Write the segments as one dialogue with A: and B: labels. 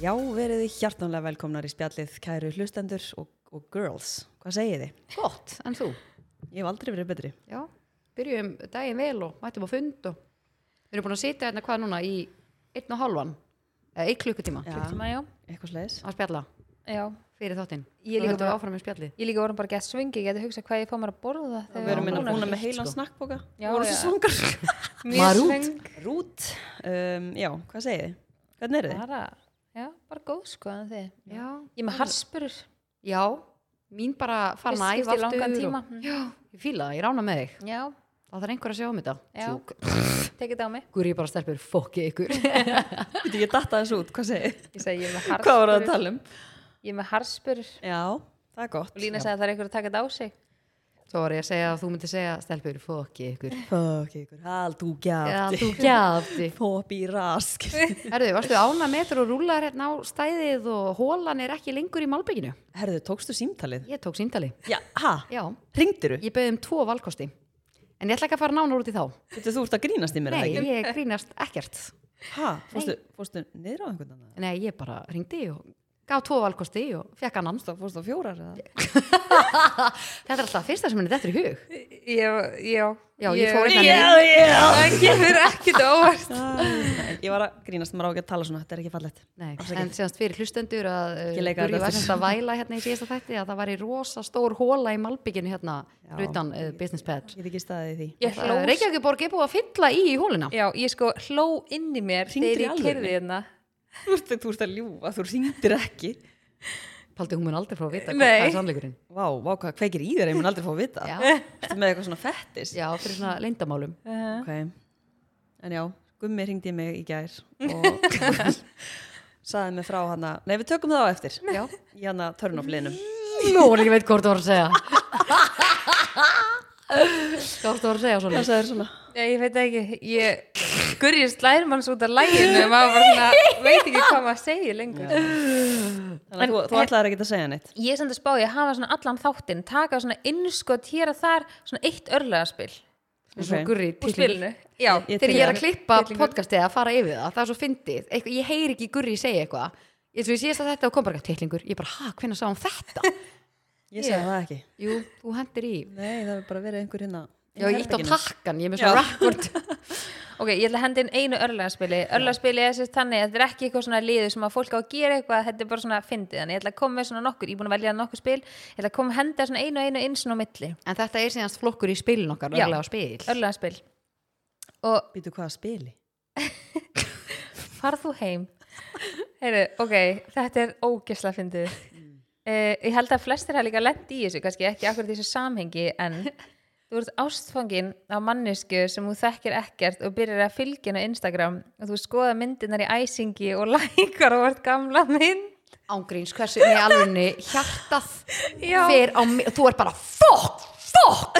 A: Já, verið þið hjartanlega velkomnar í spjallið kæru hlustendur og, og girls. Hvað segið þið?
B: Gott, en þú?
A: Ég hef aldrei verið betri.
B: Já, byrjum daginn vel og mættum á fund og við erum búin að sitja hérna hvað núna í einn og halvan, eða einn klukkutíma
A: Já.
C: Tíma, já.
A: Eitthvað slæðis?
B: að spjalla
C: Já.
B: fyrir þáttinn.
C: Ég er líka
B: Þú höldum
C: bara-
B: áfram með spjallið.
C: Ég líka vorum bara gett svingi, ég geti hugsað hvað ég fá mér að borða þegar
A: Við erum
B: Já,
A: minna
B: hún er
A: búin með
B: heilt,
A: heilan
B: sko.
A: snakkboka.
C: Já,
A: Já, voru
C: já.
A: svo svangar.
C: mjög
B: Var út.
C: sveng.
A: Rút. Um, já, hvað segið þið? Hvernig eru þið?
C: Bara, já, bara góð sko en þið.
B: Já.
C: Ég er með harspurur.
B: Já, mín bara farin að
C: Fyrst
B: æfa
C: skipti í langan tíma.
B: og- Já, ég fíla það, ég rána með þig.
C: Já,
B: Það þarf einhver að sjá um þetta.
C: Já.
B: Tjúk.
C: tekið það á mig.
B: Guður ég bara stelpur, fokki ykkur.
A: Viti, ég datta þessu út. Hvað segið þið?
C: Ég segi ég er með
A: Hvað voru að
C: harspurur.
A: tala um?
C: Ég er með harspurur.
A: Já, það er gott.
C: Og Lína sagði að það er einhver að taka þetta á sig.
B: Svo var ég að segja að þú myndi segja stelpur, fokki ykkur.
A: Fuck ykkur, hald þú
B: Já,
A: gæfti.
B: þú gjafti.
A: Pop í rask.
B: Herðu, varstu ána metur og rúlar hérna á stæðið og hólan er ekki lengur í malbygginu.
A: Herðu, tókstu símtalið?
B: Ég tók síndali.
A: Já, ha?
B: Já.
A: Ringdiru?
B: Ég bauði um tvo valkosti En ég ætla ekki að fara nánar út í þá
A: Viti, þú ert að grínast í mér,
B: Nei,
A: er það ekki?
B: ég grínast ekkert
A: Ha? Fórstu, fórstu niður á einhvern annan?
B: Nei, ég bara ringdi og gaf tvo valkosti og fekk annan
A: Fórstu- Fórstu á fjórar eða?
B: Þetta er alltaf fyrsta sem henni þetta er í hug
C: Ég, já.
B: Já, ég fór hérna
C: Já,
B: niður.
C: já. Það gefur ekkert á óvart.
A: Æ, ég var að grínast, maður á ekki að tala svona, þetta er ekki fallegt.
B: Nei,
A: Afsakið.
B: en séðast fyrir hlustendur að
A: Ekki leika
B: Guri
A: þetta
B: var
A: aftur.
B: semst að væla hérna í síðasta þætti að það var í rosa stór hóla í malbygginu hérna
A: Já.
B: utan uh, business pad
A: Ég hef ekki staðið í því.
C: Ég hló
B: Reykjavíkuborg er búið að fylla í í hóluna
C: Já, ég sko hló inn í mér
A: Hringdirðu
C: þegar
A: í
C: ég
A: alvörunni?
C: kerði hérna.
A: Þú ert, þú ert að ljúfa, þú ringdir ekki.
B: Paldi, hún mun aldrei frá að vita hvað
C: Nei.
B: það er sannleikurinn
A: Vá, vá, hvað kveikir í þér, ég mun aldrei fá að vita.
B: Já.
A: Ertu með eitthvað svona fettis?
B: Já, fyrir svona leyndamálum
A: Ok. En já, Gummi ringdi mig í gær og saði mig frá hana, nei við tökum það á eftir.
B: Já,
A: Í hana törnoflinum.
B: Nú, hún ekki veit hvort þú voru að segja Hvort þú voru að segja svona
A: Það sagði svona,
C: Ég, ég veit ekki, ég gurjur slærum hans út af læginu og maður bara svona, veit ekki hvað maður segir lengur.
A: þannig að þú, þú ætlaðir ekki að segja neitt.
C: Ég er samt að spá ég að hafa svona allan þáttinn, taka svona innskot hér og þar, svona eitt örlegaspil
B: Svo
A: Ok.
B: gurri
C: úr spilinu. Já,
A: Ég
B: Þegar ég er
A: til
B: að klippa podcastið að fara yfir það Það er svo fyndið Eitthvað- Ég heyri ekki gurri segja eitthvað Ég svo ég síðast að þetta og kom bara eitthvað titlingur Ég bara, hæ, hvernig sá hann þetta?
A: Ég segja það ekki.
B: Jú, þú hendir í
A: Nei, það hefur bara verið einhver hérna. í
B: Já, ég ítt á
A: herberginu.
B: takkan, ég er með svona rapport
C: ok, ég ætla að henda inn einu örlegaspili. Örlegaspili er sérst þannig að þetta er ekki eitthvað svona liðu sem að fólk á að gera eitthvað, þetta er bara svona fyndið. Þannig ég ætla að koma með svona nokkur, ég er búin að velja nokkur spil, ég ætla að koma að henda svona einu og einu inn svona á milli.
B: En þetta er síðanst flokkur í spilin okkar,
C: Já.
B: örlega á spil
C: Örlegaspil. Og
A: Býtu hvaða spili?
C: farð þú heim Heyru, ok, þetta er ógesla fyndið
B: Mm.
C: uh, ég held að flestir hafa líka lent í þessu, kannski ekki akkur þessu samhengi, en þú ert ástfangin á mannesku sem þú þekkir ekkert og byrjar að fylgja henni á Instagram og þú skoða myndinar í æsingi og lækar og vart gamla mynd
B: Ángríns, hversu, nei, alvegni, hjartað
C: Já.
B: fer á mig og þú ert bara fokk, fokk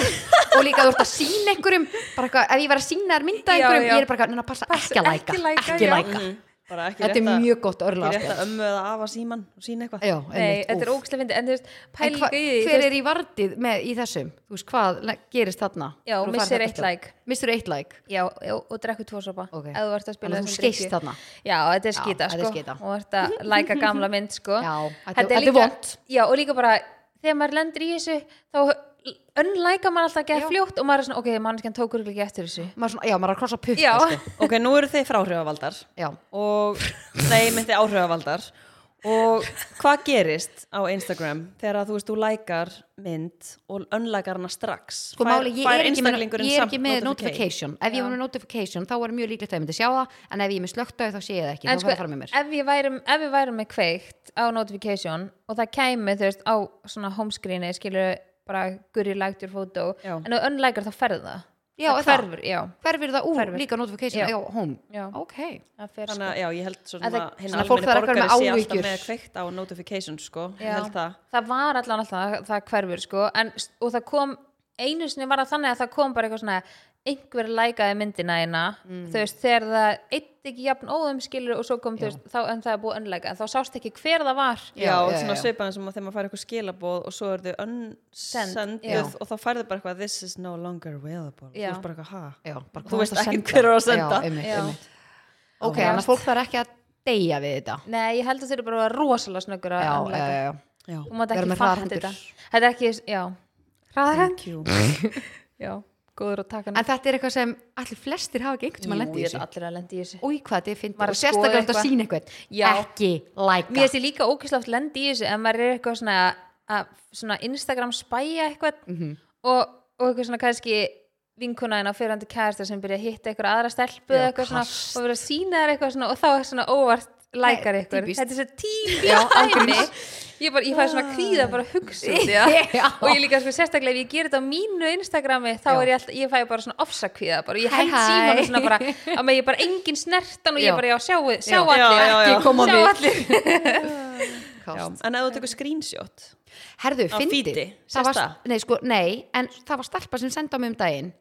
B: og líka þú ert að sína einhverjum bara eitthvað, ef ég verið að sína þér mynda
C: Já,
B: einhverjum
C: já.
B: ég er bara, neina, passa, ekki að læka
C: ekki læka,
B: ekki
C: já. Mm.
B: læka,
A: Mm. Bara ekki
B: þetta er
A: rétt að-
B: mjög gott
A: Ég
B: örlega
A: rétt að ömmu eða afa síman og sína eitthvað.
B: já,
C: Nei,
B: einmitt,
C: þetta er
B: úff.
C: ógesla fyndið, en þú veist,
B: En
C: pæl
B: hva-
C: líka í því þú
B: hver
C: veist,
B: er í vardið með, í þessum þú veist hvað le- gerist þarna
C: Já,
B: Þú
C: missir
B: færð
C: eitt
B: þetta.
C: like.
B: missir eitt like
C: Já, og, og drekku tvo sopa
B: Ok.
C: ef þú ert að spila
B: Þannig að þú
C: þessum
B: skeist
C: drykki.
B: þarna.
C: Já, þetta er
B: Já,
C: skýta
B: þetta er
C: sko
B: skýta.
C: og ert að læka gamla mynd sko
B: Já, þetta- þetta er
C: líka-
B: vont.
C: Já, og líka bara þegar maður lendir í þessu þá önnlæka maður alltaf að geða fljótt og maður er svona, ok, manneskjan tókur ekki eftir þessu
B: maður svona, já, maður er að krossa putt
C: Já,
A: Ok, nú eru þið fráhrifavaldar
B: já,
A: og nei, myndi áhrifavaldar og hvað gerist á Instagram þegar að þú veist, þú lækar mynd og önlækar hana strax
B: Sko máli, ég er ekki með,
A: einstaklingurinn
B: ég er
A: samt
B: ekki með
A: notification?
B: notification. Ef ég var með notification, þá var mjög líklegt að ég myndi sjá það, en ef ég er með slögt þá sé ég það ekki, þá
C: en
B: fer
C: sko,
B: það fram með mér.
C: ef við værum, ef við værum með kveikt á notification og það kæmi, þú veist, á svona homescreeni skilur bara gurri lægt your photo
A: Já.
C: en ef önnlækar þá ferði það
B: Já,
C: það
B: er það?
C: hverfur, já,
B: Hverfir það úr líka notification?
C: Já.
B: Já, home.
C: Já.
B: Ok.
C: það fer
A: Þannig að já, ég held svo svona
C: Að það-
A: hinn
B: svona
A: almenni
B: fólk þarf sko. að vera
A: borgari
B: með
A: sé alltaf
B: áhyggjur.
A: með kveikt á notification sko, ég
C: Já.
A: held það
C: var allan alltaf það, það hverfur sko, en, og það kom einu sinni var það þannig að það kom bara eitthvað svona einhver lækaði myndina eina
B: Mm.
C: þú veist, þegar það eitt ekki jafn óðum skilur og svo kom, þú veist, þá en það er búið önleika en þá sást ekki hver það var
A: Já,
B: Já,
A: og
B: já,
A: svona
B: já.
A: svipaðan sem að þegar maður fær eitthvað skilaboð og svo er þau
C: já.
A: unsenduð og þá færðu bara eitthvað this is no longer available
C: Já.
A: þú veist bara eitthvað ha
B: Já, bara
A: Þú
B: hvað
A: veist
B: varstu að
A: ekki
B: senda?
A: hver er að senda.
B: Já, einmitt,
C: Já.
B: einmitt. Ok, þannig að fólk þarf ekki að deyja við þetta
C: Nei, ég held að þeir eru bara að vera rosalega snöggur að
B: já,
C: unlocka.
B: já, já,
A: Já,
C: Þú mátt
B: Vera
C: ekki
B: með hraðar
C: fatta
B: hendur.
C: þetta Þetta er ekki, já Hraðarhend?
A: thank you
C: Já, góður að taka
B: en þetta er eitthvað sem allir flestir hafa ekki einhvern tíma lendi í
C: ég er
B: þessu
C: allir að lendi í þessu
B: og í hvað þetta er fyndið
C: Var að
B: og sérstaklega
C: skoða
B: þetta
C: eitthvað.
B: sín eitthvað
C: Já.
B: ekki
C: Mér
B: læka
C: þessi líka ókvæslega oft lendi í þessu en maður er eitthvað svona að svona Instagram spæja eitthvað
B: Mhm.
C: og, og eitthvað svona kannski vinkuna en á fyrrandi kærasta sem byrja að hitta eitthvað aðra stelpu
B: Já,
C: eða eitthvað svona
B: kast.
C: og verið að sína þær eitthvað svona og þá er svona óvart lækar
B: Nei,
C: eitthvað
B: típist. Ah.
C: Þetta er svo típist dæmi Ég, bara, ég fæði svona kvíða bara að hugsa um því að
B: Já.
C: og ég líka sko sérstaklega ef ég ger þetta á mínu Instagrami þá
B: Já.
C: er ég alltaf, ég fæði bara svona ofsakvíða bara, og ég
B: Hæ,
C: held
B: hæ.
C: símanum svona bara að með ég bara engin snertan og
B: Já.
C: ég bara já, sjáu, sjá
B: Já.
A: Já,
C: allir
A: já, já.
C: ekki koma
B: Sjá
C: við
A: Já,
B: Kast.
A: en ef þú tekur screenshot
B: herðu,
A: Á
B: fyndið
A: feedi,
B: það
A: sést
B: var,
A: það?
B: nei, sko, nei, en það var stelpa sem senda á mig um daginn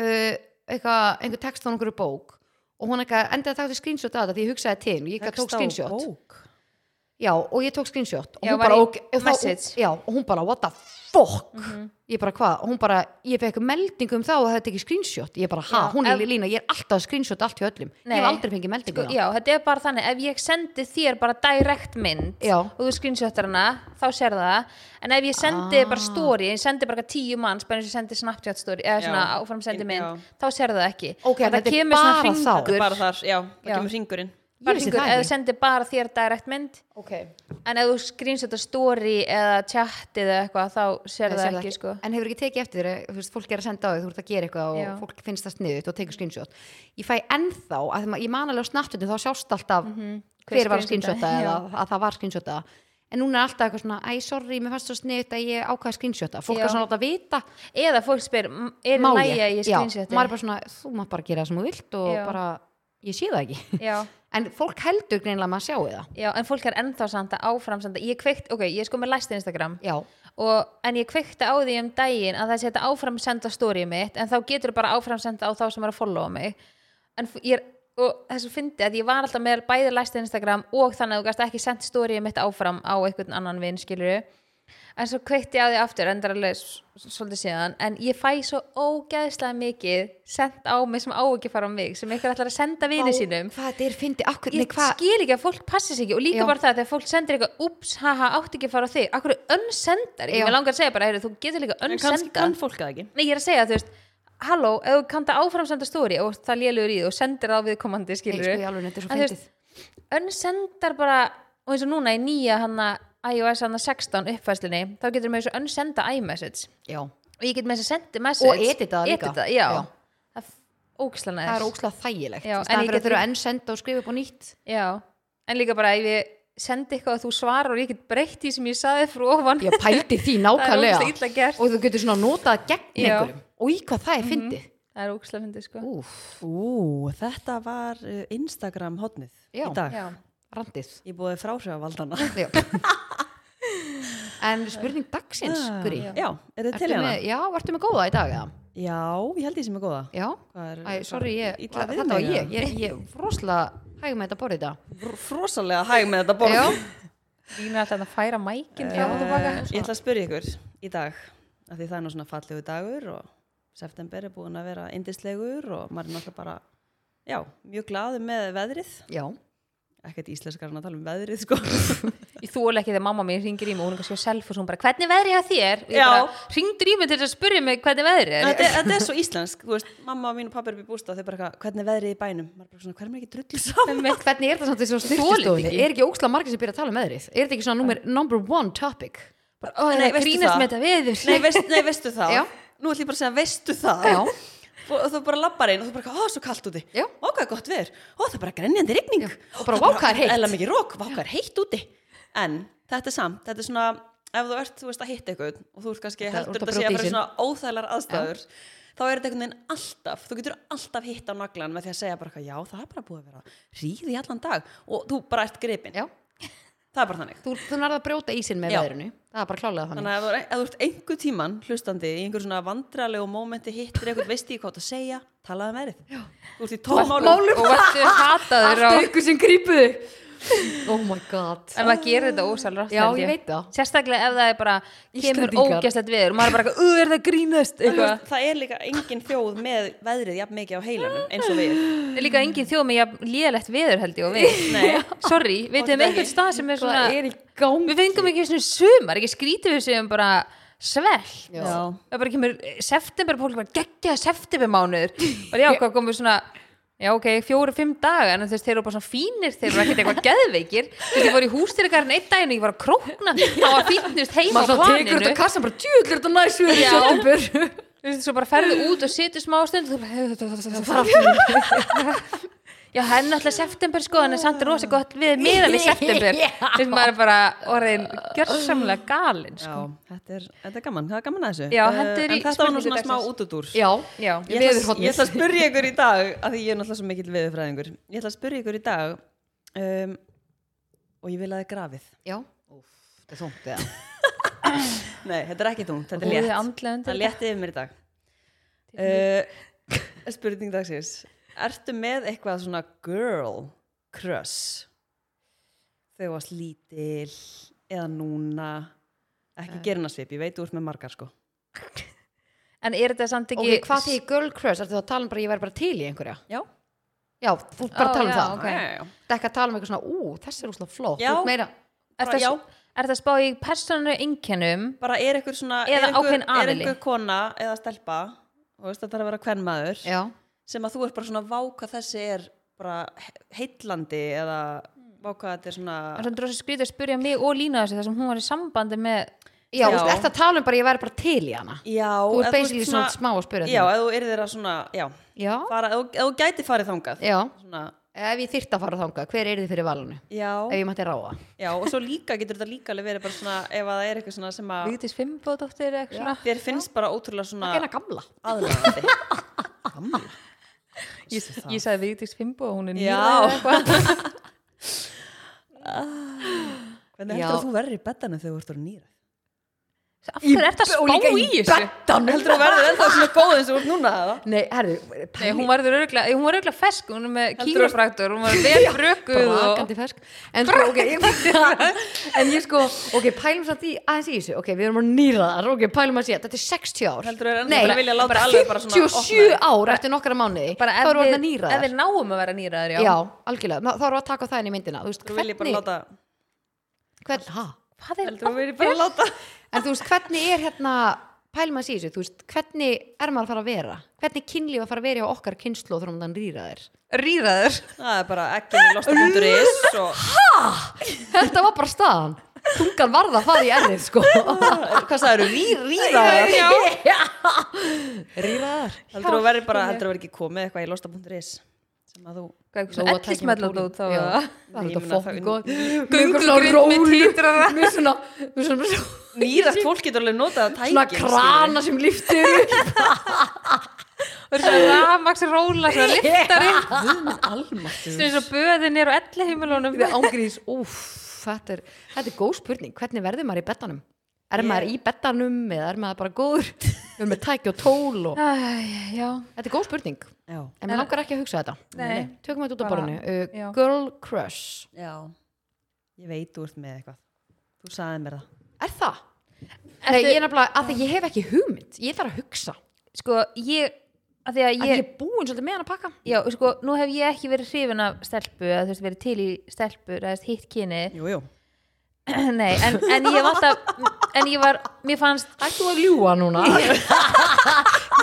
B: uh, eitthvað, einhver text á einhverju bók og hún eitthvað, endaði þátti screenshot að þetta því ég hugsaði til, hennar, ég eitthvað tók
A: Tekst á
B: screenshot
A: bók.
B: já, og ég tók screenshot og
C: Já,
B: hún
C: var
B: bara,
C: í
B: ok, þá-
C: message? Mhm.
B: já, og hún bara, what the fuck ég bara, hvað, og hún bara, ég fekk meldingu um þá og þetta ekki screenshot, ég bara, ha,
C: Já,
B: hún er
C: ef-
B: lína, ég er alltaf að screenshot allt hjá öllum,
C: Nei. Sko,
B: ég hef aldrei fengið meldingu um það.
C: já, þetta er bara þannig, ef ég sendi þér bara direkt mynd
B: Já.
C: og þú screenshotar hana, þá sér það en ef ég sendi
B: Ah.
C: bara story ég sendi bara tíu manns, bara eins og ég sendi Snapchat story eða
A: Já.
C: svona áfram sendi mynd,
A: Já.
C: þá sér það ekki
B: Ok,
C: En
B: þetta
C: það
B: er
C: kemur
B: bara
C: svona
B: þá.
A: Þetta er
C: hringur
A: bara þar, já, það
C: Já.
A: kemur hringurinn
C: bara
B: vissi
C: hringur,
B: það
C: eða
B: ekki.
C: sendi bara þér direkt mynd
B: okay.
C: en ef þú screenshotar story eða chat eða eitthvað, þá sér það, ekki, sko
B: en hefur ekki tekið eftir þér þú veist, fólk er að senda á þig, þú ert að gera eitthvað og
C: Já.
B: fólk finnst það sniðut og tekur screenshot ég fæ ennþá, að því ma- ég man alveg á snartunni þá sjást alltaf
C: Mhm, hver
B: hver var að
C: screenshota,
B: screenshota eða
C: já.
B: að það var screenshota en núna er alltaf eitthvað svona, æ, sorry, mér fannst það sniðut að ég ákvaði að screenshota fólk
C: Já.
B: er svona að láta vita,
C: eða fólk spyr, "M- er
B: má
C: lægi að
B: ég
C: ég
B: já,
C: screenshoti
B: maður er bara svona, þú maður bara gera það sem þú vilt og
C: Já.
B: bara, ég sé það ekki
C: já
B: en fólk heldur greinilega að maður sjáu það
C: Já, en fólk er ennþá samt að áfram samt að ég kveikt, ok, ég er sko með læst Instagram
B: já,
C: og, en ég kveikti á því um daginn að það setja áfram senda story mitt en þá getur bara áfram senda á þá sem er að followa mig en f- ég er og þessu fyndi að ég var alltaf með bæði læst Instagram og þannig að þú gast ekki sendt storyið mitt áfram á einhvern annan vinn skilur en svo kveikti ég á því aftur en það er alveg s- svolítið síðan en ég fæ svo ógeðslega mikið sendt á mig sem á ekki að fara á mig sem einhver ætlar að senda vini
B: Vá,
C: sínum
B: hvað þetta er fyndi, akkur,
C: ég
B: hvað
C: skil ekki að fólk passi sig ekki og líka
B: Já.
C: bara það að þegar fólk sendir eitthvað ups, haha, átti ekki að fara á þig akkur er önsendar,
B: Já.
C: ég með langar að segja bara heyri, þú getur líka
A: En kannski
C: önsenda
A: kann fólk það ekki
C: nei, ég er að segja, þú veist, halló ef þú kanta áframsenda stóri og það lélugur í því og sendir það við komandi,
B: Nei,
C: skilur
B: sko, ég alveg þetta er svo fyndið
C: önsendar bara, og eins og núna í nýja hana iOS hana 16 uppfæslinni þá getur með þessu önsenda iMessage
B: Já,
C: og ég get með þessu sendi message
B: Og edita það líka.
C: edita, já.
B: Já.
C: það er ókslega
B: það er
C: næs.
B: ókslega þægilegt
C: Já,
B: Já,
C: en
B: en
C: ég
B: ég
C: get
B: getur
C: líka-
B: enn senda og skrifa upp á nýtt
C: Já, en líka bara ef ég sendi eitthvað og þú svarar og ég get breytt því sem ég saði frú ofan
B: Já, pældi því
C: nákvæmlega.
B: nákvæmlega
C: ógeðslega illa gert.
B: Og þú getur svona notað gegn
C: Já. Mhm.
B: einhverjum Og í hvað það er fyndið
C: Það er ógislega fyndið sko
B: Úf,
A: Ú, þetta var uh, Instagram hotnið
B: Já.
A: í dag
C: Já,
B: randið
A: Ég búið fráhrifavaldana
B: Já. En spurning dagsins,
C: Ah,
B: Guri
A: Já, er þetta
B: Ertu
A: til hérna?
B: með, já, ertu með góða í dag eða?
A: Já, ég held ég sem er góða
B: Já,
A: Hvað er-
B: Æ, sorry, ég,
A: Illa við
B: þetta var
A: mig,
B: ég Ég, ég frosla hægum með þetta borðið þetta
A: Fr- Frosalega hæg með þetta borð
B: Já,
C: lína alltaf að færa mækinn frá og tilbaka
A: Eh, Ég ætla að spyrja ykkur í dag af því það er nú svona fallegu dagur og september er búin að vera indislegur og maður er náttúrulega bara já, mjög glaðu með veðrið
B: já,
A: ekkert íslenskar en að tala um veðrið sko
C: Ég þóla ekki þegar mamma mín ringir í mig og hún er kannski á self og svo hún bara hvernig er veðrið að þér? Og Ég
A: Já.
C: bara ringdur í mig til þess að spyrja mig hvernig veðrið er
A: þetta, er- þetta er svo íslensk, þú veist, mamma og mín og pappa er upp í bústa og þau bara eitthvað, hvernig er veðrið í bænum maður er bara svona, hvernig er ekki drullið saman
C: Einmitt.
B: hvernig er það samt þessu
C: Þolir þetta
B: snirtistofunni?
C: ekki.
B: Er ekki ókslega margir sem byrja að tala um veðrið? Er þetta ekki svona númer, number one topic?
A: Bara, "Ó, nei,
C: Það er að
A: veistu
C: grínast
A: það?
C: með þetta veður
A: nei, veist, nei, veistu það
B: Já.
A: nú ætlum ég bara að segja, veistu það
B: Já.
A: og og þú bara lappar einn og þú bara, ó, svo kalt úti
B: Já.
A: ó, hvað er gott veður, ó, það er bara grenjandi rigning
B: Og bara, vá, hvað er heitt.
A: eða mikið rók, vá, hvað er heitt úti en þetta er samt, þetta er svona ef þú ert, þú veist, að hitta eitthvað og þú ert kannski
B: Þetta- þú ert
A: heldur
B: að
A: þetta sé
B: brjóta
A: að vera
B: ísinn.
A: svona óþælar aðstæður þá er þetta einhvern veginn alltaf, þú getur alltaf hitt á naglan með því að segja bara, eitthvað, já, það er bara búið að vera ríð í allan dag og þú bara ert gripin,
B: Já,
A: það er bara þannig
B: þú, þú nærði að brjóta ísinn með
A: Já.
B: veðrinu Það er bara klálega þannig
A: Þannig að ef þú- ef þú ert einhver tíman hlustandi í einhver svona vandralegu mómenti hittir eitthvað veist í hvað það segja, talaðu um verið. Þú ert í tómálum.
C: og varstu hataður á
B: ykkur sem grípuðu oh my god
C: en maður gerir þetta ósalrætt
B: já, ég veit það
C: sérstaklega ef það er bara kemur
B: Íslendingar.
C: ógeslegt viður og maður er bara, eitthvað, "Ú, er það að grínast eitthvað
A: það er líka engin þjóð með veðrið jafn mikið á heilanum eins og við
C: Það er líka engin þjóð með jafn lélegt viður held ég og við
A: Nei.
C: sorry, við um
A: Fátæki.
C: einhvern stað sem er svona
B: Hvað er í gangi?
C: við fengum ekki svona sumar, ekki skrítið við sem bara svelt
B: Já.
C: það bara kemur eh, september fólk bara geggjaða september mánuður bara já, hvað komur svona já ok, fjóru-fimm daga en þú veist, þeir eru bara svona fínir þeir eru ekkert eitthvað geðveikir þú veist, ég fór í hústyrkarinn einn daginn og ég var að krókna það var fínust heima á
B: maður svona tekur
C: planinu
B: þetta kassan bara djúðlir þetta næsum í
C: Já.
B: september
C: þú veist, svo bara ferðu út og situr smá stund og þú bara já, það er náttúrulega september sko en það er samt rosa gott við miðan við september
B: Já.
C: þú veist, maður er bara orðin gjörsamlega galinn sko.
A: Já, þetta er, þetta er gaman, það er gaman að þessu
C: Já,
A: Eh,
C: hendur í
A: En þetta var nú
C: spurningu
A: svona smá
C: dagsins.
A: útudúr
B: já,
C: já,
A: Ég ætla, að-
B: Veðurhornið.
A: ég ætla að spyrja ykkur í dag af því ég er náttúrulega svo mikill veðurfræðingur Ég ætla að spyrja ykkur í dag um, og ég vil að þið grafið
B: já það er þungt eða
A: Nei, þetta er ekki tungt, þetta
C: Ó,
A: er
C: ég er
A: létt
C: andlega undir
A: Það er létt yfir mér í dag uh, Spurning dagsins Ertu með eitthvað svona girl crush þegar þú varst lítil eða núna
B: Eh.
A: ekki gerinasvip, ég veit þú ert með margar sko
C: en er þetta samt
B: ok,
C: ekki
B: hvað því girl crush, ertu þá að tala um bara að ég væri bara til í einhverja
A: Já,
B: já, þú ert bara að
C: Ó,
B: tala um
C: já,
B: það
C: ok.
A: Ah, já, já.
B: þetta er ekki að tala um eitthvað svona, ú, þessi er úslega flott
A: Já.
B: Þú ert meira,
C: er
A: bara já.
C: þetta að spá í persónu einkennum
A: bara er einhver svona
C: Eða
A: er einhver,
C: ákveðinn
A: er
C: aðili.
A: einhver kona eða stelpa þú veist þetta er að vera hvern maður
B: já,
A: sem að þú ert bara svona váka þessi er bara he- heillandi eða
B: Hmm.
A: váka þetta er svona
C: en svona rosa skrítið að spyrja mig og Lína þessu þar sem hún var í sambandi með
A: Já.
B: já, þú veist, ertu að tala um bara að ég væri bara til í hana
A: já,
B: þú
A: eða
B: ert basically svona smá að spyrja
A: já,
B: þig.
A: eða þú eru þeirra svona já,
B: já,
A: fara, eða þú- eða þú gæti farið þangað
B: já
A: svona,
B: ef ég þyrft að fara þangað, hver er þið fyrir valinu
A: já,
B: ef ég mætti ráða
A: já, og svo líka getur þetta líka alveg verið bara svona ef að það er eitthvað svona sem að
C: Vigdís Fimboðdóttir eða eitthvað svona.
A: þér finnst bara ótrúlega svona
B: það er hana gamla
A: aðlandi gamla
C: ég, ég sagði Vigdís Fimbo og hún er
A: Já.
C: nýra eitthvað
A: hvernig
B: Já.
A: heldur að þú verður í beddana þegar þú ert orðin nýra
C: af hverju er þetta spá í þessu
A: heldur þú verður ennþá svona góð eins og þú ert núna eða?
B: Nei, herðu,
C: Nei, hún var örgulega, hún var örgulega fesk, hún er með
A: Heldur þú-
C: kýrafraktur, hún var vel brökuð og...
B: brakandi fersk en sko, ok ég, en ég sko, ok, pælum samt í aðeins í þessu, ok, við erum að nýraðar ok, pælum að sé, þetta er 60 ár
A: Heldurðu að
B: Nei,
A: ennþá bara vilja láta alveg bara svona opna
B: 57
A: þig?
B: ár eftir nokkra mánuði þá
C: ef
B: erum við að
C: við- Ef
B: nýraðar
C: við náum að vera nýraðar, já.
B: já, algjörlega, Ná- þá erum við að taka það inn í myndina þú veist,
A: Þú viljið bara
B: hvernig
A: láta
B: hvern, ha?
C: Hvað er
A: Heldur þú viljið bara láta
B: en þú veist, hvernig er hérna pælum að sé þessu, þú veist, hvernig er maður að fara að vera hvernig kynlíf að fara að vera hjá okkar kynslu þrjum þann rýraðir
C: rýraðar?
A: Það er bara ekkin í losta.is og
B: þetta var bara staðan tungan varða að fara í errið sko
A: hvað sagður, rí, rýraðar
C: Já.
B: rýraðar
A: Heldur þú verður bara, heldur þú verður ekki komið eitthvað í losta.is sem að þú
C: Hvað er svona ellismell út út þá?
B: Já,
C: eða?
B: það er
A: Nei, ég
B: þetta
A: meina,
B: fokkin
A: það-
B: góð
C: Göngugrind með títrara.
B: Mjög svona, mjög svona, svona,
A: Nýrætt fólk getur alveg notað að tækja
B: svona krana sem líftur
C: Það er svona rafmaksróla, svona liftari,
A: Almáttu
C: sem eins og böðin er á ellihimilunum.
B: Ángriðis, úf, þetta er Þetta er góð spurning, hvernig verður maður í bettanum? Er maður í bettanum eða er maður bara góður? Við erum með tæki og tól og
C: Já,
B: Þetta er góð spurning,
A: Já,
B: en mér langar ekki að hugsa þetta
C: Nei.
B: Tökum þetta út á
C: Bara-
B: borðinu uh,
C: já.
B: Girl crush,
A: já Ég veit þú ert með eitthvað Þú sagði mér það
B: er það? Nei, ég er nefnilega, að því ég hef ekki hugmynd Ég þarf að hugsa,
C: sko, ég, að því að
B: að
C: ég,
B: ég er búin svolítið með hann að pakka
C: já, sko, nú hef ég ekki verið hrifin af stelpu, að þú veist, verið til í stelpu, eða þú veist, hitt kynið.
A: Jú, jú
C: Nei, en, en ég var alltaf, en ég var, mér fannst,
B: Ættu að ljúa núna Við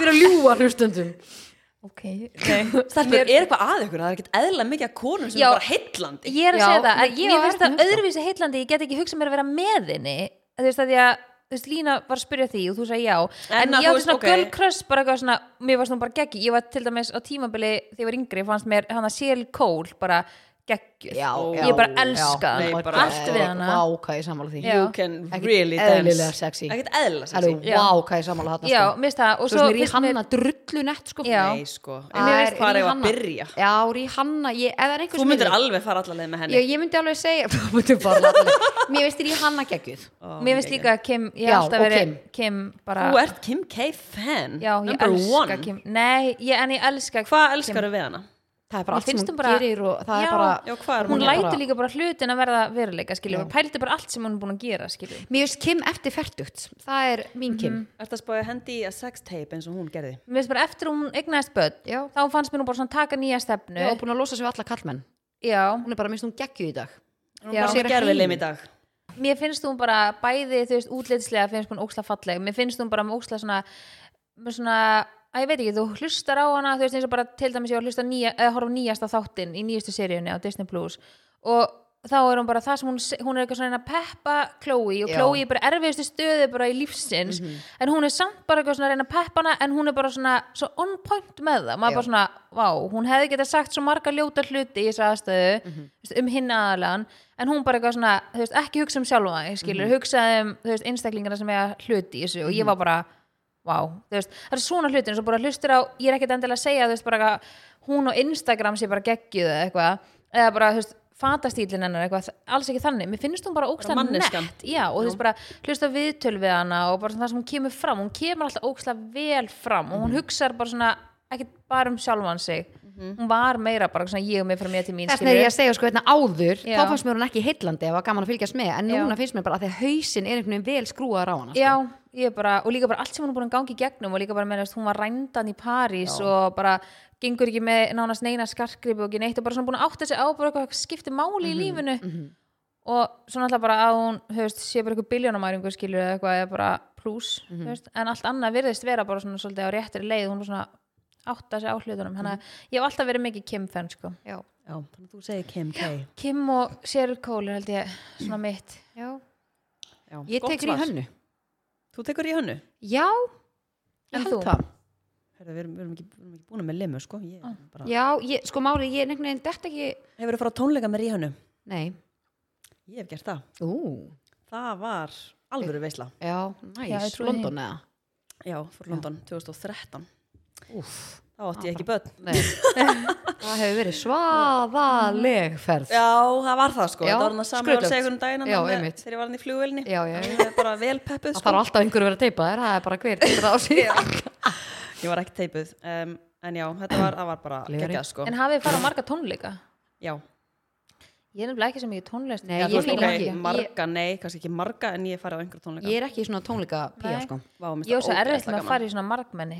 B: erum að ljúa hlustundum
C: ok, nei,
A: Stelpur, er eitthvað að ykkur, það er ekkert eðla mikið að konum sem
C: Já.
A: er bara heillandi
C: ég er að
B: Já,
C: segja það
B: nei,
C: að ég
B: mér
C: finnst
B: verður
C: það
B: hugsa.
C: öðruvísi heitlandi ég get ekki hugsað mér að vera með henni þú veist að því að þú veist Lína var að spyrja því og þú sagði já en,
A: að
C: ég
A: þú
C: átti
A: veist,
C: svona
A: ok.
C: girl crush bara eitthvað svona mér var svona bara geggi, ég var til dæmis á tímabili þegar ég var yngri fannst mér hann að Sel Kól bara geggjuð
B: Já, já,
C: ég bara
B: já.
C: elska
A: Nei,
C: hana,
A: bara-
C: allt við hana
B: Vá, hvað ég sammála því
C: Já.
A: You can
B: Ekkert
A: really dance
B: eðlilega sexy.
A: Ekkert eðla sexy
B: Alveg, vá, hvað ég sammála þarna
C: já,
B: sko.
C: mér finnst það og
B: Svo
C: svo
B: sem er í
C: finnst mér-
B: hanna drullu nett sko
C: Já.
A: Nei, sko
B: Það
A: Mér
B: er
A: veist hvað er að
B: Rihanna.
A: byrja
B: Já, í hanna, ég, ef það er einhver
A: Þú
B: sem
A: myndir
B: hefur-
A: alveg fara allaveg með henni
B: Ég, ég myndi alveg segja Þú myndir bara alveg- Mér veist þér í hanna geggjuð
A: Ó,
C: mér finnst
A: geggjað.
C: líka Kim, ég
B: Já,
C: hef alltaf
B: og Kim.
C: verið Kim bara,
A: Þú ert Kim K fan
C: já, ég
A: Number
C: elska
A: one
C: Kim nei, ég, en ég elska
A: Hvað elskar við hana?
B: það er bara
C: Mér
B: allt sem
C: finnst
B: hún
C: hún bara-
B: gerir og það
C: Já.
B: er bara
A: Já, hvað er
C: hún
B: Hún er
C: lætur
B: bara-
C: líka bara hlutin að verða veruleika
B: Já.
C: skiljum, hún pældi bara allt sem hún er búin að gera skiljum
B: mér finnst Kim eftir færtugt það er mín Kim
A: Er það spáði hendi í að sex tape eins og hún gerði?
C: mér finnst bara eftir hún eignaðist börn
B: já,
C: þá fannst mér hún bara svona taka nýja stefnu
B: já, og búin að losa sig við alla kallmenn
C: já.
B: hún er bara minnst hún geggju í dag
A: Hún
C: Já.
A: var
B: Sér
A: með
B: að
A: gerfilegum
B: heim.
A: í dag.
C: mér finnst hún bara bæði þú veist útlitslega finnst hún óksla falleg mér finnst hún bara með óksla svona með svona, að ég veit ekki, þú hlustar á hana þú veist eins og bara til dæmis ég var að hlusta á nýja, eða horfa á nýjasta þáttinn í nýjastu seríunni á Disney Plus og þá er hún bara það sem hún, se- hún er eitthvað svona að peppa Chloe og
B: Já.
C: Chloe er bara erfiðustu stöðu bara í lífsins
A: Mhm.
C: en hún er samt bara eitthvað svona að reyna að peppa hana en hún er bara svona svo on point með það maður
B: Já.
C: bara svona, vá, hún hefði geta sagt svo marga ljóta hluti í þessu aðstöðu
A: Mhm.
C: þú veist, um hinn aðalan en hún bara eitthvað svona, þú veist, ekki hugsa um sjálfa ég skilur,
A: Mhm.
C: hugsaði um, þú veist, einstaklingarna sem eiga hluti í þessu og ég var bara vá, þú veist, það er svona hlutin eins og bara hlustur á, ég er ekkert endilega að segja þú veist, bara eitthvað, hún og Instagram sé bara geggjuð eða eitthvað, eða bara, þú veist fatastílinn hennar eitthvað, alls ekki þannig mér finnst hún bara óksla
A: Bara manneskjan.
C: nett já, og þú veist bara, hlusta á viðtöl við hana og bara svona það sem hún kemur fram, hún kemur alltaf óksla vel fram og hún
B: Mhm.
C: hugsar bara svona ekkert bara um sjálfan sig hún var meira bara svona ég og mig frá mér til mín
B: þess vegna
C: skilurðu.
B: er ég að segja sko hérna áður
C: Já.
B: þá fannst mér hún ekki heillandi og var gaman að fylgjast með en
C: Já.
B: núna finnst mér bara að því að hausin er einhvern veginn vel skrúaður á hana sko.
C: Já, ég er bara, og líka bara allt sem hún er búin að gangi í gegnum og líka bara meðast hún var rændan í París og bara gengur ekki með nánast neina skarkripi og ekki neitt og bara svona búin að átta sig á bara eitthvað skipti máli
B: Mhm,
C: í lífinu og svona alltaf bara að hún höfst, sé bara eitthvað biljónamæringu skilur eða eitthvað eða bara plus
B: Mhm.
C: mm en allt annað virðist vera bara svona svolítið á réttri leið hún bara svona átta sig á hlutunum þannig að ég hef alltaf verið mikið Kim fan sko
B: Mhm. Já.
A: Já, þannig að þú segir Kim K.
C: Kim og Cheryl Cole er held ég svona mitt
B: Já.
A: Já,
B: ég
A: gott
B: tekur í
A: svar.
B: hönnu
A: Þú tekur í hönnu?
B: já, ég
C: En
B: held
C: þú?
B: það
A: Herra, við erum, við erum ekki, við erum ekki búin með limu, sko. Ég, er bara...
B: já, ég, sko máli, ég er einhvern veginn dett ekki
A: Hefur þú farið á tónleika með ríhönnu?
B: nei,
A: Ég hef gert það.
B: ú,
A: Það var alvöru veisla.
B: já,
C: Já, ég
B: næs
C: trúi því.
B: London eða
A: Já, fór London 2013.
B: Úf,
A: Þá átti ég ekki börn.
B: nei það hefur verið svaðaleg ferð
A: Já, það var það sko.
B: Já,
A: það var hann að samar
B: skrautlegt.
A: segja hvernig daginn
B: Já,
A: hann með-
B: einmitt.
A: þegar ég var hann í flugvelni.
B: Já, já.
A: Það var bara vel peppuð
B: það
A: sko.
B: þarf alltaf einhverju að vera teipa þér það er bara hver teipir það á sig
A: Ég var ekki teipuð. Um, en já, þetta var, það var bara
B: Gleri.
A: geggjað sko.
C: en hafið þið farið á marga tónleika?
A: Já,
C: Ég er nefnilega ekki sem ég tónlist
B: Nei,
A: Já,
B: ég
A: þú veist,
B: fíla
A: ok,
B: ekki. Ég-
A: marga, nei, kannski ekki marga, en ég hef farið á einhverja tónleika.
B: ég er ekki svona tónleika pía
C: Nei.
B: sko
A: Vá, mér finnst
C: Ég var svo
A: það
C: erfitt
A: ógeðslega
C: með að
A: gaman.
C: fara í svona margmenni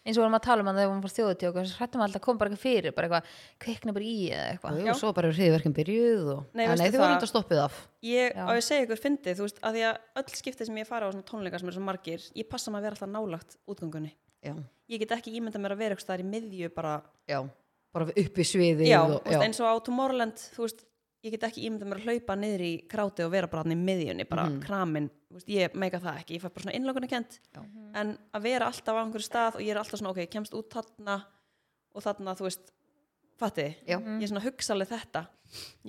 C: eins og við vorum að tala um hann þegar við vorum frá þjóðutjók og svo hrættum alltaf að koma bara eitthvað fyrir bara eitthvað, kvikna bara í eða eitthvað
A: sko,
B: og svo bara eru hriðverkinn byrjuð og...
A: Nei,
B: nei, nei
A: veistu
B: þau voru
A: það-
B: þetta stoppið af
A: Ég,
C: Já.
A: á ég að segja ykkur fyndið, þú veist, að því að öll skipti sem ég fara á svona tónleika sem eru svo margir, ég passa maður að vera alltaf nálagt útgöngunni.
B: já,
A: Ég get ekki ímyndað mér að vera eitthvað þar í miðju bara,
B: já, bara upp í sviði
A: já,
B: og,
A: þú veist, eins og á Tomorrowland, þú veist, ég get ekki ímyndað mér að hlaupa niður í kráti og vera bara hann í miðjunni, bara mm. kramin, þú veist, ég meika það ekki, ég fæ bara svona innlokunni kent,
B: Já.
A: en að vera alltaf á einhverju stað og ég er alltaf svona, ok, ég kemst út þarna og þarna, þú veist, fatti,
B: Já.
A: ég
C: Mhm.
A: er svona hugsaleg þetta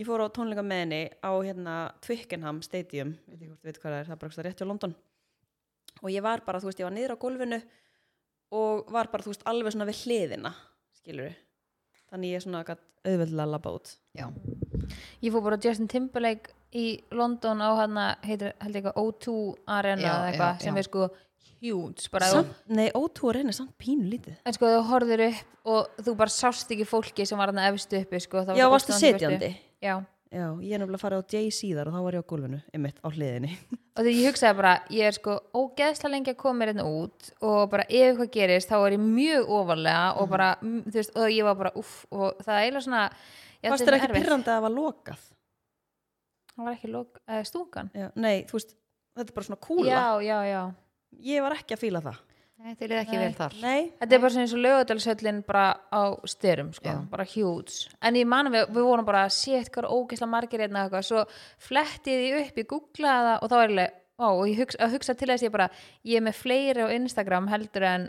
A: ég fór á tónleika með henni á hérna Twickenham Stadium veit ekki hvort þú veit hvað það er, það er bara eitthvað rétt hjá London og ég var bara, þú veist, ég var niður á gólfinu og var bara, þú veist, alveg svona við hliðina skilur þannig ég svona gætt auðveldlega labba út
B: já,
C: Ég fór bara á Justin Timberlake í London á hann heitir held ég eitthvað O2 Arena
B: Já,
C: eða eitthvað
B: já,
C: sem
B: já.
C: er sko huge bara
A: samt, nei, O2 reynir samt pínu lítið
C: en sko þú horfir upp og þú bara sást ekki fólki sem var hann efst uppi sko, það var
A: já,
C: svo
A: varstu
C: ógeðslega mikið uppi.
A: setjandi
C: Já,
A: já, ég er nefnilega að fara á Jay síðar og þá var ég á gólfinu einmitt á hliðinni
C: og þegar ég hugsaði bara ég er sko ógeðslega lengi að koma mér hérna út og bara ef eitthvað gerist þá er ég mjög ofarlega og bara mm, þú veist, og ég var bara uff og það er eiginlega svona ég,
A: varstu ekki pyrrandi að það var lokað
C: það var ekki lok, uh, stúkan
A: já, nei, þú veist, þetta er bara svona kúla
C: já, já, já
A: ég var ekki að fíla það
B: nei, þeir eru ekki
C: Nei.
B: vel þar
A: nei,
C: þetta er bara svona eins og lögadalshöllin bara á styrum sko,
B: Já.
C: bara huge en ég man að við, við vorum bara sétt hvað er ógeðslega margir hérna eitthvað svo flettið ég upp, ég googlaði það og þá er ég Ó, og ég hugsa, að hugsa til þess ég bara ég er með fleiri á Instagram heldur en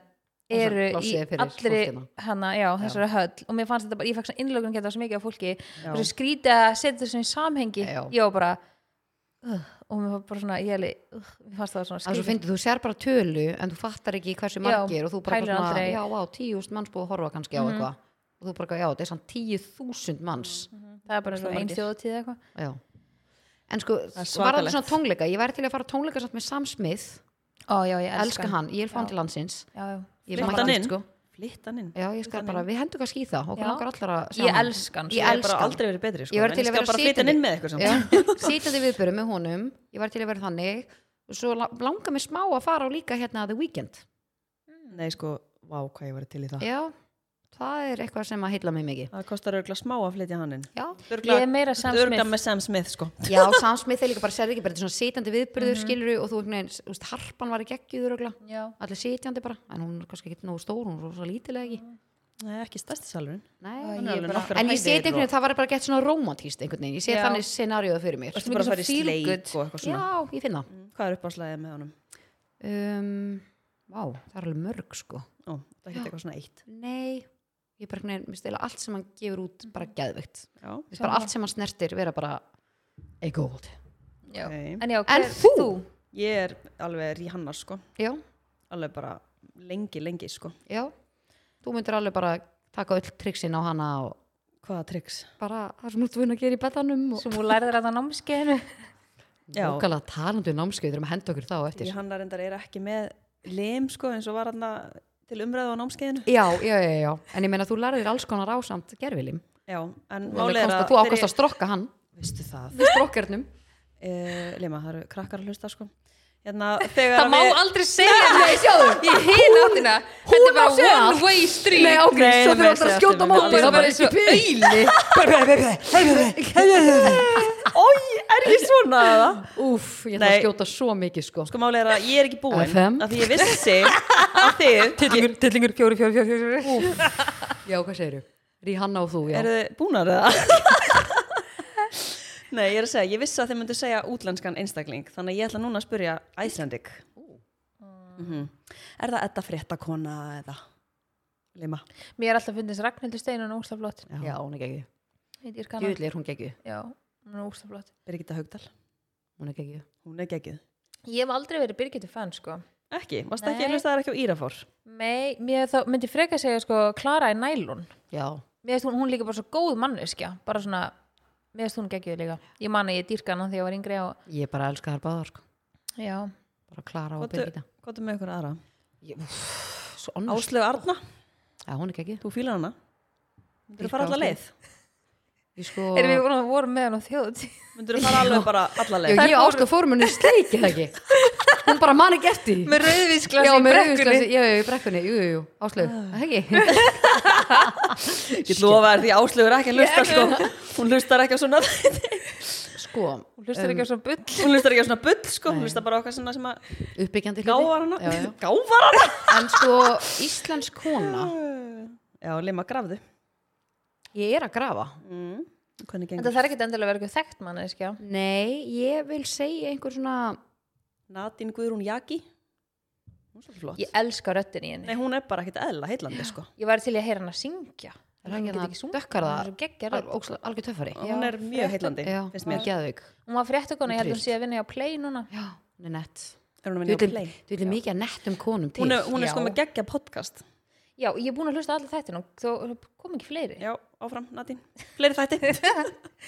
B: Þessar
C: eru í
B: plássið fyrir
C: allri
B: fólkina.
C: hana, já, þessari höll og mér fannst þetta bara, ég fekk svona innlögun geta svo mikið af fólki
A: Já.
C: og svo skrýta að setja þessu í samhengi
B: Já.
C: ég var bara uh, og mér var bara svona, ég heli uh, mér fannst það svona
B: Það er svo fyndið, þú sér bara tölu en þú fattar ekki hversu
C: Já,
B: margir og þú bara
C: pælir
B: eitthvað svona,
C: aldrei.
B: já, á, tíust manns búið að horfa
A: Mhm.
B: kannski á eitthvað og þú bara, eitthvað, já, þetta er samt tíu þúsund manns
A: Mhm.
C: það er bara
A: Svo
C: einn
A: margir.
C: þjóðatíð eitthvað
B: já. en sko,
A: Það er
B: var
A: svakalegt.
B: þetta svona tónleika ég væri til að fara á tónleika samt með Sam Smith
C: Ó, já, ég
B: elska hann, ég er fann til landsins
C: Já, já.
B: ég
A: Flytta
B: man
A: hann
B: ekki,
A: inn?
B: sko.
A: Littan inn.
B: já, ég skal
A: Þannig.
B: bara, við hendur kannski í það okkur
C: Já.
B: langar allar að
C: Ég elska hann, sko.
A: Ég
B: ég
A: hef
B: elska
A: bara
B: hann.
A: aldrei verið betri, sko.
B: Ég væri
A: en
B: til að vera
A: skal bara flytja hann inn með eitthvað saman.
B: sýtandi viðböru með honum ég var til að vera þannig og svo la- langar mér smá að fara á líka hérna The Weeknd
A: Nei, sko, vá, hvað ég var til í það.
B: já, það er eitthvað sem að heilla mig mikið
A: Það kostar örgla smá að flytja hann inn.
B: já,
C: Ég er meira Sam Smith.
A: Örgla með Sam Smith, sko.
B: já samsmið þeir líka bara serði ekki bara þetta er svona sýtandi viðbörður mm og þú einhvern veginn, þú veist, harpan var ekki ekki þurrugla
C: Já.
B: allir sýtjandi bara, en hún er kannski ekki nógu stór hún er rosa lítilega ekki
A: Nei, ekki stærsti salurinn.
B: Nei,
A: Hún er alveg
C: bara-
A: nokkra
B: en ég
A: hæðir
B: seti einhvern
A: og-
B: veginn, það var bara gett svona romantíst einhvern veginn, ég seti
C: Já.
B: þannig scenarióð fyrir mér
A: Ertu bara að
C: Mikið
A: fara í
C: svo feel
A: sleik
C: good.
A: og eitthvað svona?
B: já, ég finn það
A: Hvað er uppáðslæðið með honum?
B: um, vá, það er alveg mörg sko
A: Ó, það getur eitthvað svona eitt.
B: nei, ég bara einhvern veginn, mér stila allt sem hann gefur út bara geðveikt
A: Já.
B: Mér finnst bara allt sem hann snertir vera bara a gold
C: Já.
A: Ok.
C: En, já,
B: en
C: hver-
B: þú,
A: Ég er alveg Rihanna, sko.
B: já,
A: Alveg bara lengi, lengi, sko.
B: já þú myndir alveg bara taka öll triksin á hana og
A: Hvaða triks?
B: bara það sem þú ert vun að gera í betanum og
C: sem hún lærðir að það námskeiðinu
A: Já.
B: okkarlega talandi um námskeið þegar maður henda okkur þá á eftir
A: Rihanna reyndar er ekki með lim, sko, eins og var hann til umræðu á námskeiðinu.
B: já, já, já, já, en ég meina þú lærðir alls konar ásamt gerfilim
A: Já, en málið er að...
B: þú ákast að
A: þegar-
B: strokka hann
A: Veistu það?
B: við strokkernum
A: Uh, Lema, það eru krakkar að hlusta, sko. Hérna, þegar
C: það
A: að
C: má
A: við...
C: aldrei segja nei, sjáðu, í hinn áttina þetta
B: hún
C: er
B: á
C: bara
B: sér
C: one
B: allt.
C: way street
B: Nei, ok,
A: Nei,
B: svo
A: nei,
B: þurfa
A: nei,
B: alltaf að
A: segðu
B: skjóta
A: aftur,
B: á
A: nei,
B: móti
A: nei,
B: Það
C: nei,
B: var
C: nei,
B: eins og
C: nei,
B: pili
A: Ói, er ég svona að það?
B: Úf, ég þarf að
A: Nei.
B: skjóta svo mikið sko
A: Sko málið er að ég er ekki búin
B: FM.
A: að því ég vissi að þið
B: Tillingur, tillingur, fjóri, fjóri, fjóri, fjóri Úf, já, hvað segirðu? Rihanna og þú, já
A: eru þið búnar eða? Nei, ég er að segja, ég vissi að þið myndu segja útlenskan einstakling þannig að ég ætla núna að spurja Icelandic mm Er það etta fréttakona eða lima?
C: mér er alltaf fundist Ragnhildur Steinan og Úrslaflott
B: Já, hún er geggju
C: já,
B: Júli er hún geggju,
C: hún er Úrslaflott
A: Birgitta Haugdal,
B: hún er geggju
A: hún er geggið
C: ég hef aldrei verið Birgitu fan sko
A: Ekki, varst ekki
C: Nei.
A: að hlusta það ekki á Írafór
C: Nei, mér þá myndi freka segja sko Klara í nælun
B: Já,
C: mér veist hún, hún líka bara svo góð manneskja bara svona, mér veist hún geggjuð líka ég man að ég dýrka hana þegar ég var yngri og
B: ég bara elska þær báðar sko
C: já,
B: Bara Klara og Birgitta
A: Kvotum með ykkur aðra
B: Ég- úff, Svo annars
A: Áslögu Arna,
B: Já, hún er geggju
A: þú fílar hana Myndur þú
B: Dýrka
A: fara alla
B: Áslaugu.
A: leið?
B: Ég sko
C: erum við búin að voru með hann á þjóðutí
A: Myndur þú fara alveg bara alla
B: Já,
A: leið?
B: ég ástu fórum henni sleik, eða ekki Hún bara man ekki eftir því.
C: með
B: Já,
C: rauðvísglasi í
B: með
C: brekkunni
B: rauðvínsglasi, já, já, í brekkunni, jú, jú, jú, áslöf, ekki?
A: Ég lofa þér því áslögur ekki að hlusta sko. Hún hlustar ekki á svona
B: Sko,
C: hún hlustar ekki á svona bull
A: Hún hlustar ekki á svona bull sko. Hún hlustar bara á okkar svona sem að
B: uppbyggjandi hluti.
A: gávar hana
B: Já, já.
A: Gávar hana
B: En sko, íslensk kona,
A: Já, lima grafðu
B: ég er að grafa.
A: mm. Hvernig
C: þetta
A: gengur?
C: þarf ekki endilega að vera eitthvað þekkt manneskja
B: Nei, ég vil segja einhver svona,
A: Nadine Guðrún Jaki Hún er svolítið flott
C: ég elska röttin í henni
A: Nei, hún er bara ekkit eðla heillandi sko.
C: ég væri til í að heyra hana syngja
B: er ekki
C: get
B: hérna
C: ekki sungið,
B: dökkarða,
C: hún er svo geggja rödd.
B: óksla- algjör töffari.
A: Hún er mjög heillandi,
B: Já,
A: finnst mér
B: geðvig.
C: hún var fréttakona, ég held hún
B: Trist.
C: sé að vinna á play núna
B: Já, hún er nett.
A: Er hún að
B: Þú
A: vinna á
B: vil
A: play?
B: þú vil mikið að nettum konum til.
A: Hún er, hún er sko
C: Já.
A: með geggja podcast
C: já, ég er búin að hlusta allir þættin og þó kom ekki fleiri
A: Já, áfram, Nadine Fleiri þætti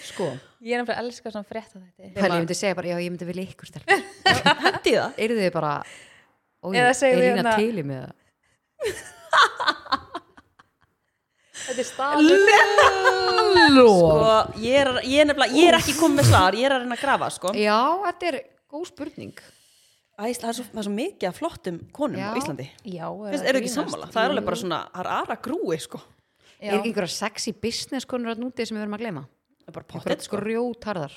B: Sko,
C: ég er nefnilega að elska svona frétta þætti
B: pæli, ég myndi segja bara, já, ég myndi vilja ykkur stelpa.
A: Hendi það
B: Eru þið bara, ó,
C: Eða
B: er
C: segir við
B: hérna
C: hérna-
B: teili með það?
C: þetta er staður
B: Lóf.
A: Sko, ég er, ég, er nefnilega, ég er ekki komið með svar, ég er að reyna að grafa sko.
B: Já, þetta er góð spurning.
A: Æsla, það, er svo, það er svo mikið af flottum konum
B: Já.
A: á Íslandi
C: já, er
A: Finnst, eru ekki sammála? Það er alveg bara svona, það er aðra grúi sko
B: Er ekki einhverja sexy business konur að núti sem við verum að gleyma?
A: Það er bara pottet sko
B: Grjótarðar.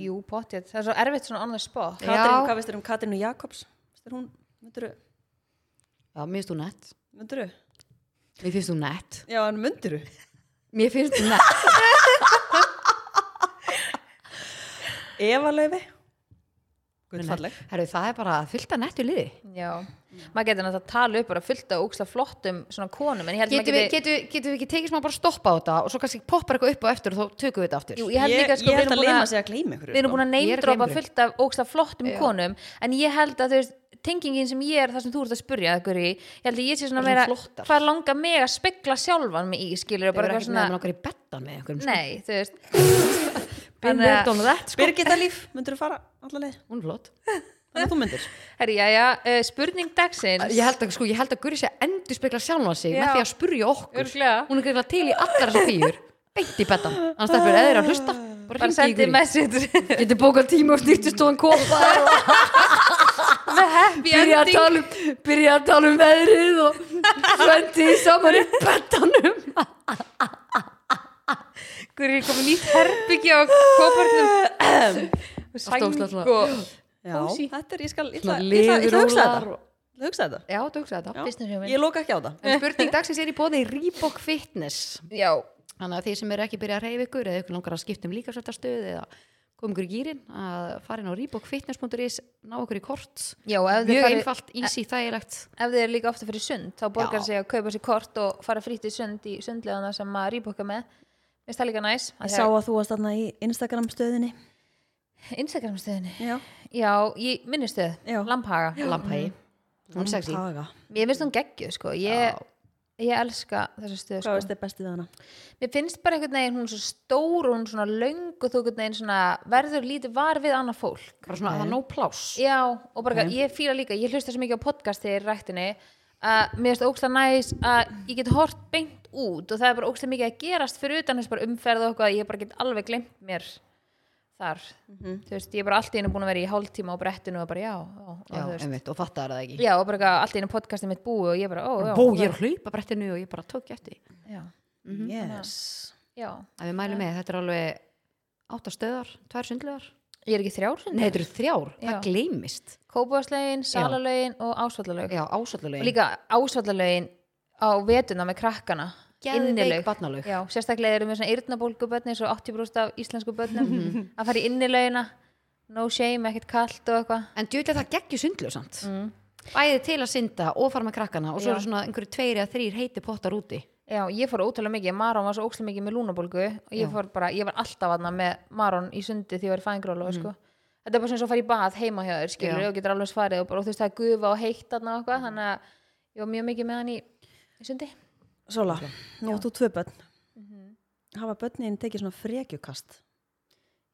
C: jú, potið, það er svo erfitt svona on the spot
A: Katrín,
B: Já.
A: Hvað veist þér um Katrinu Jakobs? Veist þér hún, mynduru,
B: Já, mér finnst þú nett.
A: mynduru?
B: Mér finnst þú nett.
A: Já, en mynduru?
B: Mér finnst þú nett.
A: Eva Leifi?
B: Hún er
A: Guð
B: nett.
A: falleg
B: Herru, það er bara fullt að nettu liði.
C: já, maður getur náttúrulega að tala upp bara fullt af óksla flottum svona konum en ég held
B: Getum
C: maður
B: við,
C: geti
B: getum, getum við ekki tekið smá bara að stoppa á þetta og svo kannski poppar eitthvað upp á eftir og þá tökum við þetta aftur.
C: Jú, ég held líka
A: Ég
C: sko, við
A: held
C: erum
A: að
C: búin
A: Lema
C: að
A: sig að gleyma ykkur sko.
C: við erum búin
B: Ég
C: að
B: er
C: neymdropa
B: gleymri.
C: fullt af ógsta flottum konum en ég held að þú veist tengingin sem ég er það sem þú ert að spurja ykkur í ég held að ég sé svona
B: Bara
C: meira
B: svona flottar.
C: hvað langar mig að spegla sjálfan mig í skilur
B: Við
C: bara
B: erum
C: eitthvað
B: ekkert svona...
C: svona
B: nefnir okkar í bettan með einhverjum. sko.
C: nei þú veist
B: Been
C: Þannig að-
B: worked on that, sko.
A: Birgitta Líf, mynduru fara alla leið?
B: Hún er flott.
A: þannig að þú myndir
C: Herri, jæja, uh, spurning dagsins
B: Ég held að, sko, ég held að Guri sé að endur spekla sjálfa sig með
C: Já.
B: því að spurja okkur
C: Örugglega.
B: Hún er greiflega til í allar þessar fýjur Beint í betta Hann stefnir eða er að hlusta Bara
C: bara
B: hringdu í
C: sendi
B: Guri
C: message
B: Getur bókað tíma og snýttustofan kopa
C: með happy
B: Byrja að
C: ending
B: tala um Byrja að tala um veðrið og Svendi saman í bettanum
C: Guri er komið nýtt herbyggja á kóparnum
A: Ehm,
C: og
B: Allt ógeðslega.
C: sæng og
A: Já,
C: Kósí.
A: þetta er, ég skal, ég ætla
B: Svona
A: ég ætla- ég ætla að hugsa
B: leðurúllar
A: þetta Ég ætla að hugsa þetta
B: Já, þú hugsaði þetta
C: Business
A: Já.
C: woman.
A: Ég loka ekki á það
B: En spurning dagsins er í bóði Reebok Fitness
C: já,
B: Þannig að þeir sem eru ekki byrjað að reyfa ykkur eða ykkur langar að skipta um líka svolítið stöð eða koma ykkur í gýrin að fara inn á reebokfitness.is ná ykkur í kort
C: já ef, þið
B: Mjög
C: farið,
B: einfalt, easy, þægilegt
C: ef þið er líka ofta fyrir sund þá borgar
B: Já.
C: sig að kaupa sér kort og fara frítt í sund í sundlegana sem að rýbóka með Veist það líka næs
A: Ég sá að þú varst þarna í Instagram stöðinni
C: Instagram stöðinni
A: Já,
C: já, í minnistöð,
A: Já.
C: Lamphaga
B: Lampægi, hún er sexy
A: Haga.
C: Mér finnst hún geggjuð sko
B: Já.
C: ég, ég elska þessa
A: Hvað
C: stöð sko.
A: veist þið bestið við hana?
C: Mér finnst bara einhvern veginn hún er svo stór og hún er svona löng og þú einhvern veginn svona verður lítið var við annað fólk
B: Bara svona, það er nóg pláss
C: Já, og bara ég fýla líka, ég hlusta svo mikið á podcast þegar ég er í rættinni að mér finnst ógstlega næs að ég get hort beint út og það er bara ógstlega mikið að gerast fyrir utan þess bara umferð og eitthvað, ég bara get alveg glemt mér þar
A: Mhm.
C: þú veist, ég er bara allt í einu búin að vera í hálftíma á brettinu og bara já, já, og
B: Já,
C: þú veist,
B: einmitt, og fattar það ekki
C: já og bara eitthvað allt í einu podcastið mitt búi og ég bara, ó, já,
B: Bó, ég er að hlaupa brettinu og ég bara tók ég eftir því.
C: já,
A: Mhm. Yes
C: já,
B: En við mælum með, þetta er alveg áttar stöðar, tvær sundlegar
C: ég er ekki þrjár
B: Nei, þetta eru þrjár, það
C: Já.
B: gleymist
C: Kópavaslegin, Salalögin og Ásvallalögin
B: Já,
C: og
B: ásöllulegin
C: líka Ásvallalögin á vetuna með krakkana
B: Geðveik
C: innilög.
B: barnalög.
C: Já, sérstaklega eru með svona yrnabólgu börn eins og 80% af íslensku börnum að fara í innilögina no shame, ekkert kalt og eitthvað Mm.
B: En djúlega það geggju sundlög samt Bæði til að synda og fara með krakkana og svo
C: Já.
B: eru svona einhverju tveir eða þrýr heiti pottar úti
C: Já, ég fór ótrúlega mikið, Maron var svo ótrúlega mikið með lúnabólgu og ég
B: Já.
C: fór bara, ég var alltaf aðna með Maron í sundi því ég var í fæðingrólu
A: Mhm.
C: sko. Þetta er bara svona svo að fara í bað heima hjá þér skilur
B: Já.
C: og getur alveg svarið og bara og þú veist það er gufa og heitt aðna
A: Mhm.
C: og eitthvað þannig að ég var mjög mikið með hann í, í sundi
A: Sola, nú átt þú tvö börn Mhm. Hafa börnin tekið svona frekjukast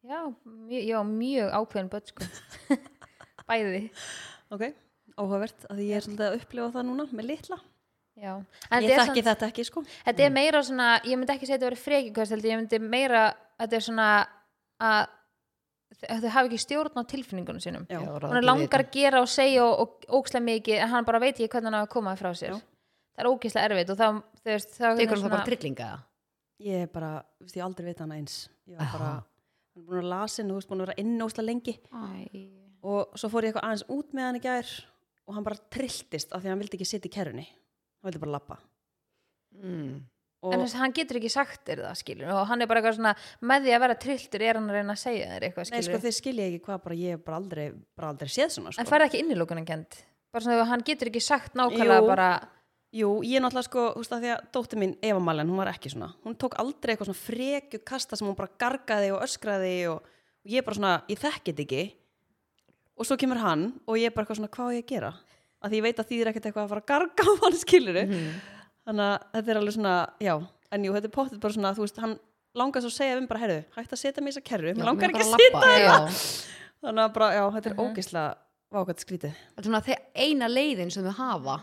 C: Já, mjög, já, mjög ákveðin börn sko. Bæði
A: Ok, áhugavert að ég er svolítið að upplifa það núna með litla
C: Já, en
A: Ég
C: þetta er
A: þekki
C: samt-
A: þetta ekki sko
C: Þetta er meira svona, ég myndi ekki segja þetta verið frekjukast heldur, ég myndi meira að þetta er svona að að þau hafi ekki stjórn á tilfinningunum sínum
A: Já.
B: Já, ráða
C: hún er
B: ekki
C: langar
B: við
C: að gera og segja og, og ókslega mikið en hann bara veit ekki hvernig hann á að koma því frá sér
A: Já.
C: það er ógeðslega erfitt og það, þú veist, það
B: Tekur hún það bara trillinga
A: Ég er bara, þú veist, ég hef aldrei veit hana eins Ég var
B: Já.
A: bara, hann er búin að lasin, þú veist, búin að vera inn ósla lengi
C: Æ,
A: og svo fór ég eitthvað aðeins út með hann í gær og hann bara trilltist af því að hann vildi ekki sitja í kerrunni hann vildi bara lappa
B: mm.
A: og
C: en þess að hann getur ekki sagt þér það skilur og hann er bara eitthvað svona með því að vera trilltur er hann að reyna að segja þér eitthvað
A: nei,
C: skilur
A: sko, þeir skilja ekki hvað bara ég hef bara aldrei, bara aldrei séð svona sko.
C: en færði ekki innilókunan kent bara svona að hann getur ekki sagt nákvæmlega
A: Jú.
C: bara
A: Jú, ég er náttúrulega sko, þú veist að því að dóttir mín Eva Malen, hún var ekki svona, hún tók aldrei eitthvað svona frekju kasta sem hún bara gargaði og öskraði og, og ég bara svona ég þekki þetta ekki og svo kemur hann og ég er bara eitthvað svona hvað á ég að gera, að því ég veit að því er ekkert eitthvað að fara að garga á hann skiluru þannig að þetta er alveg svona, já en jú, þetta er pottið bara svona, þú veist, hann langar svo að segja um bara, herðu, hætt að setja mig í þessa kerru
B: Já,
A: mér langar
B: mig
A: ekki að
B: bara labba,
A: setja
B: já.
A: þannig að bara, já, þetta er mm -hmm. ógislega vákvæmt skrítið
B: Þetta er svona þegar eina leiðin sem þau hafa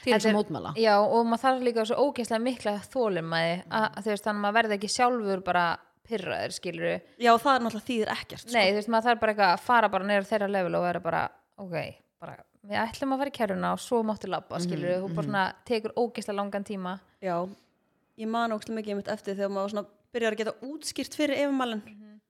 B: til þess
C: Þetta
B: að
C: er-
A: Ah.
B: mótmæla
C: já og maður þarf líka svo ógeðslega mikla þólumæði að að þú veist þannig að maður verði ekki sjálfur bara pyrraður skilur
A: já, það er náttúrulega þýðir ekkert sko.
C: nei þú veist maður þarf bara eitthvað að fara bara neyra þeirra level og vera bara ok, bara við ætlum að fara í kæruna og svo máttu
A: Mhm,
C: labba skilur við, þú bara svona tekur ógeðslega langan tíma
A: Já, ég man ógstlega mikið einmitt eftir þegar maður svona byrjar að geta útskýrt fyrir efumælinn
C: Mhm.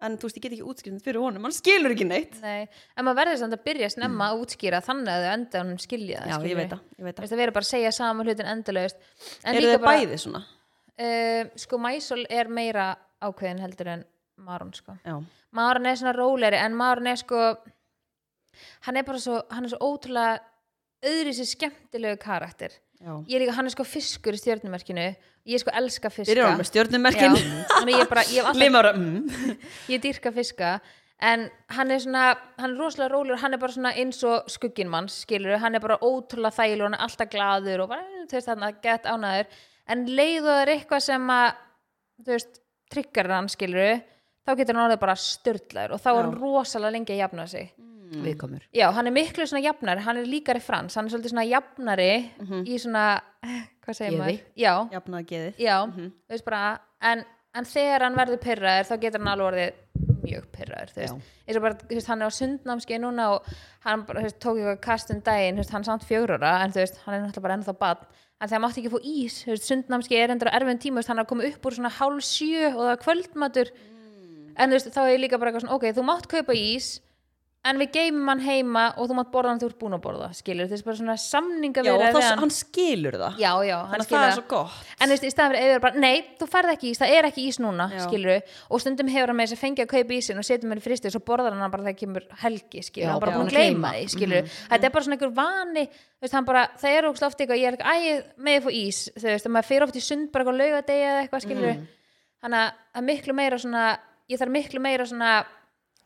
A: en þú veist, ég get ekki útskýrt fyrir honum, hann skilur ekki neitt
C: nei, en maður verður samt að byrja snemma að útskýra þannig að þau enda honum skilja það,
A: Já, Sko, ég
C: skilurðu.
A: veit það, ég veit
C: Þú
A: það
C: veist, að vera bara að segja sama hlutin endalaust En
A: Eru
C: líka
A: þið
C: bara-
A: bæði svona?
C: Eh, sko Mæsól er meira ákveðin heldur en Marun sko
A: Já,
C: Marun er svona róleri en Marun er sko hann er bara svo, hann er svo ótrúlega öðri sér skemmtilegu karakter
A: já
C: ég er líka, hann er sko fiskur í stjörnumerkinu ég sko elska fiska
A: Byrjar hann með
C: Já,
A: stjórnumerkin
C: þannig ég, er bara, ég, hef alltaf,
A: Limara, mm
C: ég dýrka fiska en hann er svona, hann er rosalega rólegur hann er bara svona eins og skugginn manns skilur, hann er bara ótrúlega þægilegur hann er alltaf glaður og bara, þú veist, hann er gett ánæður en leið og það er eitthvað sem að þú veist, tryggar hann skilur þá getur hann orðið bara störtlaður og þá er hann rosalega lengi að jafna sig
B: viðkomur
C: Já, hann er miklu svona jafnari, hann er líkari frans, hann er svolítið svona jafnari í svona, eh, hvað segir
B: Geði.
C: maður? Já,
A: jafna geðið
C: já, þú veist bara, en, en þegar hann verður pyrraður þá getur hann alveg orðið mjög pyrraður, þú veist. Eins og bara, þú veist, hann er á sundnámskeið núna og hann bara, þú veist, tók eitthvað kast um daginn, þú veist, hann er samt fjórora, en þú veist, hann er náttúrulega bara ennþá badn. En þegar mátti ekki fá ís, þú veist, sundnámskeið er endur á erfum tíma, þú veist, hann er að koma upp úr svona hálf sjö og það er kvöldmatur,
A: Mm.
C: en þú veist, þá er ég líka bara eitthvað svona, ok, þú mátt kaupa ís en við geymum hann heima og þú mátt borða hann þegar þú ert búin að borða, skilur þessi bara svona samninga
A: já, og
C: við
A: það, hann skilur það
C: já, já,
A: þannig að
C: hann
A: það
C: skilur
A: er svo gott
C: en þú veist, í staðan fyrir eða bara, nei, þú færð ekki ís það er ekki ís núna,
A: Já.
C: skilur og stundum hefur hann með þess að fengja að kaupa ísin og setja mér í fristi og svo borðar hann hann bara þegar kemur helgi skilur,
B: Já,
C: hann bara
B: bara
C: búin að
B: búin að
C: gleyma því,
B: gleyma.
C: skilur þetta er bara svona einhver vani, þú veist, hann bara það er ógst oft eitthvað, ég er ekki, æ, ég- megið fá ís þú veist, og maður fyrir oft í sund bara eitthvað laugadegi eða eitthvað, skilur þannig að- að miklu meira svona, ég þarf miklu meira svona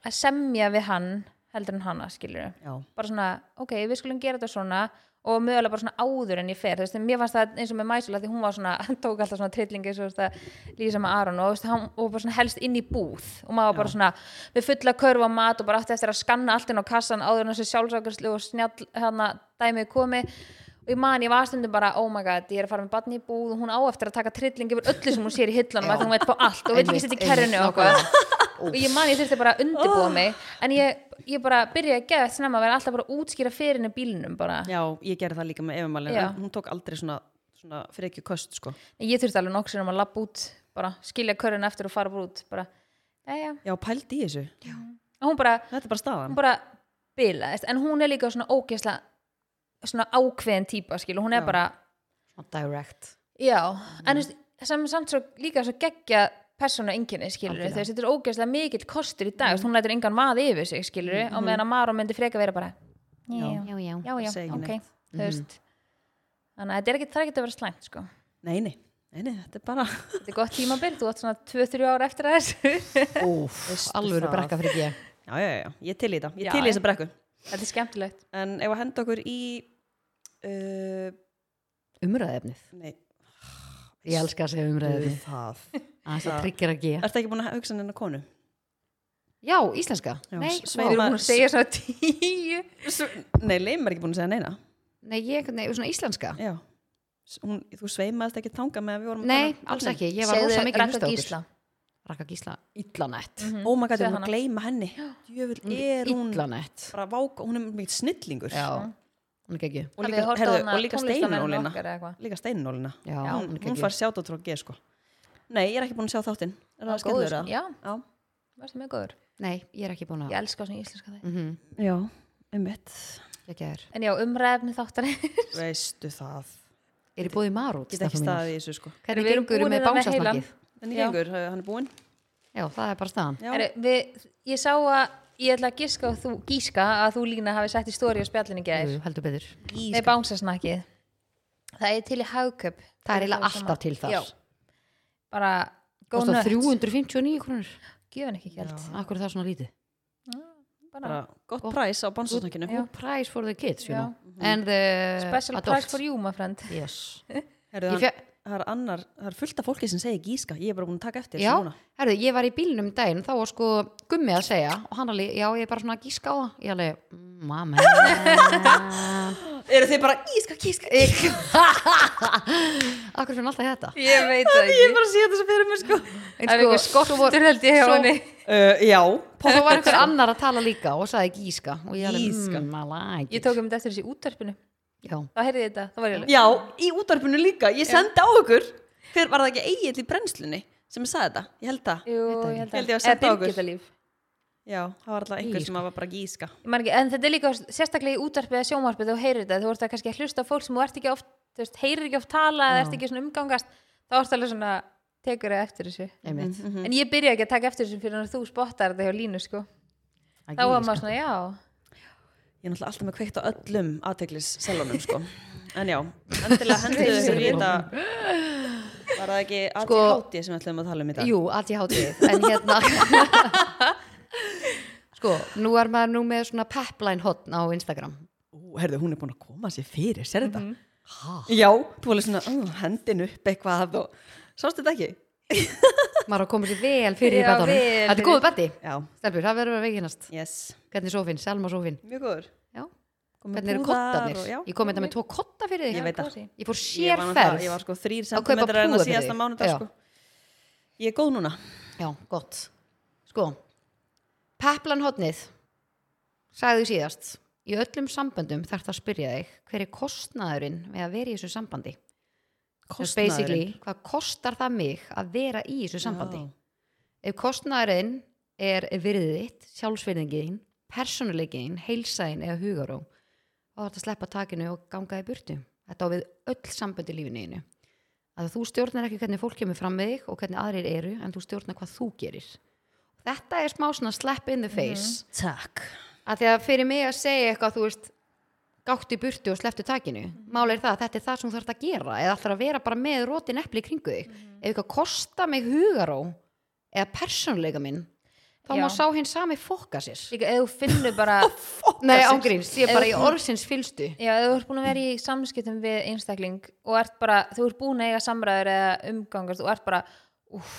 C: að semja við hann heldur en hana, skilur
A: já,
C: bara svona, ok, við skulum gera þetta svona og mögulega bara svona áður en ég fer þú veist, mér fannst það eins og með Mæsula því hún var svona hann tók alltaf svona trillingi svo veist að lýsa með Aron og þú veist, hann og bara svona helst inn í búð og maður var bara svona með fulla körfa mat og bara átti eftir að skanna allt inn á kassan áður en þessu sjálfsákarslu og snjall hérna dæmið komi og ég man, ég var stundum bara, oh my god, ég er að fara með barni í búð og hún á eftir að taka trilling yfir öllu sem hún sér í hillanum að hún veit på allt og vil ekki
B: Einmitt,
C: setja í
B: einmitt,
C: kerrinu og
B: nákvæmlega.
C: okkur og ég man ég þurfti bara að undirbúa mig en ég, ég bara byrjaði að geða snemma að vera alltaf bara að útskýra fyrir henni bílnum bara.
A: já, ég gerði það líka með efumælin
C: Já.
A: hún tók aldrei svona, svona fyrir ekki köst sko.
C: ég þurfti alveg nokkur um að lappa út bara skilja körun eftir og fara bara út bara, jæja,
A: já, pældi í þessu,
C: og hún bara
A: þetta er bara staðan
C: hún bara bilaðist, en hún er líka svona ógeðslega svona ákveðin típa skil, hún er
A: Já.
C: bara,
B: Og direct
C: já en þú veist, sem samt svo líka svo geggja persónu enginni skilur við, þess þetta er ógeðslega mikill kostur í dag, mm. hún lætur engan vaði yfir sig skilur við, og meðan að Maró myndi freka vera bara, já, já,
B: Já, já,
C: já, já,
A: Segir
C: ok
A: neitt.
C: þú
B: Mhm.
C: veist þannig að þetta er ekki, það er ekki að vera slæmt sko.
A: nei, nei, nei, nei, þetta er bara
C: þetta er gott tímabil, þú átt svona 2-3 ára eftir að þessu
A: Úf,
B: alvöru brekka fyrir ég
A: já, já, já, ég til í þetta, ég
C: Já,
A: til í
C: já.
A: þessa brekku
C: þetta er skemmtilegt
A: en ef að henda okkur í uh,
B: Umræðefnið,
A: nei,
B: ég elska að segja umræðefnið
A: það
B: Aðeins
A: Það-
B: að tryggir að gera
A: Ertu ekki búin að hugsa hennar konu?
B: Já, íslenska
A: Já,
B: Nei,
A: s-
C: við
A: Sveinu-
B: vá.
C: erum hún að segja svona 10
A: Nei, Leim er ekki búin að segja neina
B: Nei, ég, nei, svona íslenska
A: Já S- Hún, þú sveimaðist ekki þanga með að við vorum að
B: Nei,
A: tala- um
B: alls ekki, ég var
C: Segðu
B: rosa mikið
C: Ragga
B: hlusta á okkur. Mhm.
C: Gísla.
B: Ragga Gísla, illanett Mm.
A: Ó oh my god,
C: Segðu
A: ég var
C: hana.
A: að gleyma henni Jöfell, er hún
B: Illanett
A: bara váka, hún er mikið snillingur
B: Já, hún er ekki
A: og
C: Hafið þið
A: líka,
C: horft á
A: herðu,
C: hana
A: og líka
C: tónlistarmenn okkar
A: steinunólina
C: eða eitthvað?
A: Líka steinunólina
B: Já, hún
A: Hún,
B: er
A: hún
B: ekki
A: fær sjátt og trá að geða sko Nei, ég er ekki búin að sjá þáttinn Er það
C: Góður,
A: skemmtilegur að?
C: já,
A: Já,
C: varstu mjög góður
B: Nei, ég er ekki búin
C: ég
B: að
C: elska svona íslenska það
B: Mhm,
A: já, einmitt
B: Ekki að er
C: en já, umræðefni þáttar
A: Veistu það
B: Er ég búið í Marút,
A: Get ekki
B: stelpur mínar?
A: staðið í þessu sko
B: Hvernig
C: Við erum
B: gengur
C: búnir
B: með
C: að vera heilan.
B: bánsasnakkið?
A: En
C: Já.
A: ég yngur, hann er búinn
B: Já, það er bara staðan
A: Já.
C: við, ég sá að ég ætla að gíska, og þú, gíska að þú lína hafi sett í stóri á spjallinni gæðir
B: Jú, heldur betur
C: með bánsasnakkið það er til í hagköp
B: Það er eiginlega alltaf til þar
C: já, bara góð
B: Kostar
C: nött,
B: 359 krónur
C: gjöfun ekki gælt
B: Akkur er það svona lítið
C: bara,
A: bara gott præs á bánsasnakkinu
B: Good price for the kids, you
C: Já. Mhm.
B: know And the
C: special price for you, my friend
B: Yes
A: Heyrðu,
B: Ég
A: hann-
B: fe-
A: það er annar, það er fullt af fólki sem segir gíska ég er bara búin að taka eftir þessu
B: Já,
A: núna
B: herru, ég var í bílnum um daginn þá var sko gummi að segja og hann alveg, já, ég er bara svona að gíska á það ég alveg, mm, mamma
A: eru þið bara gíska, gíska, gíska
B: Akkur fyrir alltaf þetta
C: ég veit það ekki
A: bara að sé þetta fyrir mér sko
B: En
C: Það er einhver
B: svo var-
C: skortur held ég hjá
B: svo-
C: henni
A: uh, já,
B: Svo var einhver annar að tala líka og sagði gíska og ég alveg,
A: Gíska.
B: mm, I like
C: Ég
B: it
C: tók um þetta eftir þessi útvarpinu
B: Já,
C: Þá heyrði ég þetta, þá var ég alveg
A: já, í útvarpinu líka, ég sendi á ykkur hver var það ekki eigið í brennslunni sem sagði þetta, ég held það
C: Jú, ég
A: Ég
C: held
A: held
C: að
A: ég að senda á okkur.
C: Birgitta líf
A: já, það var alltaf einhver
B: Gíska.
A: sem var bara gíska
C: Ég man ekki, en þetta er líka sérstaklega í útvarpið eða sjónvarpið þú heyrir þetta, þú ert að kannski að hlusta á fólk sem þú ert ekki oft, þú veist, heyrir ekki oft tala eða ert ekki svona umgangast, þá ert alveg svona tekur það eftir þessu
B: einmitt
C: En ég byrja ekki að taka eftir þessu fyrir en þú spottar þetta hjá Línu, sko
B: Að
C: Þá var
B: gíska.
C: maður svona, já,
A: ég er náttúrulega alltaf með kveikt á öllum aðteglisselunum sko en já, endilega hendur
B: Þeir
A: þessu
B: eru
A: vita var það ekki
B: Sko-
A: ADHD sem við ætlum að tala um í dag
B: Jú, ADHD, en hérna Sko, nú er maður nú með svona pepline hotn á Instagram
A: Ú, herðu, hún er búin að koma sér fyrir, sér þetta? Já, þú var alveg svona, uh, hendin upp eitthvað og sástu þetta ekki?
B: maður á að koma sér vel fyrir í
C: Já,
B: batanum
C: vel
B: þetta er
C: fyrir.
B: góðu bati,
A: Já,
B: stelpur, það verður að veikinast
A: yes,
B: hvernig sófinn, Selma sófinn
A: mjög góður
B: Já.
A: Kom með
B: hvernig eru
A: púðar
B: kottarnir,
A: og- já,
B: ég kom þetta með tvo kotta fyrir þig
A: Ég veit það.
C: kósí.
B: ég fór
A: Ég var nú það,
B: sérferð
A: Ég var sko þrýr
B: Að kaupa
A: sentimetrar en að
B: púða fyrir
A: síðasta
B: þig.
A: mánudag
B: Já.
A: sko. Ég er góð núna
B: já, gott sko, peplan hotnið sagði síðast í öllum samböndum þarf það að spyrja þig hver er kostnaðurinn með að vera í þessu sambandi Kostnaðurinn. basically, hvað kostar það mig að vera í þessu sambandi
A: Já.
B: ef kostnaðurinn er virðið þitt, sjálfsvirðingin persónuleikin, heilsaðin eða hugaró þá þarf að sleppa takinu og ganga í burtu þetta á við öll samböndi í lífinu einu að þú stjórnar ekki hvernig fólk kemur fram með þig og hvernig aðrir eru en þú stjórnar hvað þú gerir þetta er smá svona slap in the face
A: Takk
B: að því að fyrir mig að segja eitthvað þú veist gátt í burtu og slepptu takinu máli er það að þetta er það sem þú þarf að gera eða ætlar að vera bara með rótin epli í kringu þig ef eitthvað kosta mig hugaró eða persónuleika minn þá
C: Já.
B: má sá hinn sami fokka sér
C: Líka ef þú finnur bara
B: nei
C: sér.
B: ángríns, ég er bara í orðsins fylstu
C: Já, ef þú ert búin að vera í samskiptum við einstakling og ert bara, þú ert búin að eiga samræður eða umgangast og ert bara uff,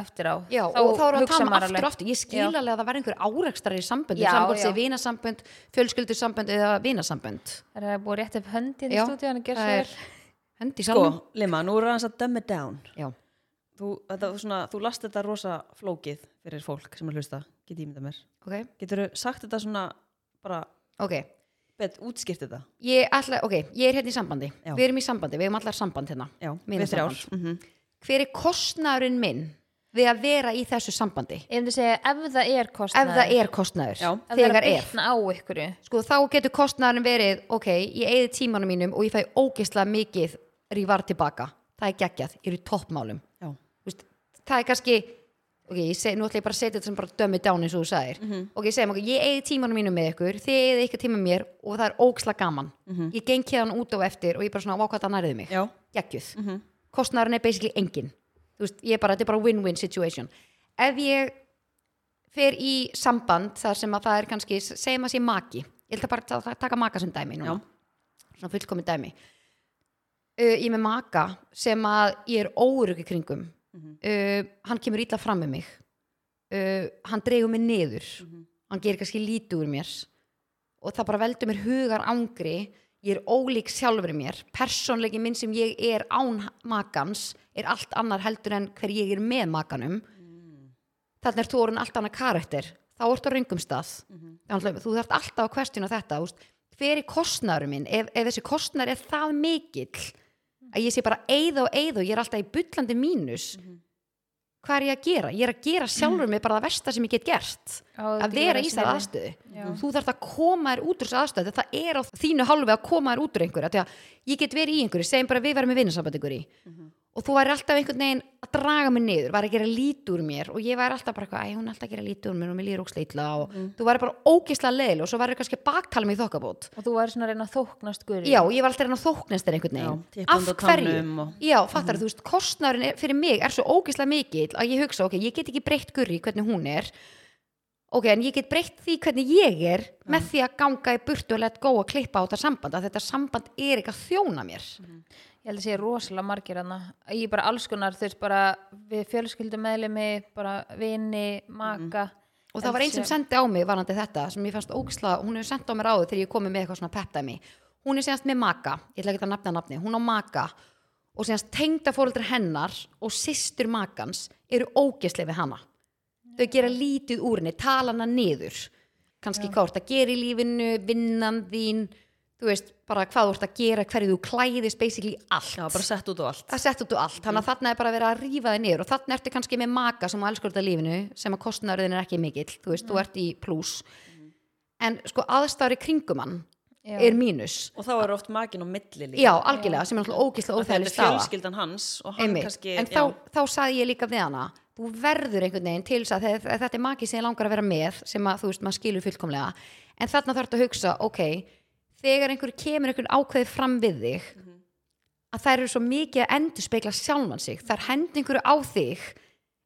C: eftir á
B: Já, og þá er að
C: hugsa
B: tala um
C: maður
B: aftur og aftur ég skil
C: Já.
B: alveg að það verði einhver árekstrar í sambönd
C: Já,
B: sambönd
C: já.
B: sem vinasambönd, fjölskyldusambönd eða vinasambönd
C: Það er búið rétt upp höndin í
B: Já,
C: stúdíu og gerð
B: það
C: svo
B: er-
C: vel
B: hendi
A: Sko,
B: saman
A: Lima, nú er aðeins að dumb it down
B: Já.
A: Þú, þetta, var svona, þú last þetta rosa flókið fyrir fólk sem er hlusta, get ég mynda mér
B: ok,
A: Getur þú sagt þetta svona bara,
B: ok
A: bet, útskipt þetta
B: Ég, ætla, okay, ég er hérna í sambandi
A: Já.
B: Við erum í sambandi, við erum allar samband hérna
A: Já,
B: Mínu
A: við þrjár
B: samband.
A: mm
B: Hver er kostnaðurinn minn við að vera í þessu sambandi?
C: Ég myndi segja ef það er
B: Ef
C: kostnaður
B: það er kostnaður
A: Já.
C: ef það er
B: Þegar
C: að
B: er
C: bitna á ykkur
B: Sko þá getur kostnaðurinn verið Ok, ég eigði tímanum mínum og ég fæ ógeðslega mikið Rívar tilbaka Það er geggjað, ég er í toppmálum
A: Já,
B: Þú veist, Það er kannski Ok, ég seg, nú ætla ég bara að setja þetta sem bara dömi dán eins og þú sagðir
A: Mhm.
B: Ok, segjum okkur, ég eigði tímanum mínum með ykkur Þið eigði eitthvað tíma með mér og það er ógeðslega gaman Ég geng hérna út á eftir og ég bara svona vákvæða nærðið mig
A: Mhm. já, mhm.
B: geggjuð mm er basically engin Þú veist, ég er bara, þetta er bara win-win situation ef ég fer í samband þar sem að það er kannski segjum að sé maki, ég ætla bara að ta- taka maka sem dæmi núna,
A: Já.
B: svona fullkomin dæmi uh, ég er með maka sem að ég er óryggi kringum uh, hann kemur illa fram með mig uh, hann dreigur mig niður hann gerir kannski lítið úr mér og það bara veldur mér hugar ángri ég er ólík sjálfur mér persónleiki minn sem ég er án makans er allt annar heldur en hver ég er með makanum mm. þannig er þú orðin allt annar karakter þá ertu á röngum stað mm. þú þarft alltaf að questiona þetta úst. hver er kostnarum minn ef, ef þessi kostnar er það mikill að ég sé bara eið og eið og ég er alltaf í bullandi mínus hvað er ég að gera? ég er að gera sjálfur mig bara það versta sem ég get gert að vera í þessari aðstöðu
C: Já.
B: þú þarf að koma þér út úr þessari aðstöðu það er á þínu hálfi að koma þér út úr einhverju af því að ég get verið í einhverju, segjum bara að við verðum með vinnasamband einhverju og þú væri alltaf einhvern veginn að draga mig niður, væri að gera lít úr mér og ég væri alltaf bara eitthvað, æ, hún er alltaf að gera lít úr mér og mér líður ókslega illa og þú væri bara ógeðslega leiðileg og svo væri kannski að baktala mig í þokkabót
C: og þú væri svona að reyna að þóknast guri
B: Já, ég var alltaf að reyna að þóknast þér einhvern
A: Já,
B: veginn
A: tippa undir tánum og-
B: Já, fattar þú veist, kostnarinn er, fyrir mig er svo ógeðslega mikill að ég hugsa, ok, ég get ekki breytt gurri hvernig hún er ok, en ég get breytt því hvernig ég er með því að ganga í burtu og let go að klippa á þetta samband að þetta samband er ekki að þjóna mér
C: Ég held að sé rosalega margir hana ég bara alls konar þurft bara við fjölskyldum meðlimi bara vini, maka
B: Mhm. og það var einn sem sendi á mig varandi þetta sem ég fannst ógeðslega, hún hefur sendt á mér áður þegar ég komið með eitthvað svona peptæmi hún er séðast með maka, ég ætla ekki að nafna nafni hún á maka og séðast tengda hennar og systur makans eru ógeðslega við hana þau gera lítið úr henni, tala hana niður kannski hvað þú ert að gera í lífinu vinnan þín þú veist, bara hvað þú ert að gera hverju þú klæðist, basically allt
A: já, bara sett út og allt
B: það sett út úr allt, þannig að þarna er bara verið að rífa þig niður og þarna ertu kannski með maka sem elskar þetta lífinu, sem að kostnarðin er ekki mikill þú veist, þú ert í pluss en sko aðstæður í kringumann
C: Já.
B: er mínus,
A: Og þá er oft makin og milli líka
B: já, algjörlega sem er náttúrulega ógislega
A: Af því að Þetta
B: óþægileg
A: er
B: staða
A: fjölskyldan hans og hann
B: Einmitt.
A: kannski
B: en þá, þá saði ég líka við hana þú verður einhvern veginn til þess að þe- þe- þetta er maki sem ég langar að vera með sem að þú veist maður skilur fullkomlega en þarna þarf þetta að hugsa, ok þegar einhver kemur einhvern ákveði fram við þig að þær eru svo mikið að endurspegla sjálfan sig þær hendi einhverju á þig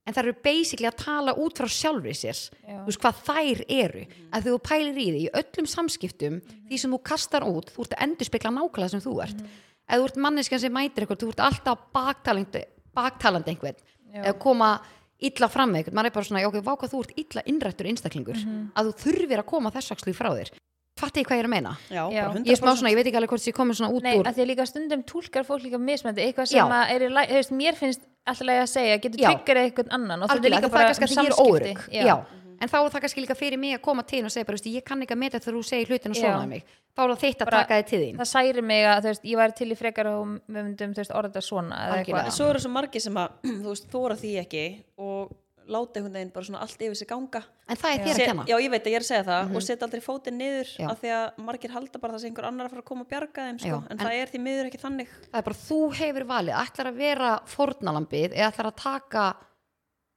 B: en þær eru basically að tala út frá sjálfri sér
C: Já. Mm.
B: þú veist hvað þær eru að þú pælir í því, í öllum samskiptum því sem þú kastar út, þú ert að endurspegla nákvæmlega
C: Mm.
B: sem þú ert, ef þú ert manneskjan sem mætir eitthvað, þú ert alltaf baktalandi, baktalandi einhvern eða koma illa fram með ykkur, maður er bara svona, já, ok, vá hvað þú ert illa innrættur einstaklingur,
C: Mhm.
B: að þú þurfir að koma þess akslu frá þér, fatti ég hvað ég er að meina
A: já,
C: Já.
A: bara 100%
B: ég er smá svona, ég veit ekki alveg hvort ég komið svona út
C: Nei,
B: úr
C: að því að líka stundum túlkar fólk líka mismændi eitthvað
B: Já.
C: sem að er, í læ- þú veist, mér finnst alltaf að segja, getur
B: Já.
C: tryggar eitthvað annan og þetta er
B: Algjörlega,
C: líka
B: því það
C: bara um
B: er kannski að því ég er
C: samskipti.
B: óörugg já. en þá er það kannski líka fyrir mig að koma til þín og segja bara, veistu, ég kann ekki að meta þegar þú segir hlutin og
C: Já.
B: svona um mig þá er það þitt að
C: Bara-
B: taka þið til þín
C: það særi mig að þú veist, ég væri til í frekar og við myndum þú veist, orða þetta svona eða
B: Algjörlega.
C: eitthvað.
A: en svo eru svo margir sem að þú veist, þóra því ekki og láta einhvern veginn bara svona allt yfir sig ganga
B: en það er þér
A: Se-
B: að kenna Mhm.
A: já, ég veit að ég er að segja það og setja aldrei fótinn niður
B: Já.
A: af því að margir halda bara það sem einhver annar að fara að koma og bjarga þeim sko. en,
B: Já, en-
A: það er því miður ekki þannig
B: það er bara þú hefur valið, ætlar að vera fornalambið eða ætlar að taka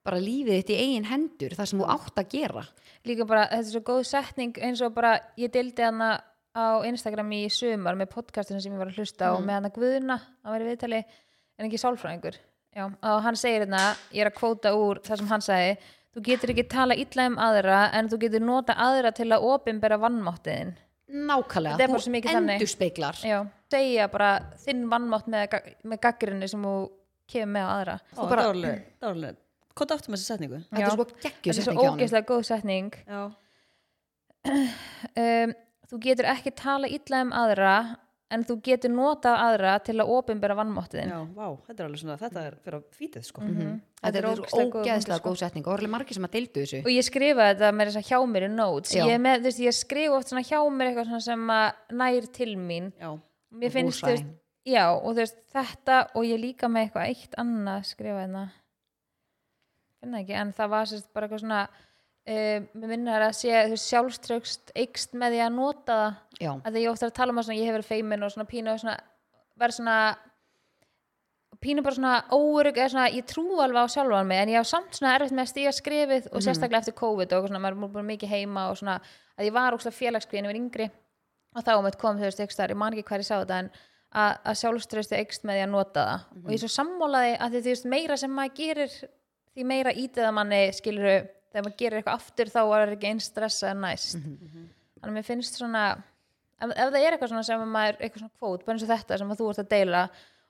B: bara lífið þitt í eigin hendur það sem þú átt að gera
C: líka bara, þetta er svo góð setning eins og bara, ég dildi hana á Instagram í sumar með podcastinu sem ég var að hlusta
B: Mm.
C: og með hana Guðuna hann var í viðtali, en ekki sálfræðingur já, og hann segir hérna, ég er að kvóta úr það sem hann sagði, þú getur ekki tala illa um aðra, en þú getur nota aðra til að opinbera vannmáttiðin
B: nákvæmlega,
C: Þetta er bara svo mikið
B: þú
C: þannig.
B: endurspeglar
C: já, segja bara þinn vannmátt með, gag- með gaggrinni sem þú kemur með á aðra
A: Ó, það
B: bara-
A: er alveg- það er alveg- hvað aftur með þessi setningu
B: þetta
C: Já.
B: er svo geggjur
C: þetta er
B: setning
C: svo
B: hjá honum.
C: ógeðslega góð setning
A: já,
C: um, þú getur ekki tala illa um aðra en þú getur notað aðra til að opinbera vannmáttiðin
A: já, vá, þetta er alveg svona þetta er fyrir að fítið sko
B: Mhm. þetta er
C: ógeðslega góð
B: ógeðslega
C: punktur, sko.
B: góð setning og orðið margir sem að deildu þessu
C: og ég skrifa þetta með þess að hjá mér í notes
B: Já.
C: ég, er með, þú veist, ég skrifa oft svona hjá mér eitthvað svona sem að nær til mín
A: já,
C: mér finnst þú veist,
B: Húsvæðin.
C: já, og þú veist, þetta og ég líka með eitthvað eitt annað skrifa þetta finna ekki, en það var sérst bara eitthvað svona um, mér minnar að sé þú veist, sjálfströggst eikst með því að nota það
B: já,
C: að því ég ofta að tala um að svona, ég hef verið feimin og svona pínu og svona verið svona pínu bara svona óörug eða svona ég trú alveg á sjálfan mig en ég hef samt svona erfitt með að stíga skrifið og sérstaklega eftir COVID og eitthvað svona maður er búin mikið heima og svona að ég var ókslega félagskvið en ég var yngri og þá meitt kom þau veist ekstar, ég man ekki hver ég sá þetta en að, að sjálfströðstu ekst með því að nota það og ég er svo sammálaði að því þú veist meira sem maður gerir því meira ítið að manni skilur þegar maður gerir eitthvað aftur þá er ekki einn stressa en næst þannig að mér finnst svona ef, ef það er eitthvað svona sem að maður eitthvað svona kvót, bara eins og þetta sem að þú ert að deila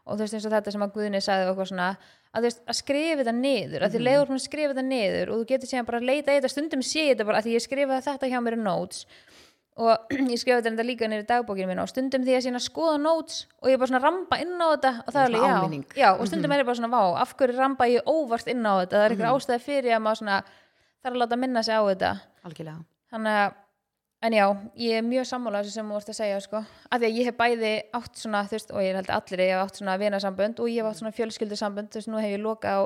C: og þú veist eins og þetta sem að Guðni sagði og eitthvað svona að þú veist að skrifa þetta niður
B: Mhm.
C: að því leiður hún skrifa þetta niður og þú getur síðan bara að leita í þetta stundum sé ég þetta bara að því ég skrifaði þetta hjá mér í notes og ég skrifaði þetta líka niður í dagbókinu mín og stundum því ég síðan að skoða notes og ég bara svona ramba inn á þetta og það er
B: Svona
C: alveg já,
B: áminning. Mhm.
C: já og stundum er ég bara svona vá, af hverju ramba ég óvart inn á þetta það er eitthvað ástæði fyrir að maður svona þarf að láta minna sig á þetta
B: algjörlega
C: þannig að en já, ég er mjög sammála þessu sem þú vorst að segja sko. af því að ég hef bæði átt svona þú veist, og ég held allir að ég hef átt svona vinasambönd og ég hef átt svona fjölskyldusambönd þú veist, nú hef ég lokað á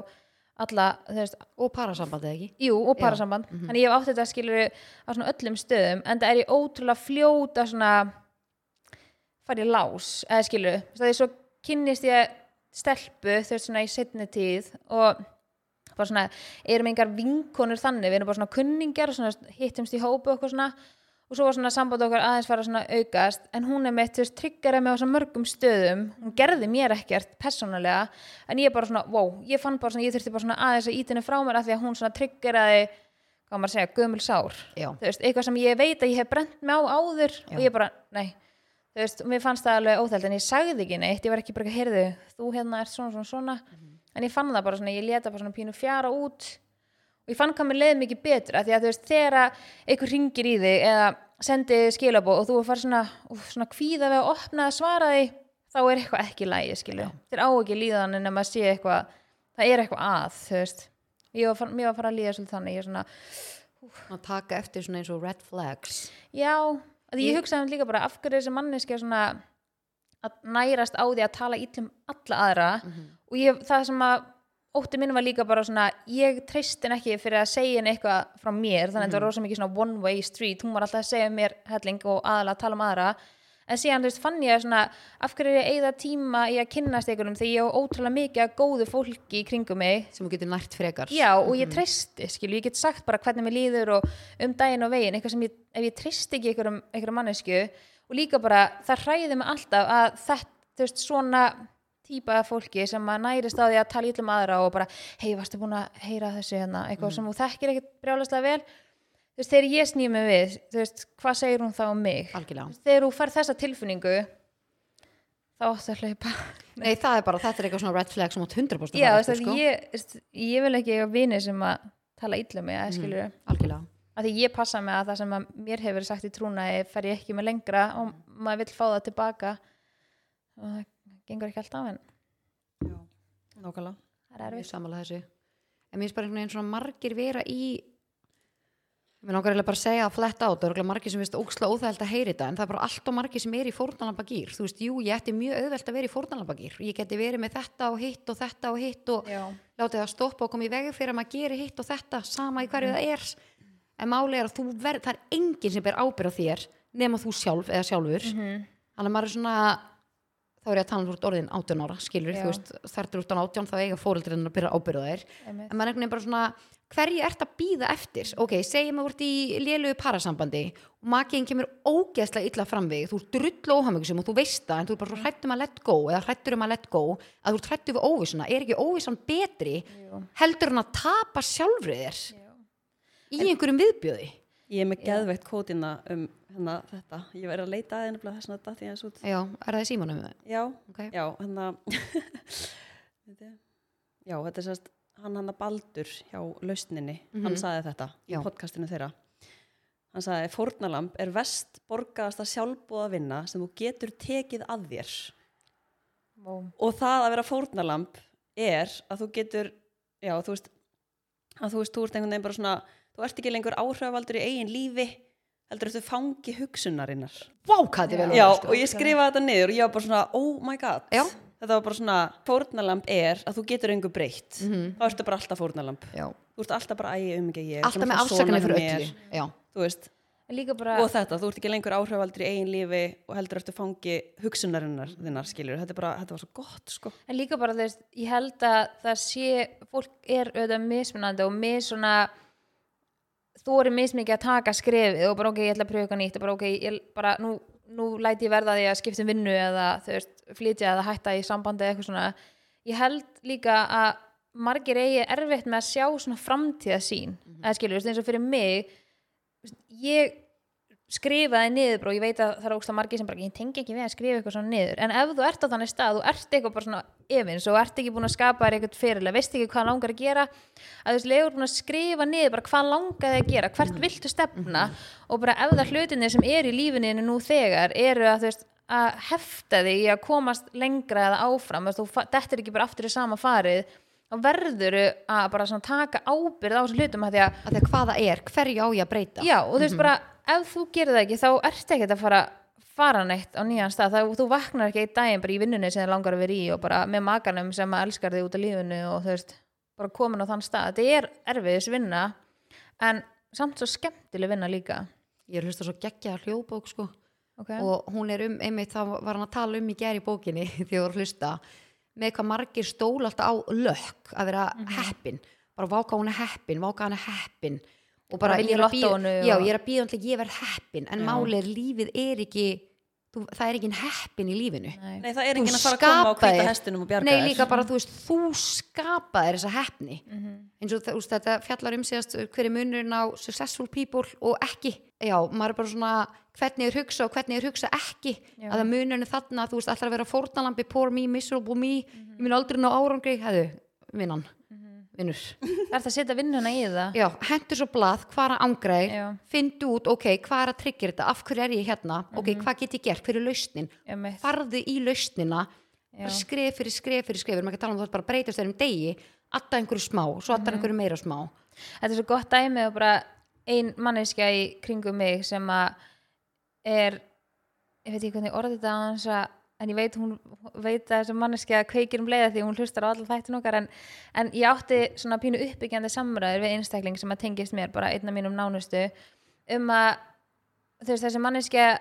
C: alla þú veist,
B: og parasambandið ekki
C: jú, og parasamband þannig ég hef átt þetta skilur á svona öllum stöðum en það er ég ótrúlega fljóta svona fara í lás eða skilur, það er svo kynnist ég stelpu, þú veist svona í setni tíð og bara svona erum engar vinkonur þannig, við erum bara svona kunningjar, svona hittumst í hópu og eitthvað svona og svo var svona samband okkar aðeins fara svona að aukast en hún er mitt, þú veist, tryggara með á svona mörgum stöðum, hún gerði mér ekkert persónulega, en ég bara svona, wow ég fann bara svona, ég þurfti bara svona aðeins að íta henni frá mér af því að hún svona tryggaraði hvað á maður að segja, gömul sár
B: Já.
C: þú veist, eitthvað sem ég veit að ég hef brent mig á áður og ég bara, nei þú veist, og mér fannst það alveg óþæld en ég sagði ekki neitt, ég var ekki bara ekki heyrðu þú hérna ert svona svona svona en ég fann það bara svona, ég leta bara svona pínu fjara út og ég fann hvað mér leið mikið betra því að þú veist, þegar að einhver ringir í þig eða sendi skilabóð og þú fari svona, úf, svona kvíða við að opna að svara því þá er eitthvað ekki í lægi, skilju þér á ekki líðan en að maður sé eitthvað það er eitthvað að, þú veist ég var, far- mér var að fara að líða svolítið þannig ég er svona,
B: að taka eftir svona eins og red flags
C: Já, að ég hugsaði um líka bara af hverju þessi manneskja svona að nærast á því að tala ítlum alla aðra og ég, það sem að ótti minn var líka bara svona ég treystin ekki fyrir að segja henni eitthvað frá mér, þannig að þetta var rosa mikið svona one way street, hún var alltaf að segja mér helling og aðalega að tala um aðra en síðan, þú veist, fann ég að svona af hverju er ég eigða tíma í að kynnast einhverjum þegar ég á ótrúlega mikið að góðu fólki í kringum mig
B: sem þú getur nært frekar
C: Já, og ég treysti, skilu, ég get sagt bara hvernig mér líður og um daginn og veginn, eitthvað sem ég, ef ég treysti ekki einhverjum, einhverjum mannesku og líka bara, það hræði mig alltaf að þetta, þú veist, svona típa af fólki sem að nærist á því að tala yllum aðra og bara, hei, varstu búin að heyra af þessu hérna, eitthvað sem þú þekkir ekkert brjálaslega vel, þú veist, þegar ég snýð mig við, þú veist, hvað segir hún þá um mig?
B: algjörlega
C: Þegar þú fær þessa tilfinningu þá áttu að hlaupa
B: Nei, það er bara, þetta er eitthvað svona red flag sem átt 100%
C: já,
B: að fara
C: þess
B: eftir, sko.
C: að ég, þú veist, ég vil ekki eiga vini sem að tala illa um mig,
B: Mhm.
C: mm. skilur
B: Algjörlega.
C: að því ég passa mig að það sem að mér hefur verið sagt í trúnaði fer ég ekki með lengra og maður vill fá það tilbaka og það gengur ekki alltaf en
A: Nákvæmlega.
C: það er
B: Ég
C: erfitt
B: samanlega þessu. En mér finnst bara einhvern veginn svona margir vera í Mér langar eiginlega bara að segja það flett át, það eru örugglega margir sem finnst óksla óþægild að heyri þetta, en það er bara allt og margir sem er í fórnalambagýr. Þú veist, jú, ég ætti mjög auðvelt að vera í fórnalambagýr. Ég geti verið með þetta og hitt og þetta og hitt og
C: já,
B: látið það stoppa og koma í vegi fyrir að maður geri hitt og þetta sama í hverju það er en máli er að þú verð, það er enginn sem ber ábyrð á þér nema þú sjálf eða sjálfur þannig að maður er svona þá er ég að tala um þú ert orðin 18 ára skilur,
C: Já.
B: þú veist, þar þú ert orðin 18 þá eiga fóreldrinnar að byrja ábyrð á þér
C: einmitt.
B: en maður er einhvern veginn bara svona hverju ert að býða eftir, ok, segjum að þú ert í lélugu parasambandi og makiðin kemur ógeðslega illa fram við þig, þú ert drullu óhamingisum og þú veist það en þú ert bara svo hrættum að let go eða hrættur um að let go að þú ert hrættur við óvissuna, er ekki óvissan betri
C: Jú.
B: heldur en að tapa sjálfrið þér í
C: Já.
B: einhverjum viðbjöði
A: Ég er með geðveitt kótina um hérna þetta. Ég verið að leita aðeins nefnilega þess að þetta því að út.
B: Já, er það í símanum með það?
A: Já,
B: Ok,
A: já, hérna, Þetta er- já, þetta er sérst, hann hann að Baldur hjá lausninni, hann saði þetta
B: Já.
A: í podcastinu þeirra. Hann saði, fórnalamb er vest borgaðasta sjálfbúða vinna sem þú getur tekið að þér.
C: Vó.
A: Og það að vera fórnalamb er að þú getur, já, þú veist, að þú veist, þú ert einhvern veginn bara svona, þú ert ekki lengur áhrifavaldur í eigin lífi, heldur þú fangi hugsunarinnar.
B: Vá, hvað þetta er vel
A: Já,
B: orðað, sko.
A: og ég skrifaði þetta niður og ég var bara svona, oh my god
B: Já.
A: Þetta var bara svona, fórnalamb er að þú getur engu breytt
B: Mhm.
A: Þá ertu bara alltaf fórnalamb
B: Já.
A: Þú ert alltaf bara ægi um ekki ég er
B: Alltaf
A: svona
B: með
A: svona
B: afsakana fyrir
A: mér.
B: öllu Já,
A: Þú veist,
C: En líka bara
A: og þetta, þú ert ekki lengur áhrifaldur í eigin lífi og heldur eftir fangi hugsunarinnar þinnar skilur Þetta, er bara, þetta var svo gott, sko
C: En líka bara, þú veist, ég held að það sé, fólk er auðvitað mismunandi og mis svona, þú eru mismikið að taka skrefið og bara, ok, ég ætla að pröfa eitthvað nýtt og bara, ok, ég bara, nú, nú læti ég verða því að skipta um vinnu eða, þú veist, flytja eða hætta í sambandi eða eitthvað svona. Ég held líka að margir eigi erfitt með að sjá svona framtíðasín, eða skilur, þú veist, eins og fyrir mig, þú veist, ég skrifaði niður bara og ég veit að það er ógst að margir sem bara ég tengi ekki við að skrifa eitthvað svona niður en ef þú ert á þannig stað, þú ert eitthvað bara svona efins og ert ekki búin að skapa þér eitthvað fyrirlega veist ekki hvað langar að gera að þú veist, legur búin að skrifa niður bara hvað langar þig að gera, hvert viltu stefna og bara ef það hlutinni sem er í lífininu nú þegar eru að þú veist að hefta þig í að komast lengra eða áfram, þú veist, þetta er ekki bara aftur í sama farið, þá verður að bara svona taka ábyrð á þessum hlutum að því að
B: að því að hvað það er, hverju á ég að breyta
C: Já, og þú veist bara, ef þú gerir það ekki þá ert ekki að fara fara neitt á nýjan stað, þá þú vaknar ekki einn daginn bara í vinnunni sem þið langar að vera í og bara með makanum sem að elskar þig út af lífinu og þú veist, bara komin á þann stað þetta er erfiðis vinna en samt svo skemmtileg vinna líka
B: Ég er hlusta svo geggja hljóðbók sko
C: ok,
B: og hún er um, einmitt það var hann að tala um í gær í bókinni því ég voru að hlusta með hvað margir stól alltaf á lökk að vera
C: Mhm.
B: heppin bara váka hún er heppin, váka hann er heppin og bara
C: Bara vinna
B: ég er að bíða
C: lottóinu
B: já,
C: og-
B: ég er að bíða alltaf ég verð heppin en máli er lífið er ekki þú, það er ekki heppin í lífinu
C: nei,
A: Nei, það er
B: Þú
A: ekki að fara að koma og
B: skapaðir-
A: hvita hestinum og bjarga
B: Nei, líka bara, þú veist, þú skapaðir þessa heppni
C: Mhm.
B: eins og það- þú veist, þetta fjallar um síðast hverju munurinn á successful people og ekki já, maður er bara svona hvernig er hugsa og hvernig er hugsa ekki
C: Já.
B: að það munurinn er þarna að þú veist, alltaf að vera fórnalambi poor me, miserable me,
C: Mhm.
B: ég mun aldrei ná árangri hefðu, vinnan vinnur,
C: það ert að setja vinnuna í það
B: já, hendur svo blað hvað er að
C: Já.
B: angraði, fyndu út ok, hvað er að tryggja þetta, af hverju er ég hérna ok,
C: Mhm.
B: hvað get ég gert, hver er lausnin
C: Einmitt.
B: farðu í lausnina bara
C: Já.
B: skref fyrir skref fyrir skref við erum ekki að tala um það bara breytast þeirrum degi alltaf einhverju smá, svo
C: Mhm.
B: alltaf einhverju meira smá
C: þetta er svo gott dæmi og bara ein manneskja í kringum mig sem að er ég veit ekki hvernig ég orði þetta á hans að en ég veit, hún, veit að þessi manneskja kveikir um leiða því hún hlustar á allar þættin okkar en, en ég átti svona pínu uppbyggjandi samræður við einstakling sem að tengist mér bara einn af mínum nánustu um að þú veist, þessi manneskja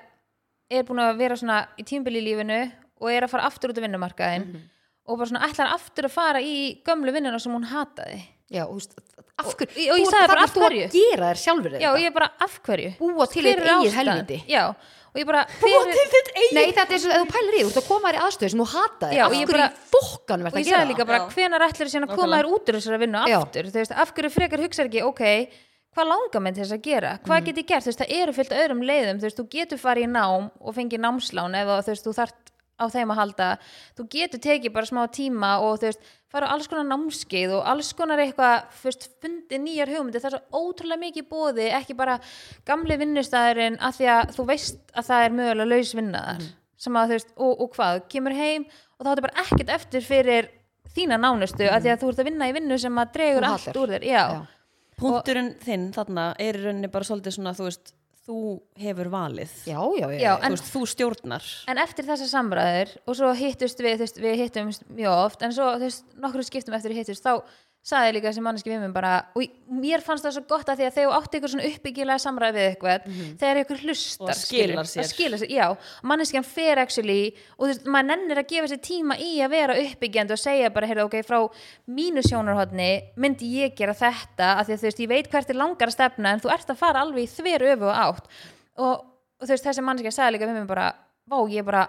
C: er búin að vera svona í tímbili í lífinu og er að fara aftur út á vinnumarkaðin og bara svona ætlar aftur að fara í gömlu vinnuna sem hún hataði
B: já, og, þú veist, af hverju,
C: og- og
B: þú
C: ég
B: ert
C: sagði bara
B: þarna
C: af
B: þú að
C: hverju.
B: gera þér sjálfur
C: Já,
B: þetta.
C: ég bara, af hverju?
B: Búa til
C: Hver
B: þitt
C: er
B: eigið
C: ástæðan?
B: helviti.
C: Já, og ég bara Búa til þitt eigið
B: nei, þetta er svo, ef þú pælir í, þú ert að koma þér í aðstöð sem þú hataði,
C: Já,
B: af
C: og ég
B: hverju
C: bara-
B: bara, fokkan
C: Og
B: verð
C: ég
B: að
C: sagði
B: gera
C: líka
B: það
C: bara,
A: Já.
C: hvenær ætlar þessi að koma þér út úr þessari vinnu
B: Já.
C: aftur? Þú veist, af hverju frekar hugsaði ekki, ok, hvað langar mér til þess að gera? Hvað get ég gert? Þú veist, það eru fyllt öðrum leiðum, þú veist, þú getur farið í nám og fengið námslán ef þú- þú veist, þú þart á þeim að halda þú getur tekið bara smá tíma og þú veist, fara á alls konar námskeið og alls konar eitthvað, þú veist, fundi nýjar hugmyndir, það er svo ótrúlega mikið bóði ekki bara gamli vinnustæðurinn af því að þú veist að það er mögulega laus vinnaðar, sem að þú veist og, og hvað, þú kemur heim og þá áttu bara ekkert eftir fyrir þína nánustu af því að þú ert að vinna í vinnu sem að dregur
B: Þú
C: allt
B: hatar.
C: úr þér, já,
B: Já.
A: Punturinn þinn þarna er í rauninni bara svolítið svona, þú veist, þú hefur valið.
B: já, já, já,
C: Já,
B: já.
A: Þú,
C: en-
A: veist, þú stjórnar.
C: En eftir þessar samræður og svo hittust við, þú veist, við hittumst mjög oft en svo, þú veist, nokkru skiptum eftir við hittust þá sagði líka þessi manneski við mér bara og í- mér fannst það svo gott að því að þegar þú átti ykkur svona uppbyggilega samræð við eitthvað þegar ykkur hlustar,
A: Og skilar
C: skilurðu,
A: sér.
C: að skilar sér, já, manneskjan fer actually og þú veist, maður nennir að gefa sér tíma í að vera uppbyggjandi og segja bara, heyrðu, ok, frá mínu sjónarhotni myndi ég gera þetta af því að þú veist, ég veit hvert er langar að stefna en þú ert að fara alveg í þver öfu átt og, og þú veist, þessi manneskja sagði líka við mér bara, vá, ég bara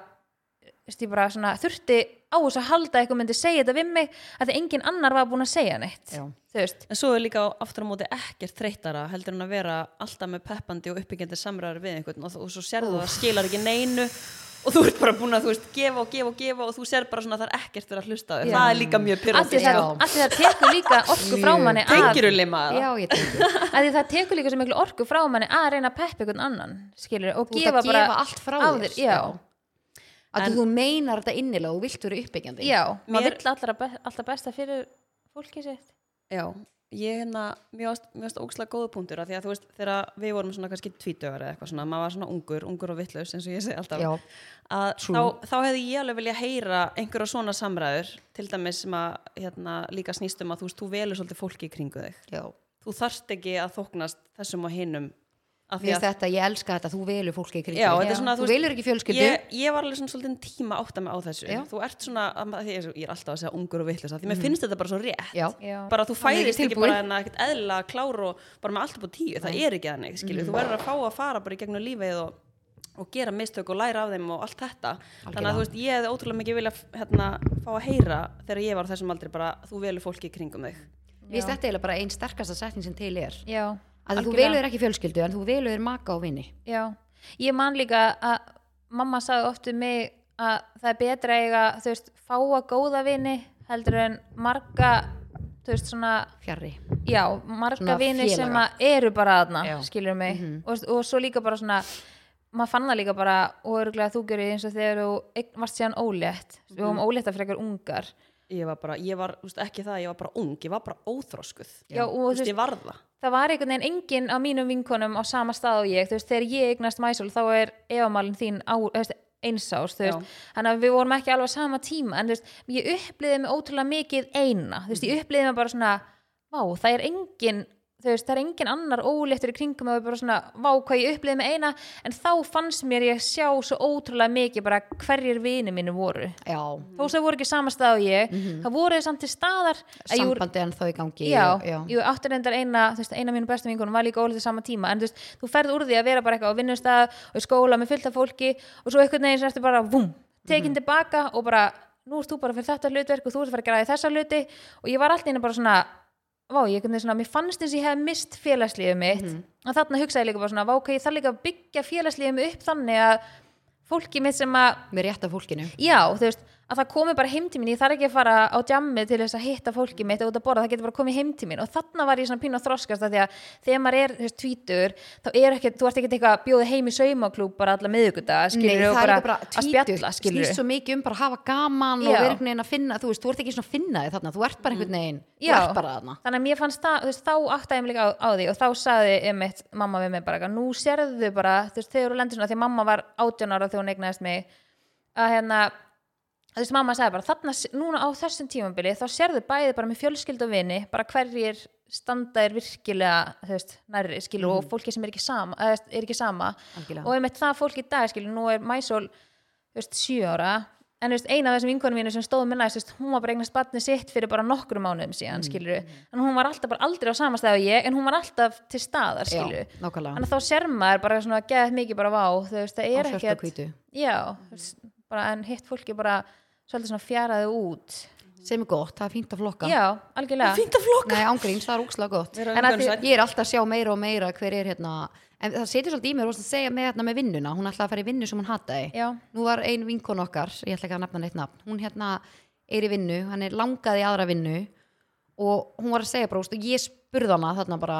C: þú veist, ég bara svona, þurfti á þess að halda að eitthvað myndi segja þetta við mig að því engin annar var búin að segja neitt
B: Já.
C: þú veist,
A: En svo er líka aftur á móti ekkert þreytara heldur en að vera alltaf með peppandi og uppbyggjandi samræður við einhvern og, þú- og svo sérðu það að skilar ekki neinu og þú ert bara búin að þú veist gefa og gefa og gefa og þú sér bara svona að það er ekkert verið að hlusta á þig.
C: Já.
A: Það er líka mjög
C: af því
A: pyrrandi.
C: það,
B: Já.
C: af því það tekur líka orku frá manni að
A: Tengir þú lima
B: já, ég tengi
C: af því það tekur líka svo miklu orku frá manni að reyna að peppa einhvern annan skilur, og
B: þú ert
C: gefa
B: að
C: bara
B: gefa allt frá
C: á
B: þér
C: þér, já,
B: að
A: En-
B: þú meinar þetta innilega og þú vilt vera uppbyggjandi
C: já,
A: Mér-
C: maður vill allra be alltaf besta fyrir fólkið sitt
A: Já, ég hérna, mér varst, mér varst ógslag góða punktur af því að þú veist, þegar við vorum svona kannski tvítögar eða eitthvað svona, maður var svona ungur, ungur og vittlaus eins og ég segi alltaf,
B: Já.
A: að
B: True.
A: þá, þá hefði ég alveg vilja heyra einhverja svona samræður, til dæmis sem að hérna, líka snýst um að þú veist, þú velur svolítið fólki í kringu þig.
B: já.
A: Þú þarft ekki að þóknast þessum og hinnum. af því
B: Mér
A: að-
B: finnst þetta, ég elska þetta, þú velur fólki í kringum
A: Já,
B: þig.
A: þetta er svona,
B: þú, velur ekki fjölskyldu
A: ég, ég var alveg svona svolítið tíma átt að mig á þessu
B: Já. Mhm.
A: þú ert svona, að ma- því ég er svo- ég er alltaf að segja ungur og vittlust, því mér finnst þetta bara svo rétt
B: Já.
C: Já.
A: bara þú
B: er
A: fæðist
B: ekki
A: ekki
B: tilbúin.
A: bara en ekkert eðla klár og bara með allt upp á tíu, það er ekki þannig skilur, þú verður að fá að fara bara í gegnum lífið og, og gera mistök og læra af þeim og allt þetta, þannig að þú veist, ég hefði ótrúlega mikið vilja hérna, fá að heyra þegar ég var á þessum aldri bara, þú velur fólki í kringum þig
B: Mér finnst þetta eiginlega bara einn sterkasta setning sem til er
C: já,
B: að þú
C: algjörlega.
B: velur ekki fjölskyldu en þú velur maka og vini
C: Já, ég man líka að mamma sagði oft um mig að það er betra að eiga, þú veist, fáa góða vini heldur en marga, þú veist, svona,
B: fjarrri
C: já, marga
B: Svona
C: vini
B: félaga. Mhm.
C: sem að eru bara aðna,
B: Já.
C: skilur mig, og, og svo líka bara svona, maður fann það líka bara, og örgulega þú gerir eins og þegar þú eign- varst síðan ólétt,
B: Mhm.
C: við vorum ólétt að frekar ungar,
A: ég var bara, ég var, þú veist, ekki það, ég var bara ung ég var bara óþróskuð,
C: Já, og
A: þú
C: þú
A: veist, ég var það
C: það var einhvern veginn enginn á mínum vinkonum á sama stað og ég, þú veist, þegar ég eignast mæsul þá er efamálin þín á, þú veist, einsás, þú veist, þannig að við vorum ekki alveg á sama tíma, en þú veist, ég upplýði mig ótrúlega mikið eina, þú veist, ég upplýði mig bara svona, vá, það er enginn þú veist, það er enginn annar óléttur í kringum og ég bara svona, vá, hvað ég upplýði mig eina en þá fannst mér ég sjá svo ótrúlega mikið bara hverjir vini mínu voru
B: Já,
C: þó sem þau voru ekki á sama stað og ég þá voru þau samt til staðar að ég voru-
B: sambandi en þó í gangi
C: já,
B: og-
C: já.
B: já.
C: Jú, átti reyndar eina, þú veist, eina mínu bestu vingunum var líka ólítið sama tíma, en þú veist, þú ferð úr því að vera bara eitthvað á vinnustað og í skóla með fylgta fólki og svo einhvern veginn sem ertu bara, vum,
B: Mhm.
C: tekin tilbaka og bara, nú ert þú bara fyrir þetta hlutverk og þú ert að fara að gera því þessa hluti og ég var alltaf einu bara svona, vá, ég einhvern veginn svona, mér fannst eins og ég hefði mist félagslífið mitt
B: Mhm.
C: og þarna hugsaði ég líka bara svona, vá, ok, ég þarf líka að byggja félagslífið mitt upp þannig að fólki mitt sem að
B: með rétta fólkinu
C: Já, þú veist, að það komi bara heim til mín ég þarf ekki að fara á djammið til þess að hitta fólki mitt út að borða, það getur bara komið heim til mín og þarna var ég svona pínu að þroskast að því að þegar maður er, þú veist, tvítur þá er ekki, þú ert ekki eitthvað að bjóða heim í saumaklúb bara alla miðuguta, skilur
B: Nei,
C: og
B: það er
C: bara,
B: líka bara
C: að
B: tvítur,
C: spjalla, skilur
B: snýst svo mikið um bara að hafa gaman og
C: Já. Mm.
B: vera einhvern veginn að finna, þú veist, þú ert ekki svona að finna þig þarna, þú ert bara einhvern veginn, þú
C: Já.
B: ert bara þarna.
C: þannig að mér fannst það, þú veist, þá áttaði ég mig líka á, á því og þá saði einmitt mamma við mig bara, eitthvað, nú sérðu þau bara, þú veist, þegar þú lendur svona, því að mamma var 18 ára þegar hún eignaðist mig að hérna, þú veist, mamma sagði bara, þarna, s- núna á þessum tímambili þá sérðu bæði bara með fjölskyld og vini bara hverjir standa er virkilega þú veist, nærri, skilur, og fólki sem er ekki sama, eða, þú veist, er ekki sama
B: Algjörlega.
C: og einmitt það fólk í dag, skilur, nú er Mæsól þú veist, sjö ára en þú veist, eina af þessum vinkonum mínu sem stóð með næst þú veist, hún var bara eignast batni sitt fyrir bara nokkrum mánuðum síðan, mm. skilur, en hún var alltaf bara aldrei á sama stað og ég, en hún var alltaf til staðar, skilur,
B: Já, nákvæmlega.
C: þannig að þá sér maður bara svona að geða mikið bara vá, þú veist, það
B: Á
C: er
B: svörtu og
C: ekkert
B: hvítu.
C: já, þú veist, bara en hitt fólki bara svolítið svona fjaraði út
B: sem er gott, það er fínt að flokka
C: já, algjörlega
A: fínt að flokka
B: Nei, ángríns, það er ógslag gott
A: Vera
C: En að
A: umhverfisvænn.
B: Ég er alltaf að sjá meira og meira hver er hérna En það setur svolítið í mér og segja með hérna með vinnuna Hún ætlaði að fara í vinnu sem hún hataði
C: já,
B: Nú var ein vinkon okkar, ég ætla ekki að nefna neitt nafn Hún hérna er í vinnu, hann er langaði í aðra vinnu Og hún var að segja bara, úst, og ég spurði hana þarna bara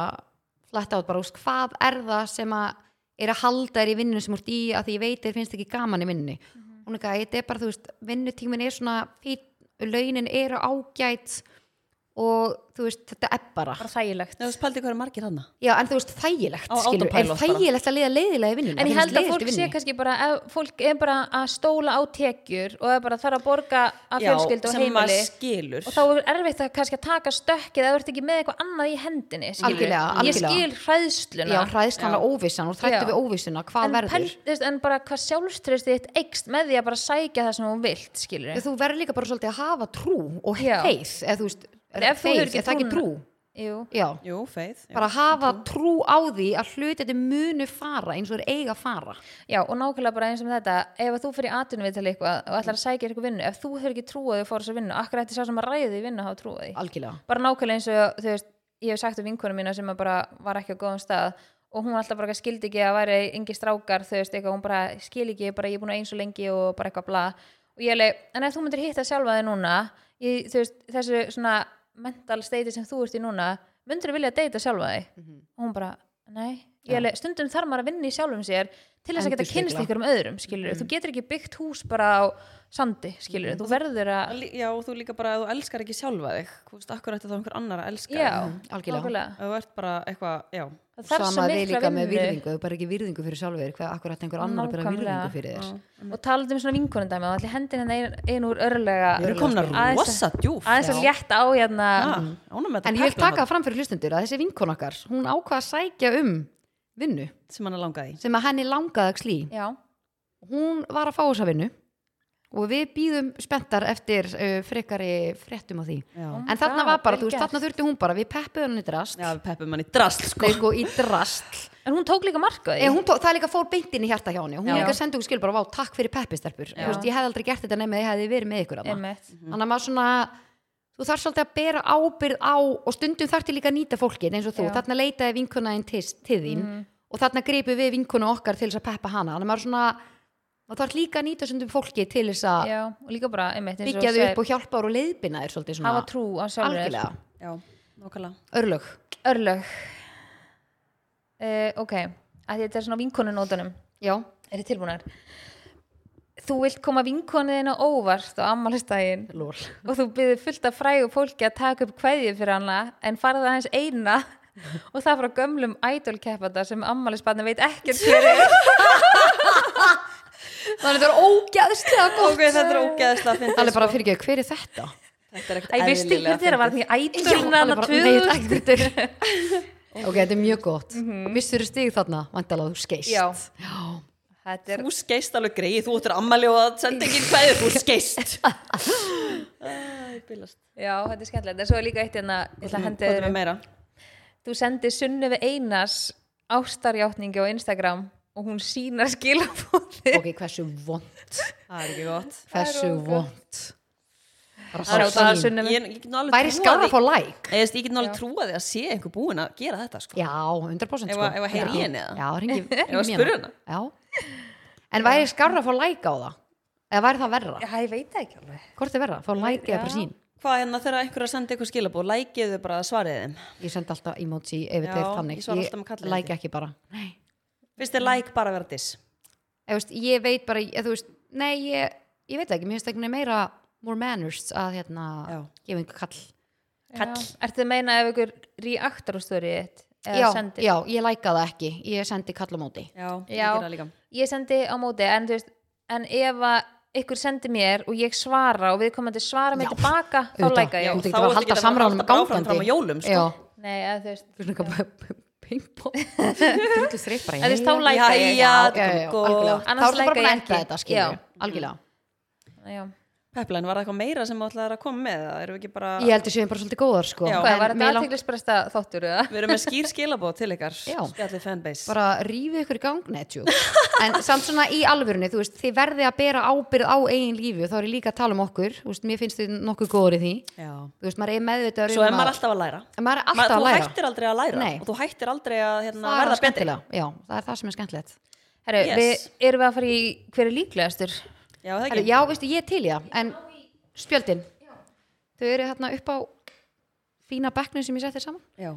B: Flætt át bara, úst, hvað er það sem að er að halda þér í vinnunum sem úr í að því ég veit þér finnst ekki gaman í vinnunni
C: Mhm.
B: hún er ekki að þetta er bara, þú veist, vinnutímin er svona fýtt, launin eru ágætt og þú veist, þetta er bara
C: bara þægilegt
A: Nei, þú spaldi hvað er margir hana
B: Já, en þú veist, þægilegt,
A: Á
B: skilur, er
A: autopilot bara.
B: þægilegt að liða leiðilega í vinnunni?
C: En
B: Það
C: ég
B: finnst
C: held að
B: leiðilegt í
C: fólk sé
B: vinnunni.
C: kannski bara ef fólk er bara að stóla á tekjur og er bara þarf að borga að fjölskyldu og
A: sem
C: heimili
A: maður skilur
C: og þá er erfitt að kannski að taka stökkið eða þú ert ekki með eitthvað annað í hendinni skilurðu.
B: Algjörlega,
C: Ég
B: algjörlega.
C: skil hræðsluna
B: Já, hræðskanlega óvissan og þrættu
C: Já.
B: við óvissuna, hvað
C: en,
B: verður?
C: pæl- þú veist, en bara hvað sjálfströðst þitt eikst með því að bara sækja það sem hún vilt skilur
B: Þú verður líka bara svolítið að hafa trú og
C: Já.
B: feið, eða þú veist,
C: Ef þú
B: faith,
C: hefur ekki
B: er það ekki
C: trúna.
B: trú?
C: Jú,
B: Já,
A: Jú, feið já.
B: bara hafa trú á því að hluti þetta munu fara eins og þeir eiga að fara.
C: já og nákvæmlega bara eins og með þetta ef að þú fyrir atvinnum við til eitthvað og ætlar að sækja eitthvað vinnu, ef þú hefur ekki trúið að þú fór þess að vinnu, akkur ætti sá sem að ræði því vinnu að hafa trúið því
B: Algjörlega.
C: bara nákvæmlega eins og þú veist ég hef sagt um vinkonu mína sem að bara var ekki á góðum stað og hún alltaf bara eitthvað skildi ekki að væri engi strákar þú veist eitthvað hún bara skil ekki bara ég er búin að eins og lengi og bara eitthvað bla og ég leið en ef þú myndir hitta sjálfa þig núna ég, þú veist þessu svona mental state sem þú ert í núna myndir vilja að deyta sjálfa þig
B: Mhm.
C: og hún bara nei ég leið stundum þarf maður að vinna í sjálfum sér til þess að geta
B: Endurspegla. Mhm.
C: kynst ykkur um öðrum skilur þú getur ekki byggt hús bara á sandi skilur þú verður að
A: Lí- já, og þú líka bara að þú elskar ekki sjálfa þig Þú veist, akkur ætti þá einhver annar að elska
C: já,
A: þig
B: Mhm. algjörlega.
C: nákvæmlega.
A: Ef Þú ert bara eitthvað, já
C: það þarf svo
B: Sama við
C: mikla
B: líka með
C: vinnu
B: virðingu, þau bara ekki virðingu fyrir sjálfur, þér, hvað akkur ætti einhver annar að byrja
C: Nákvæmlega.
B: virðingu fyrir þér?
C: og talandi um svona vinkonundæmi og allir hendin henni ein, ein úr örlega
A: Við erum komin að
C: Aðeins-
A: rosa djúf
C: aðeins að létta á hérna
A: Ánum með þetta
B: En ég vil
A: pepla
B: taka það fram fyrir hlustundur að þessi vinkon okkar, hún ákvað að sækja um vinnu
A: hana sem hann er langað í
B: sem að henni langaði að slí.
C: já,
B: hún var að fá þessa vinnu og við býðum spenntar eftir uh, frekari fréttum á því
A: Já,
C: Oh my
B: en þarna
C: God,
B: var bara,
C: vel
B: þú veist,
C: gert.
B: þarna þurfti hún bara við peppuðum henni í drast
A: já við peppum hann í drast sko
B: Nei, sko, í drast
C: en hún tók líka marka því
B: Eða, hún tók, það líka fór beintin í hjarta hjá henni hún
C: Já.
B: líka sendi okkur skil bara, vá, takk fyrir peppistarpur
C: Já.
B: veist, ég hefði aldrei gert þetta nema ég hefði verið með ykkur þarna.
C: Einmitt.
B: þannig að maður svona þú þarf svolítið að bera ábyrð á og stundum þarf til líka að nýta fólkin eins og þú,
C: Já. Mhm.
B: þarna leitaði vinkunaðin til, til þín og þarna greipu við vinkuna okkar til þess að peppa hana, þannig að maður svona maður þarf líka að nýta stundum fólki til þess að
C: já, og líka bara einmitt, eins og
B: Ah. byggja þau
C: þú
B: upp og hjálpa þér og leiðbina þér svolítið
C: segir,
B: svona
C: hafa trú á sjálfur þér. sko.
B: algjörlega,
A: Já, nokkala
B: örlög
C: örlög uh, ok, að þetta er svona vinkonunótunum
B: já,
C: er þið tilbúinar þú vilt koma vinkonuðina óvart á ammálistægin
B: lól
C: og þú byrðir fullt af frægu fólki að taka upp kveðið fyrir hana en farið aðeins eina og það er frá gömlum idol-keppata sem ammælisbarni veit ekkert hver er
B: þannig þetta er ógæðslega
A: Ok, þetta er ógeðslega að finna
B: það
C: sko-
B: er bara fyrir ekki, hver er þetta?
A: Þetta er
C: Æ,
A: ekkert
C: veistu ekki hver þeirra var því
B: Já,
C: idolna
B: alveg
C: hana
B: bara, nei, þetta er
C: 2000
B: ekki þetta. ok, þetta er mjög gott og missur stig þarna, vandalega þú skeist
C: Mhm. já, þetta er
A: Þú skeist alveg greið, þú ættir ammali og að senda ekki hverju, þú skeist Æ, bilast
C: já, þetta er skemmtilegt, en svo er líka eitt hérna ég ætla að hendi
A: Hvað er
C: öðru.
A: meira?
C: þú sendir sunnu við Einars ástarjátningi á Instagram og hún sínar skilabóði
B: ok, hversu vond
A: Það er ekki gott
B: hversu
C: ógeð.
B: vond bara
C: Það er
B: sá
C: ógeð.
B: sín
C: Sunnefa.
A: Ég, ég get nú alveg
B: væri
A: trúað
B: skára
A: því-
B: að fá læk
A: Ég veist, ég get náttúrulega trúa því að sé einhver búin að gera þetta sko.
B: já, 100%
A: Ef
B: sko
A: að- ef að heyri í henni, eða?
B: já, ringi,
A: Ef að spyrja hana.
B: já. en væri skára að fá læk á það eða væri það verra,
C: já, ég veit það ekki alveg
B: hvort er verra fá læk eða aprísín
A: Hvað hérna þegar einhver er að senda eitthvað skilabóð, lækið þau bara að svarið þeim
B: ég sendi alltaf emoji ef
A: Já,
B: þetta er
A: ég
B: þannig
A: svara alltaf með kallið
B: læk ekki bara nei
A: Finnst þér læk bara að vera diss?
B: ég, veist, ég veit bara, ég, þú veist, nei ég, ég veit það ekki, mér finnst ekki meira more manners að hérna
A: Já.
B: gefa einhver kall
A: Kall.
C: Já. ertu að meina ef ykkur reaktar á stórið þitt
B: já,
C: eða sendir
B: já, ég læka það ekki, ég sendi kall á móti
A: Já, ég
C: Já.
A: gera það líka
C: ég sendi á móti en, þú veist, en ef að ykkur sendi mér og ég svara og við komandi svara mér
B: Já,
C: tilbaka þá
B: auðvitað.
C: læka
A: Já,
C: ég
B: þú þykir
A: þá ertu
B: bara að halda
A: ekki að
B: samræðanum
A: halda bara áfram
B: gangandi
A: fram að jólum, sko.
B: já,
C: Nei, eða, þú veist,
B: þú veist ekki ping-pong drullu þreitt bara
C: En þú veist, þá
B: já,
C: læka
A: Jæja,
C: ég
A: já, Mm.
B: já, já,
A: já,
B: algjörlega.
A: já,
B: þá
C: Annars
B: er það bara búin
C: læka ég
B: að enda
C: ekki.
B: þetta
C: Já.
B: skilur, algjörlega
C: já.
A: peplæn, var það eitthvað meira sem ætlaði að koma með eða erum við ekki bara,
B: Ég heldur séum bara svolítið góðar sko
A: Já.
C: Hvað, var
B: mér
C: þetta
B: langt
C: aðteglisbresta þáttur eða?
A: við erum með skýr skilabóð til ykkar
B: Já.
A: spjallið fanbase
B: bara rífið ykkur í gang netjú en samt svona í alvörunni, þú veist þið verði að bera ábyrð á eigin lífi og þá er ég líka að tala um okkur, þú veist, mér finnst þið nokkuð góður í því,
A: Já.
B: þú veist, maður er meðvitað
A: svo er maður alltaf að læra
B: maður er
A: Ma-
B: alltaf að
A: þú
B: læra
A: hættir aldrei að læra
B: Nei.
A: og þú hættir aldrei að hérna,
B: það er
A: verða betri
B: skemmtilega, já, það er það sem er skemmtilegt
C: Herru,
A: Yes.
C: við erum við að fara í hver er líklegastur?
A: já, það
B: Herru,
A: ekki,
B: já, veistu, ég er til í það, en spjöldin þau eru hérna upp á fína bekknum sem ég setti saman
A: já,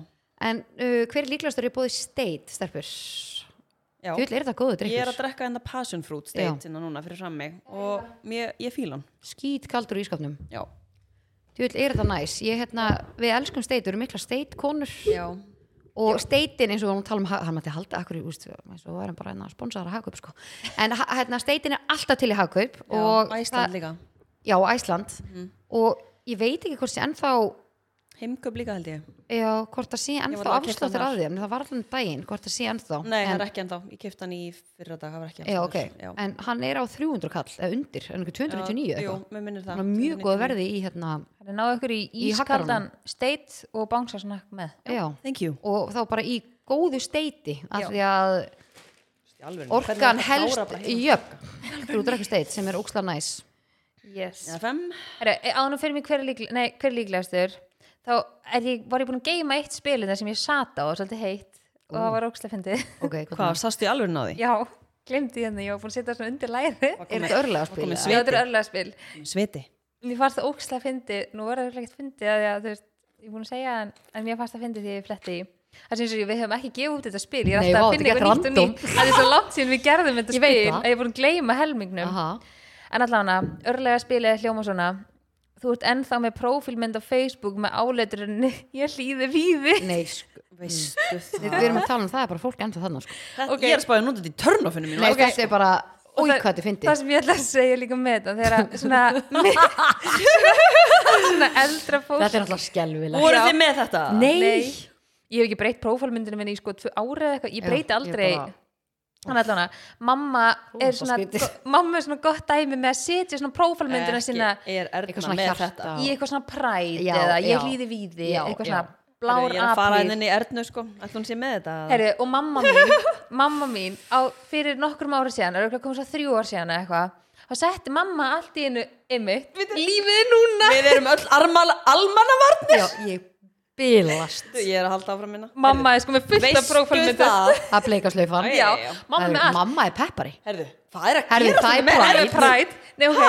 B: en uh, hver er líklegastur er búið steit, stelpur þú
A: já.
B: vil, er þetta góðu
A: ég er að
B: drikkur?
A: drekka enda passion fruit steitina núna fyrir fram mig og mér, ég fíl hann
B: skýt kaldur í skapnum
A: já,
B: þú vil, er þetta næs? Ég, hérna, við elskum steit, við erum mikla steitkonur
A: já,
B: og steitin eins og hún tala um ha- hann mætti halda akkur í úst eins og varum bara hérna sponsar að hagkaup sko. en ha- hérna, steitin er alltaf til í hagkaup
A: já
B: og
A: Æsland líka Mhm.
B: já, Æsland og ég veit ekki hvort sé ennþá
A: heimköp líka held ég
B: já, hvort það sé
A: alveg
B: ennþá
A: að keypta
B: afsláttur
A: hann
B: að því en það var allan daginn hvort það sé ennþá
A: nei, það
B: en,
A: er ekki ennþá, ég kipta hann í fyrra dag það var ekki
B: já,
A: ennþá.
B: okay.
A: já.
B: en hann er á 300 kall eða undir, er hann ekki 299
A: jú,
B: eitthvað
A: mér minnir
B: Hann
A: það
B: er mjög góð verði í hérna
C: Það er náðu ykkur í
B: Í
C: ískaldan steit og bánsasnakk með.
B: já,
A: thank you
B: og þá bara í góðu steiti af
C: Já.
B: því að
A: Í alvörunni, hvernig er
B: orkan
A: þetta
B: helst
A: klára bara hérna?
B: jöfn þú drekkur steit sem er óksla næs
C: Yes.
A: Já, fem,
C: Herra, ánum fyrir mig hver er, líkle- nei, hver er líklegastur, þá er ég, var ég búin að geima eitt spilin sem ég sata á, svolítið heitt, og það var ókslega fyndið.
B: okay,
A: hvað, sastu í alveg náði?
C: Já, glemdi hérna, ég var búin að setja svona undir læri.
B: er þetta örlega að
A: komið
B: spila
A: svið.
C: Já, þetta er örlega spil.
A: Sviti
C: Mér fannst það ókslega fyndið, nú var það örugglega ekkert fyndið að ég, þú veist, ég er búin að segja, en, en mér fannst það fyndið því ég fletti í. Það sem sér, við höfum ekki gefið út þetta spil, ég er
B: Nei, vá,
C: alltaf að finna
B: þetta er
C: eitthvað nýtt
B: gett
C: og nýtt. Það er svo langt síðan við gerðum þetta
B: Ég veit
C: spil,
B: það.
C: að ég er búin að gleyma helmingnum.
B: Aha.
C: En allavega, örlega spilið hljóma svona Þú ert ennþá með prófílmynd á Facebook með áleiturinn Ég hlýði víði
B: Nei, sko,
A: Veistu það
B: við erum að tala um það, er bara fólk ennþá þannig sko.
A: Mm. Þetta-
C: Ok.
A: Ég er spáðið að nota þetta í törnofinu mínu
B: Nei, þetta er bara,
C: Og
B: úi
C: það-
B: hvað þetta fyndi
C: Það sem ég ætla að segja líka með þetta Þegar að svona Svona eldra fólk
B: Þetta er alltaf skelvilega
A: Voruð þið með þetta?
B: Nei,
C: Ég hef ekki breytt prófílmyndinu minni í sko tvö ári eða eitthvað Ég
B: Já,
C: breyti
B: ég
C: aldrei
B: bara-
C: Þannig allavega, mamma er
B: það
C: svona
B: skrítið.
C: go- Mamma er svona gott dæmi með að setja svona prófílmyndina sína
A: Ekki er
B: Eitthvað
A: Erna
B: svona
A: með
B: hjarta.
A: þetta
C: í eitthvað svona præt
B: Já,
C: eða
B: já.
C: ég hlýði víði
B: Já,
C: eitthvað
B: já.
C: svona blár
A: Herru, Ég er að fara
C: apríl.
A: inn í Ernu sko Ætli hún sé með þetta?
C: Herri, og mamma mín, mamma mín á, fyrir nokkrum ára síðan, er okkur komið svo þrjú ára síðan eða eitthvað, þá setti mamma allt í einu ymmið, lífið er núna
A: Við erum öll armal, almannavarnir
B: já, ég bilast
A: Ég er að halda áfram minna
C: mamma er sko með fullta
A: Veistu
C: prófálmyndu
A: það?
B: að bleika slaufan
A: Æ,
C: já,
A: já, já.
C: mamma með allt,
B: Mamma er peppari
A: Herðu, hvað er að
B: Herðu,
A: gera
B: það er
A: með
C: það
B: Pride.
C: er præt nei, ok,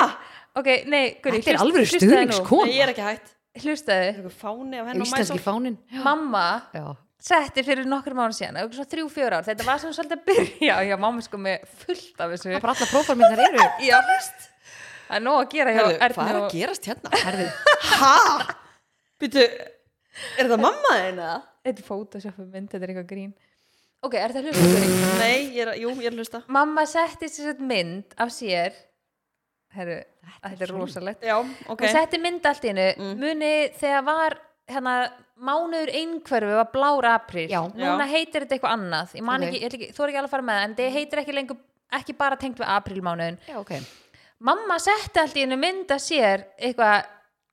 C: ok, nei, Guri
B: Þetta er alveg stuðningskona.
A: Nei, ég er ekki hægt
C: hlustaðu,
A: Eitthvað fáni af henn og
B: Íslenski
A: mæsóf
B: fánin
C: mamma
B: Já,
C: setti fyrir nokkrum ára síðan, okkur svona þrjú, fjör ár þetta var svona svolítið að byrja, já, mamma er sko með fullt af
B: það
C: þessu,
B: er bara alltaf prófarmyndar eru
C: já, það er nóg að gera hjá
A: Herðu,
C: Ernu
A: hvað er
C: og-
A: að gerast hérna?
B: Herðu,
A: Hæ? Býtu, er það mamma þín eða?
C: Þetta er photoshopu mynd, þetta er eitthvað grín Ok, er þetta hlusta?
A: Nei, ég er, að- jú, ég er að hlusta
C: Mamma setti sér sett mynd af sér Herru, þetta er rosalegt
A: Já, ok
C: Hún setti mynd allt í hennu
B: Mm.
C: Muni þegar var hérna, mánuður einhverfu var blár apríl
B: Já.
C: Núna heitir þetta eitthvað annað Ég man
B: Ok. Mm.
C: ekki, ég ætla ekki, þú er ekki alveg að fara með það En þetta heitir ekki lengur, ekki bara tengt við aprílmánuðin
B: já, ok
C: Mamma setti allt í hennu mynd af sér eitthvað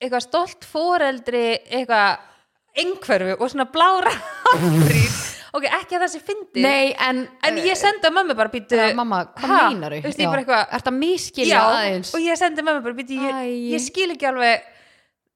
C: eitthvað stolt foreldri eitthvað einhverfu og svona blára apríl ok, ekki að það sé fyndið
B: Nei, en
C: En ég sendi að mömmu bara býtu
B: Eh, Mamma, hvað
C: Ha?
B: meinar
C: Þú veist, ég bara eitthvað
B: Ertu að miskilja
C: Já,
B: aðeins
C: og ég sendi mömmu bara býtu ég,
B: Æ.
C: ég skil ekki alveg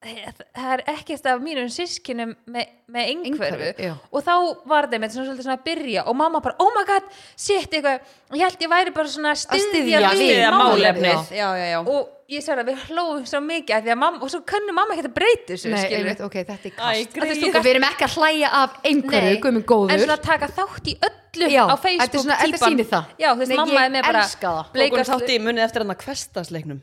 C: það er ekkert af mínum sískinum með, með einhverfu
B: Einhverfu, já.
C: og þá var það með svona svolítið svona að byrja og mamma bara, oh my god, shit eitthvað og ég held ég væri bara svona að styðja
B: styðja
C: við
B: við
A: Styðja
C: málefni
B: málefnið.
A: Já, já, já
C: og ég sagði að við hlóðum svo mikið að því að mamma, og svo kunnu mamma ekki að breyta þessu
B: Nei,
C: skilurðu.
B: einmitt, ok, þetta er
A: Æ,
B: kast
A: greyið.
B: Og við erum ekki að hlæja af einhverju,
C: Nei,
B: guðminn góður
C: en svona taka þátt í öllu
B: Já,
C: á
B: þetta er
C: Facebook
B: svona- þetta
C: típan.
B: sýnir það.
C: já, þú veist,
B: Nei,
C: mamma
B: ég
C: er með bara
B: elska það.
A: Tók hún
C: bleika-
A: þátt í munni eftir hann að hverstagsleiknum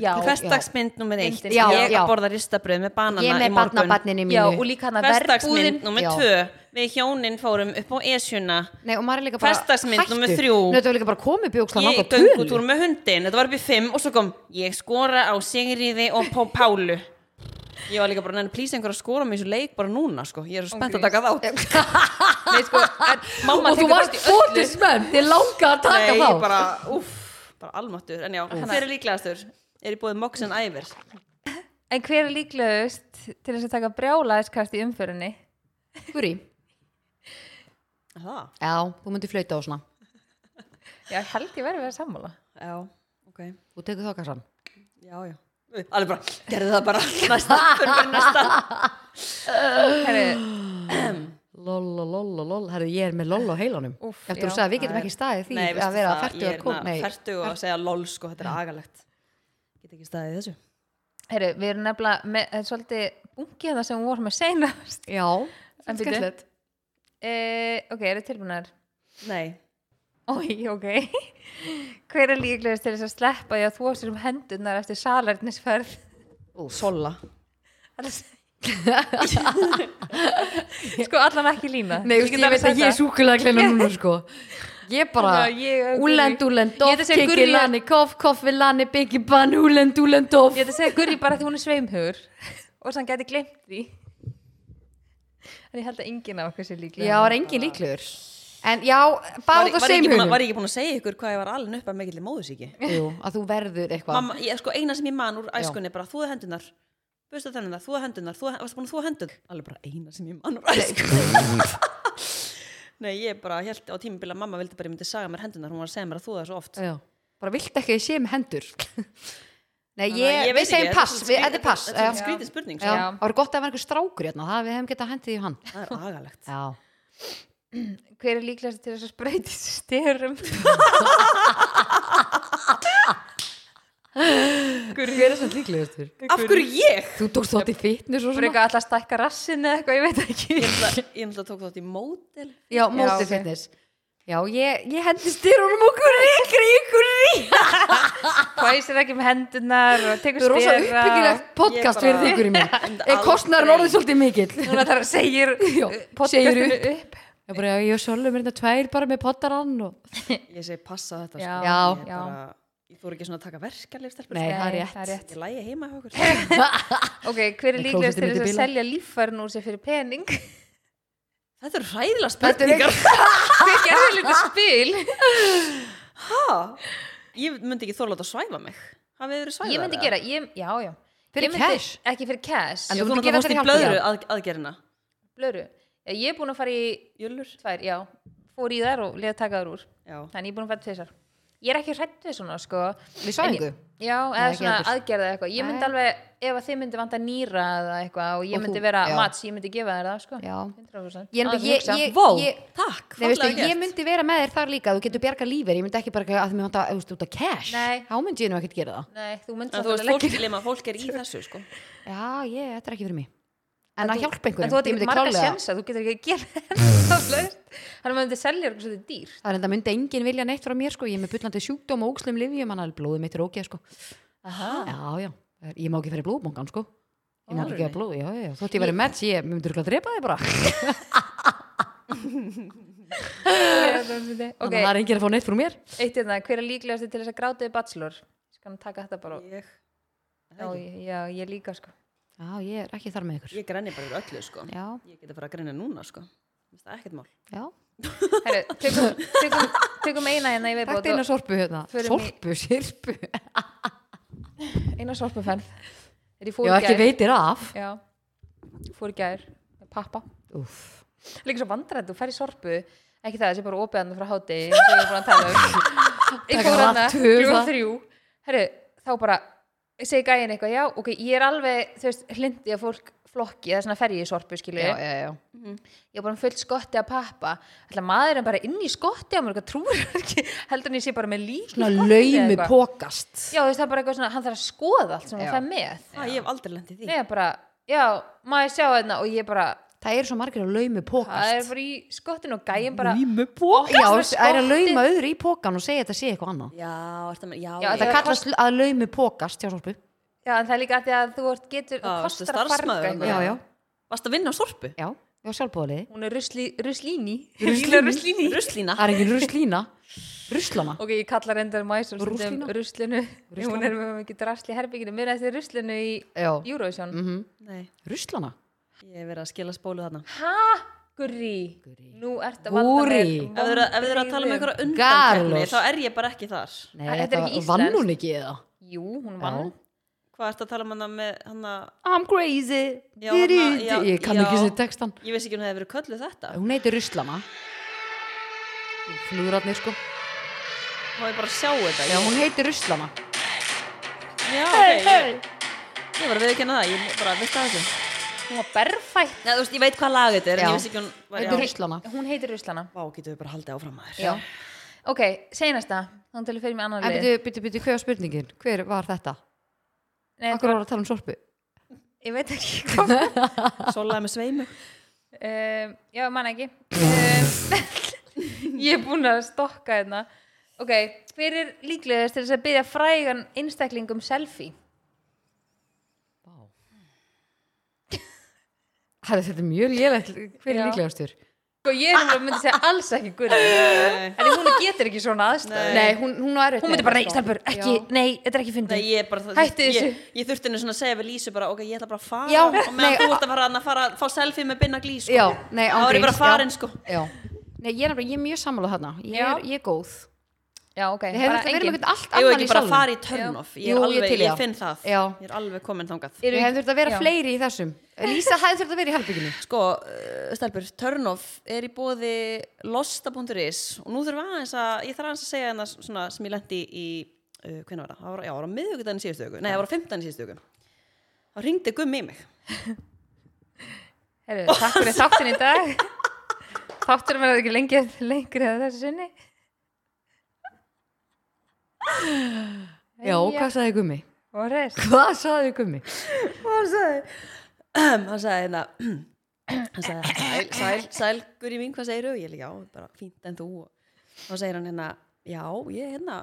C: Já,
A: Hverstagsmynd nummer eitt
C: Myndin, já,
A: Ég
B: já.
A: að borða ristabröð með banana
B: Ég
A: í
B: er með
A: morgun
B: barnabarninni mínu
C: já, og líka hann að
A: Hverstagsmynd
C: verðbúðin
A: nummer
B: Já.
A: tvö Við hjónin fórum upp á Esjuna
B: Nei, og maður er líka bara
A: Hversdagsmynd
B: hættur.
A: númer þrjú.
B: Nei, Þetta var líka bara komið bjókslega
A: Ég
B: langa tölu
A: göngutúr með hundin Þetta var upp í fimm og svo kom Ég skora á Sigriði og Pó Pálu Ég var líka bara Nenni, please einhver að skora mig í þessu leik bara núna sko Ég er svo spennt að taka þátt
C: Nei, sko, en
B: Og
C: mamma
B: þú
C: tekur
B: varst
C: þátt í öllu
B: fótismenn Þið langa að taka
A: Nei,
B: þá
A: bara, úff, bara almáttur En já, hver er líklegastur? er í bóði Mox and Iver
C: En hver er líklegust til þess að taka brjálaðiskast í umförinni?
B: Guri,
A: Það?
B: já, þú myndir flauta á svona
C: Já, ég held ég verið að vera sammála.
A: Já, ok
B: Þú tekur þá kassan
A: Já, já Alveg bara, gerðu það bara Næsta, fyrir bara næsta
C: Herri,
B: Lolo, lolo, lolo, herðu ég er með lolo á heilanum
C: Úff,
B: Eftir
C: já,
B: þú sagði, við getum
A: það er-
B: ekki staðið því
A: veistu
B: að vera
A: það,
B: færtu
A: ég
B: að
A: er
B: koma Nei,
A: Færtu og að segja lol, sko, þetta er agalegt Get ekki staðið í þessu
C: herri, við erum nefnilega með það er svolítið bungið það sem við vorum með seinast.
B: já,
C: En bíddu.
B: skemmtilegt
C: E, ok, eru tilbúinar?
A: Nei,
C: Ói, ok. Hver er líklegust til þess að sleppa því að þú sér um hendurnar eftir salernisferð?
A: sola
C: Það er að segja- sko, allan ekki lína.
B: Nei, þú veist, ég veit að ég er súkulega kleina núna, sko Ég bara,
C: Þannig að ég er
B: úlend,
C: Gurrí.
B: úlend,
C: Ég
B: doff,
C: ætla að segja
B: kikki,
C: Gurrí-
B: lani, koff, koffi, lani, byggi, bann, úlend, úlend, doff
C: Ég ætla að segja Gurri bara því hún er sveimhugur og þannig gæti glemt því. En ég held að enginn af okkur sé líklega.
B: Já, er engin líklegur En já,
A: var,
B: báð
A: var,
B: og
A: ég
B: seim
A: ekki búin að-
B: hugum
A: var ég ekki búin að segja ykkur hvað ég var alveg upp að mikill móðusíki
B: Jú, að þú verður eitthvað
A: Mamma, ég, sko, eina sem ég man úr æskunni er bara þú að hendunar Busta þennan það, þú að hendunar Þú varst búin að þú að hendur Alveg bara eina sem ég man úr æskunni Nei, ég bara held á tímabili að mamma vildi bara ég myndi saga mér hendunar Hún var að segja mér að þú það svo oft
B: Já. Bara vilt ekki að ég sé með hendur Nei,
A: Þannig að
B: ég,
A: ég veit
B: við
A: ekki,
B: segjum
A: þetta er svolítið skrítið-
B: pass, við, þetta er pass
A: þetta er
B: já.
A: svolítið skrítið spurning,
B: Já,
A: sko.
B: það var gott að það var einhver strákur hérna, það við hefum getað hendið í hann
A: Það er agalegt
B: Já,
C: Hver er líklegast til þess að spreyti styrum?
B: hver er sann líklegastur?
A: Af hverju ég?
B: Þú tókst þátt í fitness og svona
C: Breka alltaf að stækka rassin eða eitthvað, ég
A: Ég
C: veit ekki.
A: náttúrulega ég náttúrulega tók þátt í mótel
B: Já, mótið
C: ok.
B: fitness Já, ég, ég hendi styrunum okkur ykkur ykkur
C: Hvæsir ekki með hendurnar og tekur
B: Þú er rosa
C: stera.
B: uppbyggilegt podcast
A: Ég bara-
B: fyrir ykkur í mér
A: Enda
B: Er kostnarinn
A: aldrei.
B: orðið svolítið mikill?
C: Núna Uh, þar segir
B: Já, segir
C: podcastinu
B: upp
C: upp.
B: Ég bara, já, ég og Sölum er þetta tvær hérna bara með pottarann og...
A: Ég segi passa þetta sko. Ég,
B: Já.
C: Já, já.
A: bara, ég þú ekki svona að taka verkeflið stelpur
B: Nei, það er
C: Nei,
B: rétt.
C: það er rétt.
A: Ég lægi heima hjá okkur
C: Ok, hver er
B: En
C: líklegast
B: klósettið
C: til þess
B: myndi
C: að
B: bila.
C: selja líffærin úr sér fyrir pening?
A: Þetta eru hræðilega
B: Þetta er
A: spurningar
C: Hver gerði lítið spil?
A: ha, Ég myndi ekki þóla að svæfa mig Hafið þið verið svæfað?
C: Ég myndi
A: eða?
C: gera, ég, já, já.
B: Fyrir
C: Ég myndi-
B: cash?
C: Ekki fyrir cash.
B: En
A: Ég
B: þú
A: þú
B: myndi
A: náttúrulega
B: gera
A: fórst í
B: þetta hjálpa
A: blöðru
B: þér.
A: að, aðgerina
C: blöru ég er búin að fara í
A: Jölur
C: tvær, já, fór í þær og leða taka þær úr
A: Já,
C: þannig ég er búin að fara tvisar ég er ekki hrætt við svona sko
B: Við svæðingu?
C: En ég- já,
B: Nei,
C: eða
B: ekki
C: svona
B: heldur.
C: aðgerða eitthvað ég myndi
B: Nei.
C: alveg, ef að þið myndi vanta nýra eða eitthvað og ég
B: Og þú-
C: myndi vera
B: já.
C: match, ég myndi gefa þær það sko
B: Já. Ég,
C: 100% Aðeins
B: ég,
C: hugsa.
B: ég,
A: Vó,
B: ég,
A: takk,
B: Nei, veistu,
A: fallega
B: ég
A: gert.
B: myndi vera með þér þar líka þú getur bjarga lífið, ég myndi ekki bara að því mér vant að, þú veist, út að cash
C: Nei.
B: þá myndi ég nú ekkert gera það
C: Nei, þú myndi
A: En þú veist,
C: náttúrulega
A: fólk,
C: ekki-
A: lima, fólk er í þessu sko.
B: já, ég, þetta er ekki fyrir mig en að hjálpa
C: en
B: einhverjum,
C: þú
B: ég
C: ætti
B: myndi
C: marga
B: klálega
C: sjensa, þú getur ekki að gera þannig að maður myndi selja eitthvað svolítið dýr
B: það er enda myndi enginn vilja neitt frá mér, sko ég er með bullandi sjúkdóm og ógslum lifjum, hann er blóðið mitt er ógeð, sko
C: Aha.
B: já, já, ég má ekki fyrir blóðbongan, sko ég má ekki
A: Alvöru?
B: gefa blóð, já, já, já, þótt ég verið match ég myndi örugglega drepa þig bara þannig að það
C: ok,
B: er enginn að fá neitt frá mér
C: eitt hérna, hver er líklegast til þess að grátiði bachelor? Ég skal nú taka þetta bara og
A: Ég,
C: Já, ég- já, ég líka sko
B: já, ég er ekki þar með ykkur
A: ég grenni bara yfir öllu sko.
B: já,
A: Ég geti bara að grenja núna sko. Mér finnst Það er ekkert mál
B: já,
C: Heru, tökum, tökum, tökum eina hérna í
B: takk
C: viðbót
B: til eina sorpu hérna
C: Förum í-
B: sorpu, sirpu,
C: og- eina sorpuferð er ég fór
B: já,
C: í
B: ekki
C: gær
B: veitir af
C: já, fór í gær með pappa
B: Úff.
C: líka svo vandrætt, þú fer í sorpu ekki það, þessi bara opið hann frá háti eins og ég er búin að tala um ég
B: Taka
C: fór hann
B: vakt, huga.
C: kljóð þrjú Heru, þá bara, ég segi gæin eitthvað já, ok, ég er alveg, þú veist, hlindi að fólk flokki, eða svona fer ég í sorpu skilu
B: já, já, já
C: ég var bara fullt skotti að pappa ætla maðurinn bara inn í skotti á mér eitthvað trúr ekki, heldur hann ég sé bara með lík í
B: svona
C: skotti eða
B: laumi
C: eitthvað.
B: pókast
C: Já, þú veist, það er bara eitthvað svona, hann þarf að skoða allt sem
B: Já.
C: hann fær með.
A: Það ég hef aldrei lent í því
C: Nei, ég bara, já, maður sjá hérna og ég bara,
B: það eru svo margir að laumi
C: það er
B: pókast
C: bara í skottin og gæin bara,
B: pókast já,
C: Opnar
B: það er að
C: skottið.
B: lauma öðru í pókan og segja þetta sé eitthvað annað
A: Já, ertu að meina- já,
C: Já,
A: ég-
C: Það
B: það kallast að laumi pókast hjá sorpu
C: já, en það er líka að því að þú ert getur,
A: Já,
C: það
A: ertu
C: kostar að farga
A: starfsmaður
C: eitthvað.
B: já,
A: Já.
B: já,
A: Varst að vinna á sorpu?
B: já, já sjálfbóðaliði
C: Hún er rusli, ruslíni. Ruslíni. ruslíni.
A: Ruslína
B: það er engin ruslína ruslana
C: Ok, ég kalla reyndar mæsum stundum
B: Ruslína?
C: ruslinu.
B: Ruslana?
C: Hún er með mikið drasli í herbygginu, mér er eftir ruslinu í eh,
B: já,
C: Eurovision.
B: mhm,
A: Nei,
B: ruslana
A: ég hef verið að skila spólu þarna
C: Ha? Gurri.
B: Gurrí.
C: Nú ertu að valda mér.
B: Gúrrí.
A: Ef þið eru ef þið eru að tala um
C: vonbrigðum.
A: einhverja undankeppni
B: Garlos.
A: þá er ég bara ekki þar
B: nei,
C: Æ, þetta er
B: þetta
C: ekki
B: vann
C: íslenskt.
B: hún ekki eða
C: Jú, hún vann.
A: Hvað ertu að tala um hana með hana
B: I'm crazy
A: Já,
B: Didi-
A: hana- já,
B: Ég kann
A: já.
B: ekki þessi textan
A: Ég veist ekki hún hefði verið kölluð þetta
B: Hún heitir Ruslana Flúratnir sko
A: Hún hefði bara að sjá þetta
B: Já, hún heitir Ruslana
A: Já, ok Ég, ég var að viðkynna það Ég bara veit það þessu
C: Hún var berfætt
A: Nei, þú veist, ég veit hvað lag þetta er
B: Já.
A: En ég veist ekki hún var
B: Heitir
A: já.
B: Ruslana
C: Hún heitir Ruslana
A: Vá, getum við bara haldið áfram að þér
C: Já Ok, seinasta Þannig til að fyrir mig annan
B: En
C: lið
B: byrju, byrju, byrju, hver var spurningin? Hver var þetta?
C: Nei, þetta
B: Akkur
C: var-
B: var að tala um sorpu?
C: Ég veit ekki hvað
A: Sólaði með sveimu
C: um, Já, mann ekki um, Ég er búin að stokka hérna Ok, hver er líklegast til þess að byrja frægan einstakling um selfie?
B: Hæði þetta er mjög lélegt Hver er
C: Já.
B: líklegastur?
C: Sko, ég er nefnilega að myndi segja alls ekki Guri En hún getur ekki svona aðstæður
B: Nei, hún, hún var erfitt
C: Hún
B: með
C: myndi
B: þetta,
C: bara, nei,
B: sko.
C: stelpur, ekki,
B: Já.
C: nei, þetta er ekki
A: Nei,
C: fyndið
A: ég er bara
C: Hættu
A: ég,
C: þessu.
A: ég þurfti henni svona að segja við Lísu bara Ok, ég ætla bara að fara
B: Já,
A: Og meðan
B: nei,
A: þú ert að fara, að fara að fá selfie með Binna Glís sko.
B: Já, nei,
A: Þá er ég bara
B: ángríns,
A: farin
B: já.
A: sko
B: Já Nei, ég er, nefnilega- ég er mjög sammála þarna Ég
C: Já.
B: er, ég er góð
C: Já, ok,
B: Ég hefði þetta verið með eitthvað allt
A: Ég var
B: annan í
A: ekki bara að
B: salnum
A: fara í turn off Ég, er
B: Jú, ég
A: alveg,
B: til í
A: ég,
B: það.
A: finn það
B: Já.
A: Ég er alveg komin þangað
B: Ég hefði þurft að vera
C: Já.
B: fleiri í þessum Lísa hefði þurft að vera í herbygginu
A: Sko, uh, stelpur, turn off er í bóði losta.is og nú þurfum aðeins að, ég þarf aðeins að segja hérna svona sem ég lendi í, uh, hvernig var það? það var, já, það var á miðvikudaginn í síðustu viku, nei, það var á fimmtudaginn í síðustu viku. Þá ringdi Gummi í mig.
C: Herru, takk fyrir þáttin í dag Þátturum verður ekki lengi, lengri að þessu sinni
B: Já,
C: Jæja.
B: hvað saði gummi?
C: Og res
B: Hvað saði gummi?
A: Og hann sagði, hann sagði hérna, hann sagði, sæl, sæl, sæl, Guri mín, hvað segir þú? Ég líka, já, bara fínt en þú. Og þá segir hann hérna, já, ég hérna,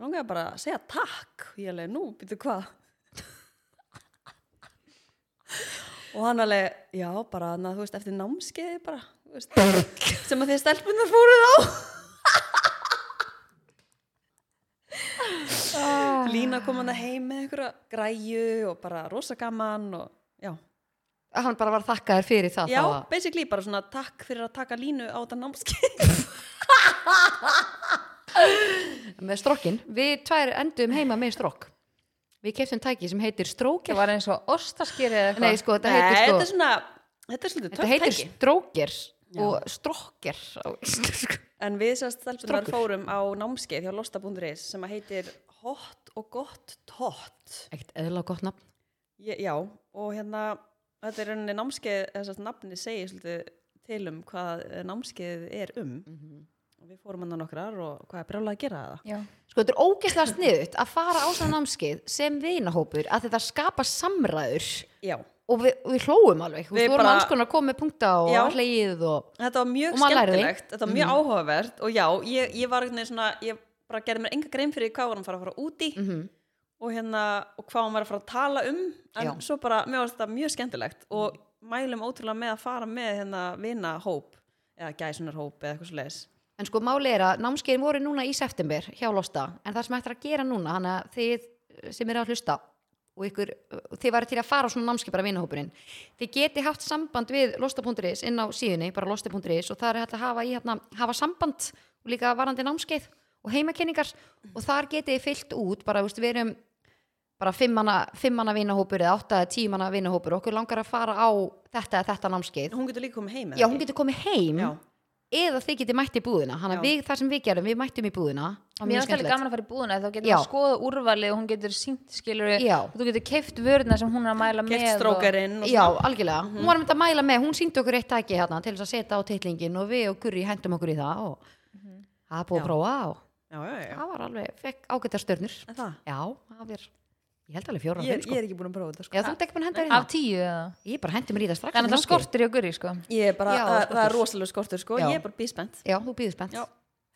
A: langaði bara að segja takk. Ég alveg, nú, býttu hvað? Og hann alveg, já, bara, na, þú veist, eftir námskeiði bara, þú veist, sem að þið stelpunar fóruð á. Lína kom hann heim með einhverja græju og bara rosa gaman og já,
B: Hann bara var þakkaður fyrir það
A: já
B: þá að-
A: basically bara svona takk fyrir að taka Línu á þetta námskeið.
B: með strokkin við tvær endum heima með strokk við keftum tæki sem heitir stróker
C: Það var eins og ostaskýri eða
B: nei
C: eitthvað
B: sko þetta
A: Nei,
B: heitir
A: þetta er
B: sko
A: svona, þetta er svolítið
B: þetta
A: töff
B: heitir
A: tæki.
B: stróker og strokker á íslensku
A: En við sérst stelpunar fórum á námskeið hjá Losta.is sem að heitir Hot og gott tótt.
B: ekkert eðla gott nafn
A: Ég- Já, og hérna, þetta er rauninni námskeið, þess að nafni segir svolítið til um hvað eh, námskeið er um.
B: Mhm.
A: Og við fórum hann nokkrar og hvað er brjálað að gera það?
C: Já,
B: sko þetta er ógeðslega sniðut að fara á svona námskeið sem vinahópur að þetta skapa samræður
A: Já,
B: og við, og við hlóum alveg við,
A: Við
B: við vorum
A: bara-
B: alls konar að koma með punkta og
A: Já.
B: hlegið og
A: þetta var mjög
B: Og maður lærði. Mhm.
A: skemmtilegt þetta var mjög áhugavert og já, ég, ég var einhvern veginn svona, ég bara gerði mér enga grein fyrir hvað var hann að fara að fara út í
B: Mhm.
A: og hérna, og hvað hann var að fara að tala um en
B: Já.
A: svo bara, mér var þetta mjög skemmtilegt og mælum ótrúlega með að fara með hérna vinahóp eða gæsunarhóp eða eitthvað svo leis
B: En sko máli er að námskeiðin voru núna í september hjá Losta, en það sem ættir að gera núna þannig að þið sem eru að hlusta og ykkur, þið væri til að fara á svona námskeið bara vinahópurinn, þið geti haft samband við losta.is inn á síðunni bara losta.is og það er hægt að hafa, í, hérna, hafa samband og líka varandi námskeið og heimakenningar og þar getið þið fyllt út, bara þú veist, við erum bara fimmanna, fimmanna vinahópur eða átta eða tímanna vinahópur, okkur langar að fara á þetta eða þetta námskeið
A: hún getur líka komið heim eða
B: Já,
A: ekki?
B: hún getur komið heim
A: Já.
B: eða þið getið mætt í búðina þannig
A: Já.
B: að við, það sem við gerum, við mættum í búðina það var
C: mér
B: mjög
C: er alltaf
B: skemmtilegt
C: gaman að fara í búðuna þá getur
B: Já.
C: hún skoða úrvalið og hún getur sínt skilur
B: Já.
C: og þú getur keift vörðna sem hún er að mæla með
A: kert strókarinn og
B: Já, algjörlega,
A: Mhm.
B: hún var mynd að mæla með hún síndi okkur eitt tæki hérna til þess að setja á titlingin og við og Gurri hendum okkur í það og það er búið að prófa og
A: Mhm. já, já, já, já.
B: það var alveg, fekk ágættar störnur
A: En það,
B: Já, það var, ég held alveg fjóra
A: ég,
B: ég,
A: er-
B: sko.
A: ég er ekki búin að prófa þetta sko.
B: Já, þú ert ekki búin að henda þér í
C: svona af
B: það
C: tíu eða
B: Ég bara hendi mér í það strax
C: það
B: eftir
C: er náttúrulega
B: námskeiðið.
C: skortur í að gurri sko
A: ég er bara,
B: Já,
A: það, það er
B: skortur.
A: rosalega skortur sko,
B: Já.
A: ég er bara bíspennt
B: Já, þú býður spennt
A: Já.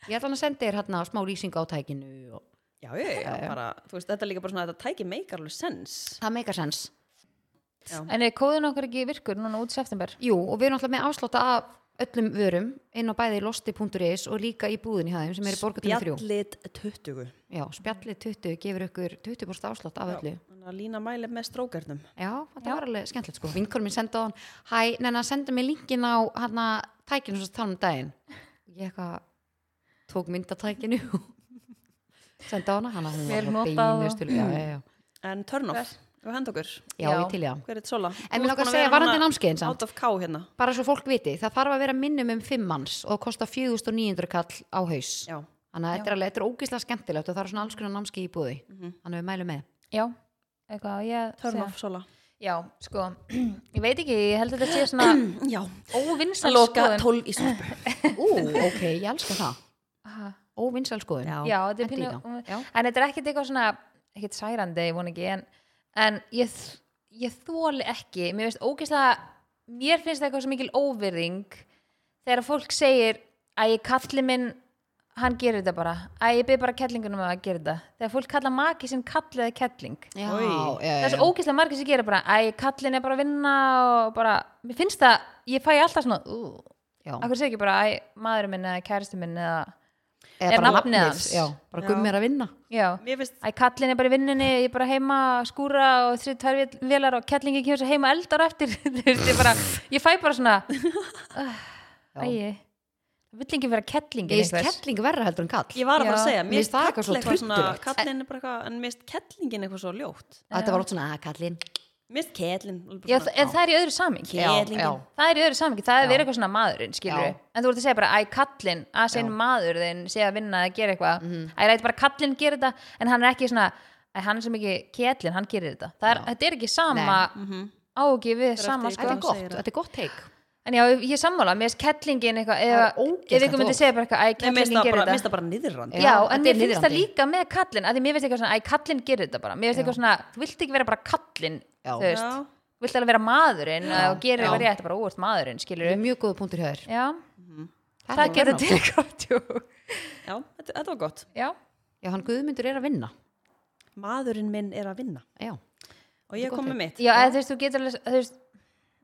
B: Ég ætla hann að senda þér hérna smá lýsing á tækinu og...
A: já, já, já, já, bara, þú veist, þetta er líka bara svona þetta tæki meikar alveg sens
B: Það meikar sens
C: en er kóðun okkur ekki virkur núna út september
B: Jú, og við erum alltaf með afsláta af öllum vörum inn á bæði losti.is og líka í búðin hjá þeim sem eru borgatum þrjú.
A: Bjallit 20
B: Já, spjallið 20 gefur ykkur 20% afslátt af öllu.
A: Þannig að Lína mæli með strókarnum.
B: Já, þetta var alveg skemmtilegt sko. Vinkonum minn senda á hann, hæ, neina, senda mér linkin á hann að tækinu svo tala um daginn. Ég eitthvað tók mynd af tækinu og senda á hana, hann að hún
C: Vel
B: var
C: notað og-
B: beinust til, já, já, já.
A: En turn off. og hend okkur
B: já,
C: Já.
B: ég til ég á
A: hver er þetta sola?
B: en mér langar að segja varandi námskeiðin samt
A: out of cow hérna
B: bara svo fólk viti, það þarf að vera minnum um 5 manns og kosta 4900 kall á haus
A: já,
B: þannig að þetta er alveg, þetta er ógislega skemmtilegt og það eru svona alls konar námskeið í búði
A: Mhm.
B: þannig að við mælum með
C: já, eitthvað á ég að
A: turn
C: segja?
A: off sola
C: já, sko, ég veit ekki ég held að þetta sé svona
A: já,
C: óvinsal
A: loka
C: skoðun
A: 12 í svolpu
B: Ú, ok, ég elska það
C: Aha.
B: óvinsæl skoðun
A: Já.
C: já,
B: Hendi
C: þetta er
B: í
C: pínu
B: þá. Já.
C: en þetta er ekkit eitthvað svona ekkit særandi, ég von ekki en, en ég, þ- ég þóli ekki mér finnst ógeðslega mér finnst það eitthvað svo mikil óvirðing þegar fólk segir að ég kalli minn hann gerir þetta bara að ég byrð bara kettlingunum að gera þetta þegar fólk kalla maki sinn kalli eða kettling
B: Já,
A: Oj.
B: já,
C: það er
B: já.
C: svo ógeðslega margir sem gera bara að ég kallin er bara að vinna og bara, mér finnst það, ég fæ alltaf svona uh,
B: já.
C: akkur segir ekki bara að maðurinn minn eða kæristi minn eða,
B: eða
C: er
B: bara
C: nafnið
B: nafnið
C: hans?
B: já, bara
A: Já.
B: gummir að vinna
C: já
A: mér finnst
C: Æ, kallin er bara í vinninni, ég er bara heima að skúra og þrið tvær vél- vélar og kellingi kemur svo heima eldar eftir Þú veist, ég, bara, ég fæ bara svona
B: Já.
C: ægi það vill ekki vera kellingi
B: ég veist kettling verra heldur en kall
A: ég var að fara að
C: Já.
A: segja,
B: Mér
A: mér
B: finnst
A: finnst
B: það
A: kall
B: eitthvað svo
A: eitthvað svona
B: trullulegt.
A: kallin er bara eitthvað, en mér finnst kettlingin eitthvað svo ljótt
B: Að þetta var ótt svona "Ah, að kallin
A: mér finnst kettlin
C: já, þ- en það er í öðru samingi
B: Já,
A: Kettlingin.
B: já.
C: það er í öðru samingi, það er verið eitthvað svona maðurinn skilur
B: Já.
C: en þú ert að segja bara, æ, kallin að segja maður þinn, segja að vinna að gera eitthvað
B: Mhm.
C: æ, ég ræði bara kallin gera þetta en hann er ekki svona, æ, hann er svo mikið kellin, hann gerir þetta, það er, þetta er ekki sama á ekki við sama
A: eftir-
B: Mhm. þetta er
C: sko
A: þú
B: gott,
A: segir það.
B: þetta er gott teik
C: En já, ég ég sammála, mér finnst kettlingin eitthvað
B: Það er
C: ef-
B: ógeðslegt
C: ef einhver myndi
B: orð.
C: segja bara eitthvað, æ,
A: mér finnst
C: kettlingin
A: það bara-
C: gerir
A: mér finnst það
C: þetta
A: bara niðurrandi
B: Já,
C: Já,
B: þetta
C: en
B: er
C: mér finnst það
B: niðrandi.
C: líka með kallin af því mér finnst eitthvað svona, æ, kallin gerir þetta bara mér finnst eitthvað svona, þú vilt ekki vera bara kallin
B: Já.
C: þú veist,
A: Já.
C: þú vilt alveg vera maðurinn og
B: Já.
C: gerir eitthvað rétt, bara úrst maðurinn, skilur
B: Þetta er mjög góða punktur hjá þér
C: Já,
B: Þetta
C: það
B: er
C: getur
B: gott.
C: til eitthvað tjú.
A: já, þetta, þetta var gott
C: Já,
B: já, hann guðmyndur er að vinna
A: maðurinn minn er að vinna
B: já,
A: og ég kom með mitt
C: já, eða þú veist, þú getur alveg, þú veist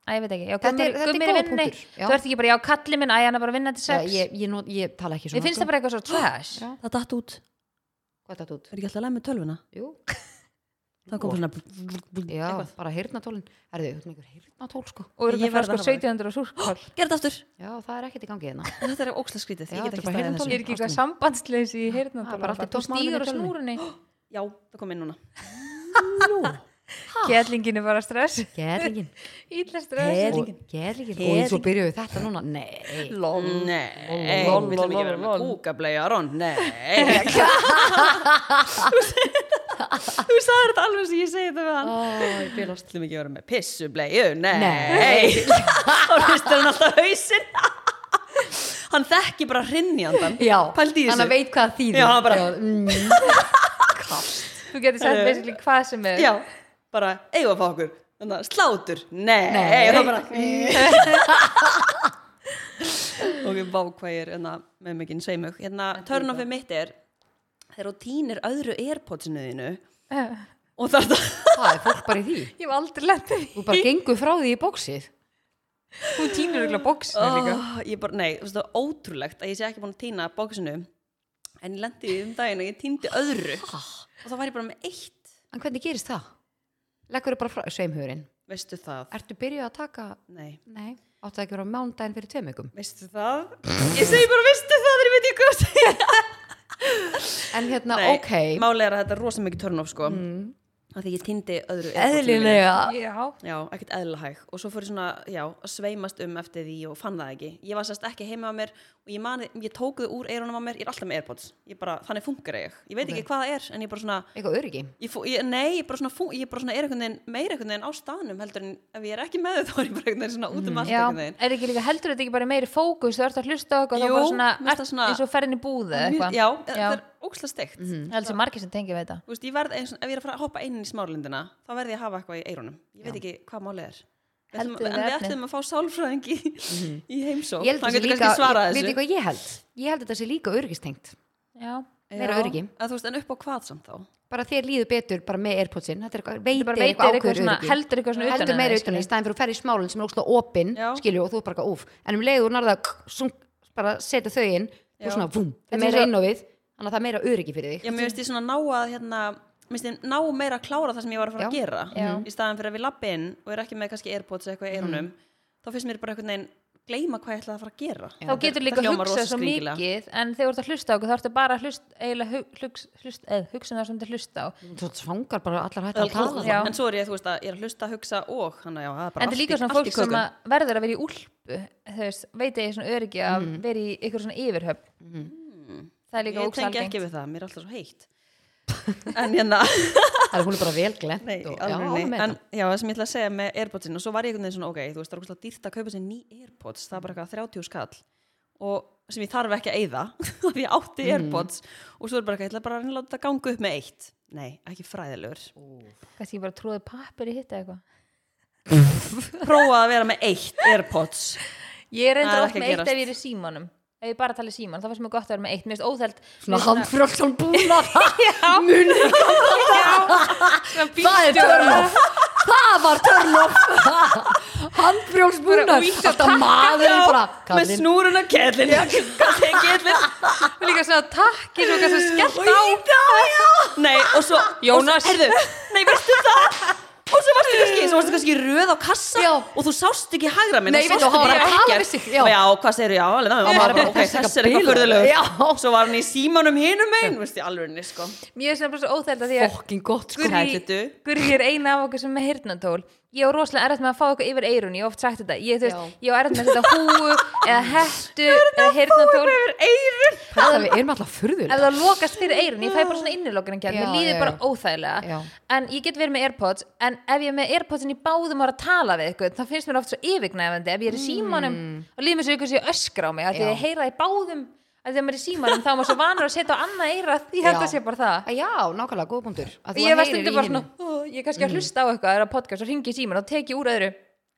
C: Æ, ég veit ekki, já,
B: Þetta er-
C: gummir,
B: þetta er
C: gummir
B: góður
C: vinni
B: punktur, já.
C: Þú ert ekki bara, já, kallin minn, æ, hann er bara að vinna til
B: já
C: sex
B: ég, ég, not, ég tala ekki svona
C: Mér finnst það bara eitthvað svo trash
B: Já.
A: það datt út,
B: hvað er þetta út?
A: er ekki alltaf að læma með tölvuna
B: Jú,
A: það kom svona
B: já, bara heyrnatólin Erðu, þú ert með einhver heyrnatól sko
C: Og eru
A: Ég
C: þetta frá
A: verð
C: sko
A: að hafa-
C: 1700 og súrkál
A: gerð þetta aftur,
B: Já, það er ekkert í gangi hérna
A: þetta er ókslega skrítið
B: Já,
A: ég get ekki
B: þetta er
A: staðið
B: bara heyrnartól.
A: þessu
C: Ég er ekki eitthvað
B: Ástin.
C: sambandsleysi
B: Það
C: í heyrnandóla
B: er bara allt í
C: Þú
B: toppmálinu
C: stýgur
B: í
C: á
B: tölvunni.
C: snúrunni
A: já, það kom inn núna
C: Kjellingin er bara stress
B: Gerlingin
C: Ítla
A: Hell.
C: stress
A: Kerlingin.
B: Gerlingin
A: Kerlingin.
B: Og svo byrjuðu við þetta núna Nei
A: lol, nei,
B: lol,
A: við þurfum ekki
C: lol,
A: að vera
C: lol.
A: með kúkableið Aron, nei þú sagði þetta alveg sem ég segi þetta við hann
B: Ó, ég
A: Þú
B: byrja
A: ætlum ekki að vera með pissubleiu, nei,
B: Nei.
A: Þá hristir hann alltaf hausinn Hann þekki bara hrinnjandan
B: Já,
A: Pældi í
B: hann
A: þessu
B: að veit hvað það þýðir
A: Já, hann bara-
B: mm,
C: Þú getur sett
A: Herðu.
C: basically hvað sem er
A: Já, bara eigum að fá okkur Þannig að Slátur, nei,
B: Nei.
A: Og það bara Ok, vá hvað ég er enna, með mikinn sveimug Hérna, törnofið mitt er Þegar þú tínir öðru airpodsinu þínu Og þarf það
B: Það er fólk bara í því
C: Ég hef aldrei lent í
B: Þú bara gengur frá því í bóksið
C: Þú tínur eitthvað bóksinu líka
A: oh, ég bara, nei, þú veist það er ótrúlegt að ég sé ekki búin að týna bóksinu en ég lendi því um daginn að ég týndi öðru og þá var ég bara með eitt
B: En hvernig gerist það? Leggur bara frá sveimhugurinn
A: veistu það,
B: Ertu byrjuð að taka
A: nei,
B: Nei Áttu það ekki að vera á mándaginn fyrir tveim vikum
A: veistu það ég segi bara veistu það þegar ég veit ekki hvað að segja
B: En hérna,
A: nei,
B: ok
A: málega er að þetta er rosa mikið törn of sko mm. að því ég týndi öðru airpodsinu mínu.
B: Eðlilega
C: Já
A: já, ekkert eðlahæg og svo fór ég svona, já, að sveimast um eftir því og fann það ekki ég var sérst ekki heima á mér og ég mani, ég tók þau úr eirunum á mér, ég er alltaf með airpods ég bara, þannig funkar ég, ég veit ekki hvað það er en ég bara svona,
B: Eitthvað öryggi
A: ég fó, ég, nei, ég bara svona, fú, ég bara svona er einhvern veginn, meira einhvern veginn á staðnum heldur en ef ég er ekki með þau þá er ég bara einhvern veginn svona út um allt
C: Já,
A: einhvern veginn
C: er ekki líka heldur þetta ekki bara meiri fókus Þú ert að hlusta á
A: Jú,
C: eitthvað Þú bara svona,
A: mér finnst
C: ert
A: það svona-
C: eins og ferðin í búðu
A: Mér-
C: eitthvað Mhm. Mm.
A: já, þetta er ókslega steikt
C: Það er alveg sem margir sem tengja við þetta
A: þú veist, ég verð eins og, ef ég er að fara að hoppa inn í smárlindina þá verð ég að hafa eitthvað í eirunum ég veit ekki hvað málið er Við ætlum,
C: Heldur
A: en við
C: við efnið. Mhm.
A: ætlum að fá sálfræðingi í heimsók
B: Ég
A: hann
B: held þessi
A: getur
B: líka
A: kannski svarað
B: Veit
A: þessu
B: ég hvað ég held? Ég held að þetta sé líka öryggistengt
C: Já
B: meira
A: Já.
B: öryggi.
A: Að þú veist, en upp á hvað samt þá
B: bara þér líður betur bara með Airpodsinn þetta er eitthvað, veitir
C: Bara
B: eitthvað
C: veitir
B: ákveður
C: eitthvað svona,
B: öryggi.
C: heldur eitthvað svona
B: heldur
C: utan um
B: meira
C: þig,
B: utan um þig, í
C: skilur.
B: staðin fyrir að ferja í smálinn sem er óslega opinn,
A: Já.
B: skilju, og þú er bara eitthvað úf en um leiður nærða, bara setja þau inn þú
A: Já.
B: svona, vum,
C: er
B: þetta er meira
C: svo-
B: inn á við þannig að það er meira öryggi fyrir
A: Já,
B: þig
A: mér finnst ég svona ná að hérna, mér finnst ég ná meira að klára það sem ég var að fara að
B: Já.
A: gera Mhm.
C: Já. Mhm.
A: í staðan fyrir að við lappa inn og er ekki með kannski airpods eða eitthvað í eyrunum þá finnst mér bara einhvern veginn gleyma hvað ég ætlaði að fara að gera
B: Já.
C: þá getur líka
A: hljómar
C: hugsað
A: rosa
C: svo
A: skringilega.
C: mikið en þegar þú ert að hlusta á okkur þá ertu bara að hlust, eiginlega hug, hlugs, hlust, eð, hugsun það sem þú ert að hlusta á
B: Þú svangar bara allar hægt að tala
C: Já.
A: Já. en svo er ég, þú veist, að ég er að hlusta að hugsa og hann að já, það er bara
C: en það er líka svona fólk sem að verður að vera í úlpu þú veist, veit að ég er svona öryggi að vera í ykkur svona yfirhöfn það er líka
A: ég tengi
C: óksalgengt
A: ekki við það, mér er alltaf svo heitt en hérna
B: Það er hún er bara vel glemt
A: Nei,
B: og, já,
A: alveg
B: með
A: nei, en
B: þetta.
A: já, það sem ég ætla að segja með Airpodsinn og svo var ég einhvern veginn svona, ok, þú veist, það er okkur dýrt að kaupa sér ný Airpods, það er bara eitthvað 30 skall og sem ég þarf ekki að eyða af ég
B: Mhm.
A: átti Airpods og svo er bara eitthvað, ég ætla bara að reyna að láta það ganga upp með eitt nei, ekki fræðilegur
C: kannski bara tróði pappir í hitta eitthvað
A: prófa að vera með eitt Airpods
C: ég er
A: Það
C: reyndar
A: er
C: oft
A: ekki að
C: með eitt
A: gerast.
C: ef ég er í símanum ef ég bara tala í síman, þá fannst mér gott að vera með eitt mér finnst óþælt
B: Svona handfrjálsson búnað Munið Það er
C: bílstjóra.
B: törnof Það var törnof Handfrjálsbúnað Alltaf maðurinn bara
A: með
B: Kallinn
A: snúruna kellin
C: Mér líka svona takki svo kannski skellt á
A: nei, og svo og
C: Jónas.
A: svo- heyrðu, nei, veistu það og svo varstu kannski, svo varstu kannski í röð á kassa
B: Já.
A: og þú sást ekki hægra minn
B: Nei,
A: þú sást
B: veitu, hann var
A: bara
B: að tala
A: ekkert.
B: við sig, já.
A: já, hvað segir já, alveg, það var bara, ok, þessi er eitthvað
B: Já.
A: fyrðulegur svo var hann í símanum hinum einn veist ég alveg henni, sko
C: Mér er svona bara svo óþælt að því að
B: Fokkin gott sko
A: Guri. Hellitu.
C: Guri er eina af okkur sem er með hirtnatól Ég á rosalega erfitt með að fá eitthvað yfir eirun Ég hef oft sagt þetta Ég, þú veist, ég á erfitt með að setja húu eða hettu eða hirtnatól
A: yfir eirun
B: Þetta við erum alltaf
C: Ef
B: furðulega
C: það lokast fyrir eirun, ég fæ bara svona innilokunin kjart Mér
B: Já,
C: líður
B: já,
C: bara
B: já.
C: óþægilega
B: Já.
C: En ég get verið með Airpods En ef ég er með Airpodsin í báðum ára að tala við ykkur þá finnst mér oft svo yfirgnæfandi Ef ég er í símanum og líður mér svo ykkur sem ég öskra á mig af
B: Mm.
C: Því
B: Já.
C: að ég heyra það í báðum að þegar maður er í símanum þá er maður svo vanur að setja á annað eira því að
B: Já.
C: það sé bara það
B: Já, nákvæmlega, góð punktur Að þú
C: ég
B: heyrir Mm.
C: var
B: í
C: stundum bara
B: hinum.
C: svona "Ó, ég er kannski að hlusta á eitthvað, það er að podcast og ringi í síman og teki úr öðru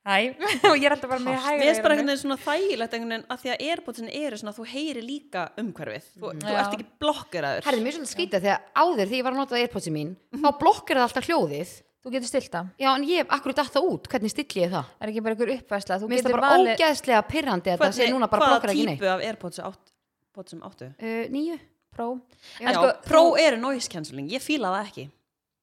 C: hæ, og ég er alltaf bara með hægra
A: Mér finnst bara einhvern
C: eyranu.
A: veginn svona þægilegt einhvern veginn að því að Airpodsin eru svona þú heyri líka umhverfið þú,
B: Mm.
A: þú
C: Já.
A: ert ekki blokkeraður
B: Herði, mér er svolítið skrítið þegar áður þegar ég var að nota Airpodsi mín
A: Mhm.
B: þá blokkir það alltaf hljóðið
C: þú getur stilt það,
B: Já, en ég, akkur datt það út, hvernig stilli ég það?
C: það er ekki bara einhver uppfæsla þú
B: Mér finnst
C: getur
B: það bara
C: valið
B: ógeðslega pirrandi að það sé núna bara
A: hvaða
B: blokkar ekki neitt
A: típu af Airpods átt, Podsum áttu?
B: uh, Nýju
C: pró
A: Já,
C: en, sko,
A: pró
C: þú,
A: eru noise cancelling, ég fíla það ekki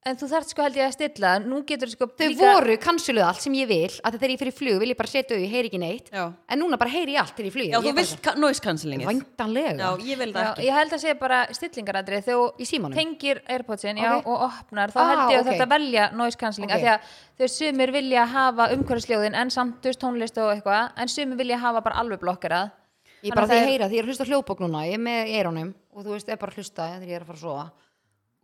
C: en þú þarft sko held ég að stilla það. nú getur sko
B: Þau voru kansiluð allt sem ég vil að þegar ég fyrir flug vil ég bara setja þau, ég heyri ekki neitt
A: Já,
B: en núna bara heyri ég allt þegar ég flug
A: já þú vilt ka- noise cancellingið Já,
B: Væntanlega
A: ég vil það
C: Já,
A: ekki
C: ég held að segja bara stillingaradri þegar
B: Í símanum?
C: þú tengir Airpodsin
B: Ok.
C: já, og opnar, þá
B: Ah,
C: held ég
B: ok.
C: að þetta velja noise cancelling,
B: Ok.
C: af því að þau sumir vilja hafa umhverfisljóðin en samt þú veist, tónlist og eitthvað, en sumir vilja hafa bara alveg blokkerað
B: Ég bara því ég
C: Þannig að það er-
B: heyra því ég er að hlusta á hljóðbók núna ég er með eirónum og þú veist, ég er bara að hlusta þegar ég er að fara að sofa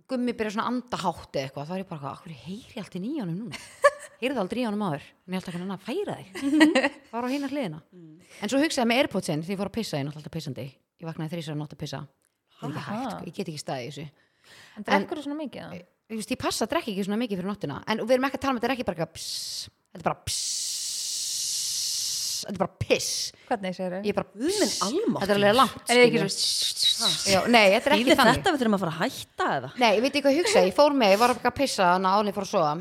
B: Gummi byrja svona andahátti eitthvað þá er ég bara, akkur heyri allt í nýjanum núna heyrði aldrei í honum áður en ég held ekki hann að færa þig fara á hinna hliðina
C: Mm.
B: en svo hugsaði ég með Airpodsin því ég fór að pissa ég er náttúrulega alltaf pissandi ég vaknaði þrísar að nótt að pissa það er ekki hægt, sko, ég get ekki staðið í þessu
C: En drekkur þú svona mikið? eða?
B: ég, veist, ég passa að drekka ekki svona mikið fyrir nóttina en við erum ekki að tala um þetta er ekki bara eitthvað pss, þetta er bara pss, þetta er bara piss
C: Hvernig segir þau?
B: ég er bara
A: Guðminn
B: pss,
A: almáttugur.
B: þetta er alveg langt
C: Er þið ekki
B: skilur.
C: svo
B: Já, nei, þetta er
A: Þýðir
B: ekki þannig
A: þetta við þurfum að fara að hætta eða?
B: nei, ég veit ekki hvað ég hugsa, ég fór með, ég var ekki að pissa þannig að án ég fór að sofa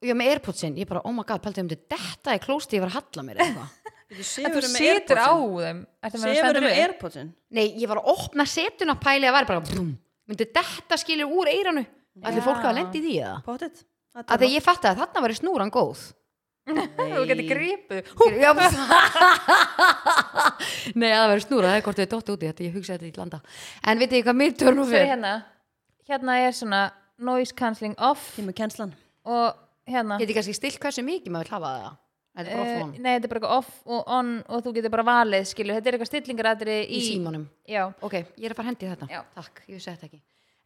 B: og ég var með Airpodsin, ég bara, oh my god, pæltu um þetta þetta er klósti, ég var að halla mér eitthvað
C: En þú situr á þeim Ertu með að
A: Sefur
C: standa
A: með
C: upp?
A: Airpodsin
B: nei, ég var að opna setuna pæli að vera bara, brum, myndi þetta skilur úr eiranu, allir
C: Já.
B: fólk hafa lendið í því eða?
A: Pottit
B: að því ég fatt að þarna var snúran góð
C: Þú getur gripið
B: Já, Nei, að það verður snúra, það er hvort þau dóttu út í þetta, ég hugsa þetta í landa. En veit ég hvað mér törnum
C: Svo
B: fyrir?
C: hérna Hérna er svona noise cancelling off
A: Kemur kennslan
C: og hérna
B: Ég geti kannski stilt hversu mikið maður vil hafa það. Þetta er bara
C: eh,
B: off one,
C: Nei, þetta er bara eitthvað off og on og þú getur bara valið, skilju Þetta er eitthvað stillingaratri
B: í símanum.
C: Já,
B: Ok, ég er að fara hendi í þetta.
C: Já.
B: Takk, ég vissi þetta ekki.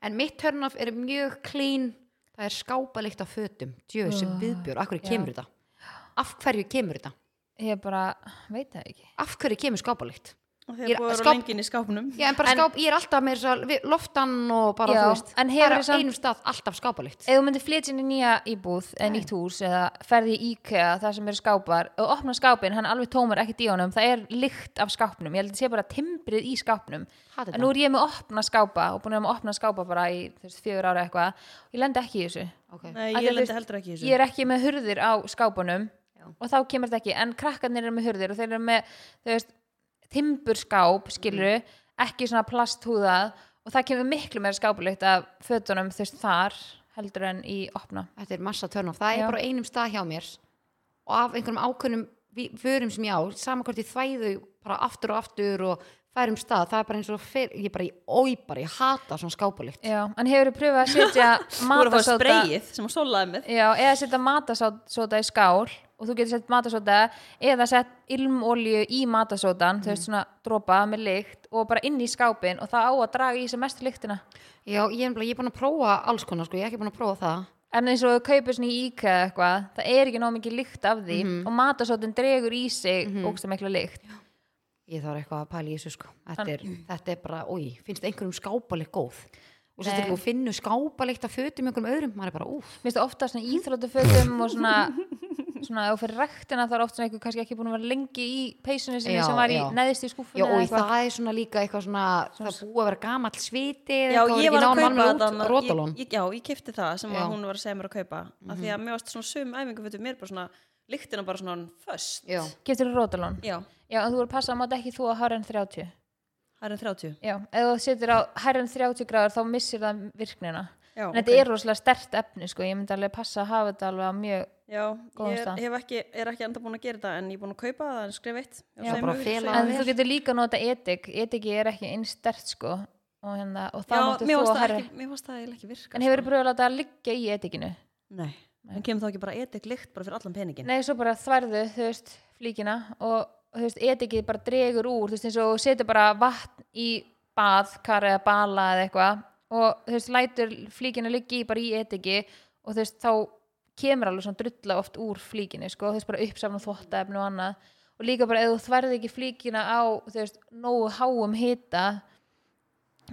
B: En mitt törnum er mjög clean, það er skápalikt af fötum, djöðu sem
C: Ah,
B: viðbjör, af hverju
C: já.
B: kemur þetta? Af hverju kemur þetta?
C: ég bara veit það ekki
B: Af hverju kemur skápalikt? Ég er
A: Þegar búið að
B: skáp-
A: vera lengin í skápnum
B: Já, en bara
C: En-
B: skáp, ég er alltaf með þess að við- loftan og bara,
C: Já,
B: þú veist,
C: en hefur
B: bara
C: þið samt-
B: einum stað alltaf skápalikt.
C: Ef þú myndir flytja inn í nýja íbúð eða nýtt hús eða ferði í IKEA þar sem eru skápar og opna skápin, hann er alveg tómur ekkert í honum, það er lykt af skápnum ég held að þetta sé bara timbrið í skápnum
B: Hata
C: en nú er ég með opna skápa og búin að vera með opna skápa bara í þú veist, fjögur ára eitthvað og ég lendi ekki í þessu
B: Ok.
A: Nei,
C: Af
A: ég
C: því að þú
A: lendi
C: veist,
A: heldur ekki í
C: ég
A: þessu
C: er ekki með hurðir á skápunum og þá kemur þetta ekki, en krakkarnir eru með hurðir og þeir eru með, þú veist timburskáp, skilur
A: Mhm.
C: ekki svona plasthúðað og það kemur miklu meira skápulikt af fötunum þú veist þar heldur en í opna
B: þetta er massa törn of, það
C: Já.
B: er bara á einum stað hjá mér og af einhverjum ákveðnum við förum sem ég á, saman hvort ég þvæðu bara aftur og aftur og færum stað, það er bara eins og fer, ég bara, ég, ó, ég bara, ég hata svona skápulikt.
C: Já, en hefur þú pröfað að setja
A: Þú voru að fá
C: matasóta
A: spreyið sem hún sólaði með
C: Já, eða setja matasóta í skál og þú getur sett matasóta eða sett ilmolju í matasótan þú
A: Mhm.
C: veist svona dropa með lykt og bara inn í skápin og það á að draga í sem mest lyktina
B: Já, ég er bara, ég er búin að prófa alls konar, sko, ég er ekki búin að prófa það.
C: en eins og þú kaupir svona í íkæða eitthvað það er ekki nóg mikið lykt af því
B: Mhm.
C: og matasótin dregur í sig mm -hmm. ógsta mikla lykt
B: Ég þarf eitthvað að pæla í þessu, sko. Þetta er, þetta er bara, ói, finnst einhverjum skápulikt góð? Og svo
C: Nei.
B: stilbúið finnu skápulikt að fötum einhverjum öðrum, maður er bara, úf.
C: Mér finnst það ofta svona í íþróttafötum og svona, svona ef þú fyrir rektina þá er ofta svona eitthvað kannski ekki búin að vera lengi í peysunni sinni
B: Já,
C: sem var í
B: já.
C: neðist í skúfunni
B: Já, og í
C: eitthvað.
B: það er svona líka eitthvað svona, það er búið að vera gamall sviti
A: Já, ég var að kaupa
B: þetta
A: þarna-
B: rótalón.
A: ég- ég- Já, ég kipti það sem
B: Já.
A: að hún var að segja mér að kaupa af því að
C: Mhm.
A: mér varst svona sum æfingu fyrir mér bara svona lyktina bara svona föst
B: Já,
C: Getur þú rótalón?
A: Já,
C: Já, en þú verður að passa að máta ekki þú að hærra en 30.
A: það er um en 30
C: Já, ef þú setur á hærra en 30 gráður þá missir það virknina.
A: Já,
C: en þetta
A: ok.
C: er rosalega stert efni, sko. Ég myndi alveg passa að hafa þetta alveg á mjög...
A: Já,
C: Góðan
A: ég
C: stað.
A: er- hef ekki, er ekki enda búin að gera þetta en ég er búin að kaupa það en skrif eitt
C: Já,
A: Segðu
B: bara
A: mér-
B: fela
A: segðu
B: það
C: En
A: mér.
B: vel.
C: þú getur líka nota etik. Etiki er ekki einn stert, sko. Og, hérna, og það
A: Já,
C: máttu
A: mér
C: þú
A: varst
C: að
A: það
C: hærra...
A: ekki- sko. mér varst það eiginlega ekki virka
C: En hefur þú pröfað að láta það liggja í etikinu?
A: Nei, en kemur þá ekki bara etik lykt bara fyrir allan peningin
C: Nei, svo bara þværðu, þú veist, flíkina og og þú veist, etikið bara dregur úr, þú veist, eins og þú setur bara vatn í bað, kar eða bala eða eitthvað og þú veist, lætur flíkina liggi bara í etiki og þú veist, þá kemur alveg svona drulla oft úr flíkinu, sko, þú veist, bara uppsafn og þvottaefni og annað og líka bara ef þú þværðu ekki flíkina á, þú veist, nógu háum hita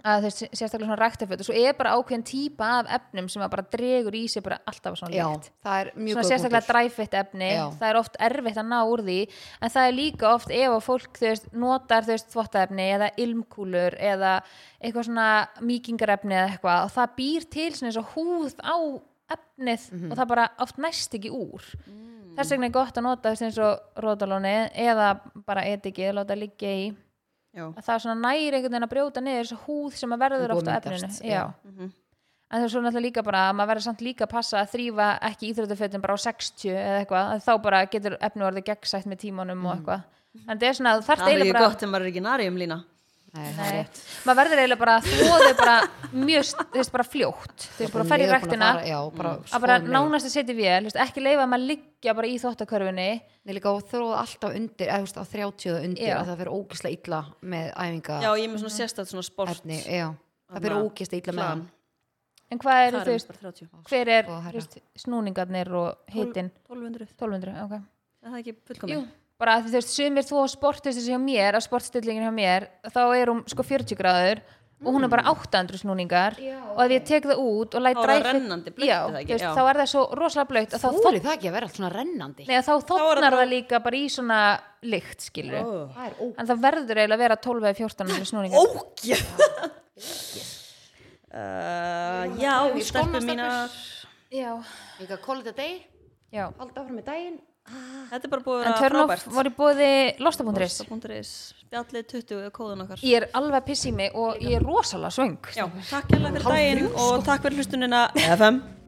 C: að þú veist, sérstaklega svona ræktaföt og svo er bara ákveðin típa af efnum sem að bara dregur í sig bara alltaf svona
B: já,
C: lykt
B: það er mjög
C: svona
B: góð
C: sérstaklega
B: punktur.
C: dræfitt efni
B: Já.
C: það er oft erfitt að ná úr því en það er líka oft ef að fólk þú veist, notar þú veist þvottaefni eða ilmkúlur eða eitthvað svona mýkingarefni eða eitthvað og það býr til svona eins og húð á efnið
B: Mhm.
C: og það bara oft næst ekki úr
B: Mm.
C: þess vegna er gott að nota þú veist eins og rótalóni eða bara etikið, láta liggja í
A: Já,
C: að það svona næri einhvern veginn að brjóta niður þessa húð sem að verður
B: Sem búið
C: ofta
B: að
C: efninu
B: myndast,
C: já.
B: já.
A: Mhm.
C: en það er svo náttúrulega líka bara að maður verður samt líka að passa að þrýfa ekki íþróttafötum bara á 60 eða eitthvað, að þá bara getur efnu orðið gegnsætt með tímanum
B: Mhm.
C: og eitthvað en það er svona, þú þarft
A: það er
C: eiginlega
A: ekki
C: bara
A: gott en maður er ekki nari um lína
B: Nei, það er
C: Nei,
B: rétt.
C: maður verður eiginlega bara að þvóðu bara mjög, þú veist, bara fljótt þú veist, bara ferð í
B: Ég er búin að
C: rektina
B: fara- já, bara
C: að bara
B: skoðun leið.
C: nánast að setja vél, þú veist, ekki leifa að maður liggja bara í þvottakörfunni
B: Nei, líka og þróð alltaf undir, eða þú veist, á 30 og undir
C: Já.
B: að það fyrir ógislega illa með æfinga
A: Já, ég er með svona sérstætt svona sport
B: efni, já, það fyrir
A: Þarna,
B: ógislega illa með
A: plan.
B: hann
C: en hvað
A: Það
C: eru,
A: er
C: þú
A: einmitt
C: veist,
A: bara 30
C: hver er
B: Sko, herra.
C: þú veist, snúningarnir og hitin
A: 1200,
C: 1200, ok
A: er það ekki
C: Jú,
A: fullkomin?
C: bara að þú veist, sumir þú á sportist hjá mér, að sportstillingin hjá mér þá er hún sko 40 gráður og hún er bara 800 snúningar og ef ég tek það út og læt
A: Þá er það
C: dræfi-
A: rennandi blautt,
C: já,
A: er það ekki?
C: þú veist,
A: Já.
C: þá er það svo rosalega blöytt og þá,
B: Þú
C: þó,
B: er það ekki að vera allt svona rennandi
C: nei, þá
A: er það
C: þóknar
A: bara-
C: það líka bara í svona lykt
A: Ó.
C: skilur
B: Það er ógislega
C: en það verður eiginlega að vera 12 eða 14 snúningar
A: Ógjöð Uh, já,
B: Við skóna,
A: stelpur mínar
C: já,
B: Líka call it a day,
C: já
B: halda áfram með daginn
A: Þetta er bara búið að
C: en
A: vera
C: törnoff
A: frábært
C: var í bóði losta.is
A: Losta.is, Bjallið 20 er kóðan okkar
C: ég er alveg piss í mig og ég er rosalega svöng
A: Já, takk hérlega fyrir daginn og takk fyrir hlustunina FM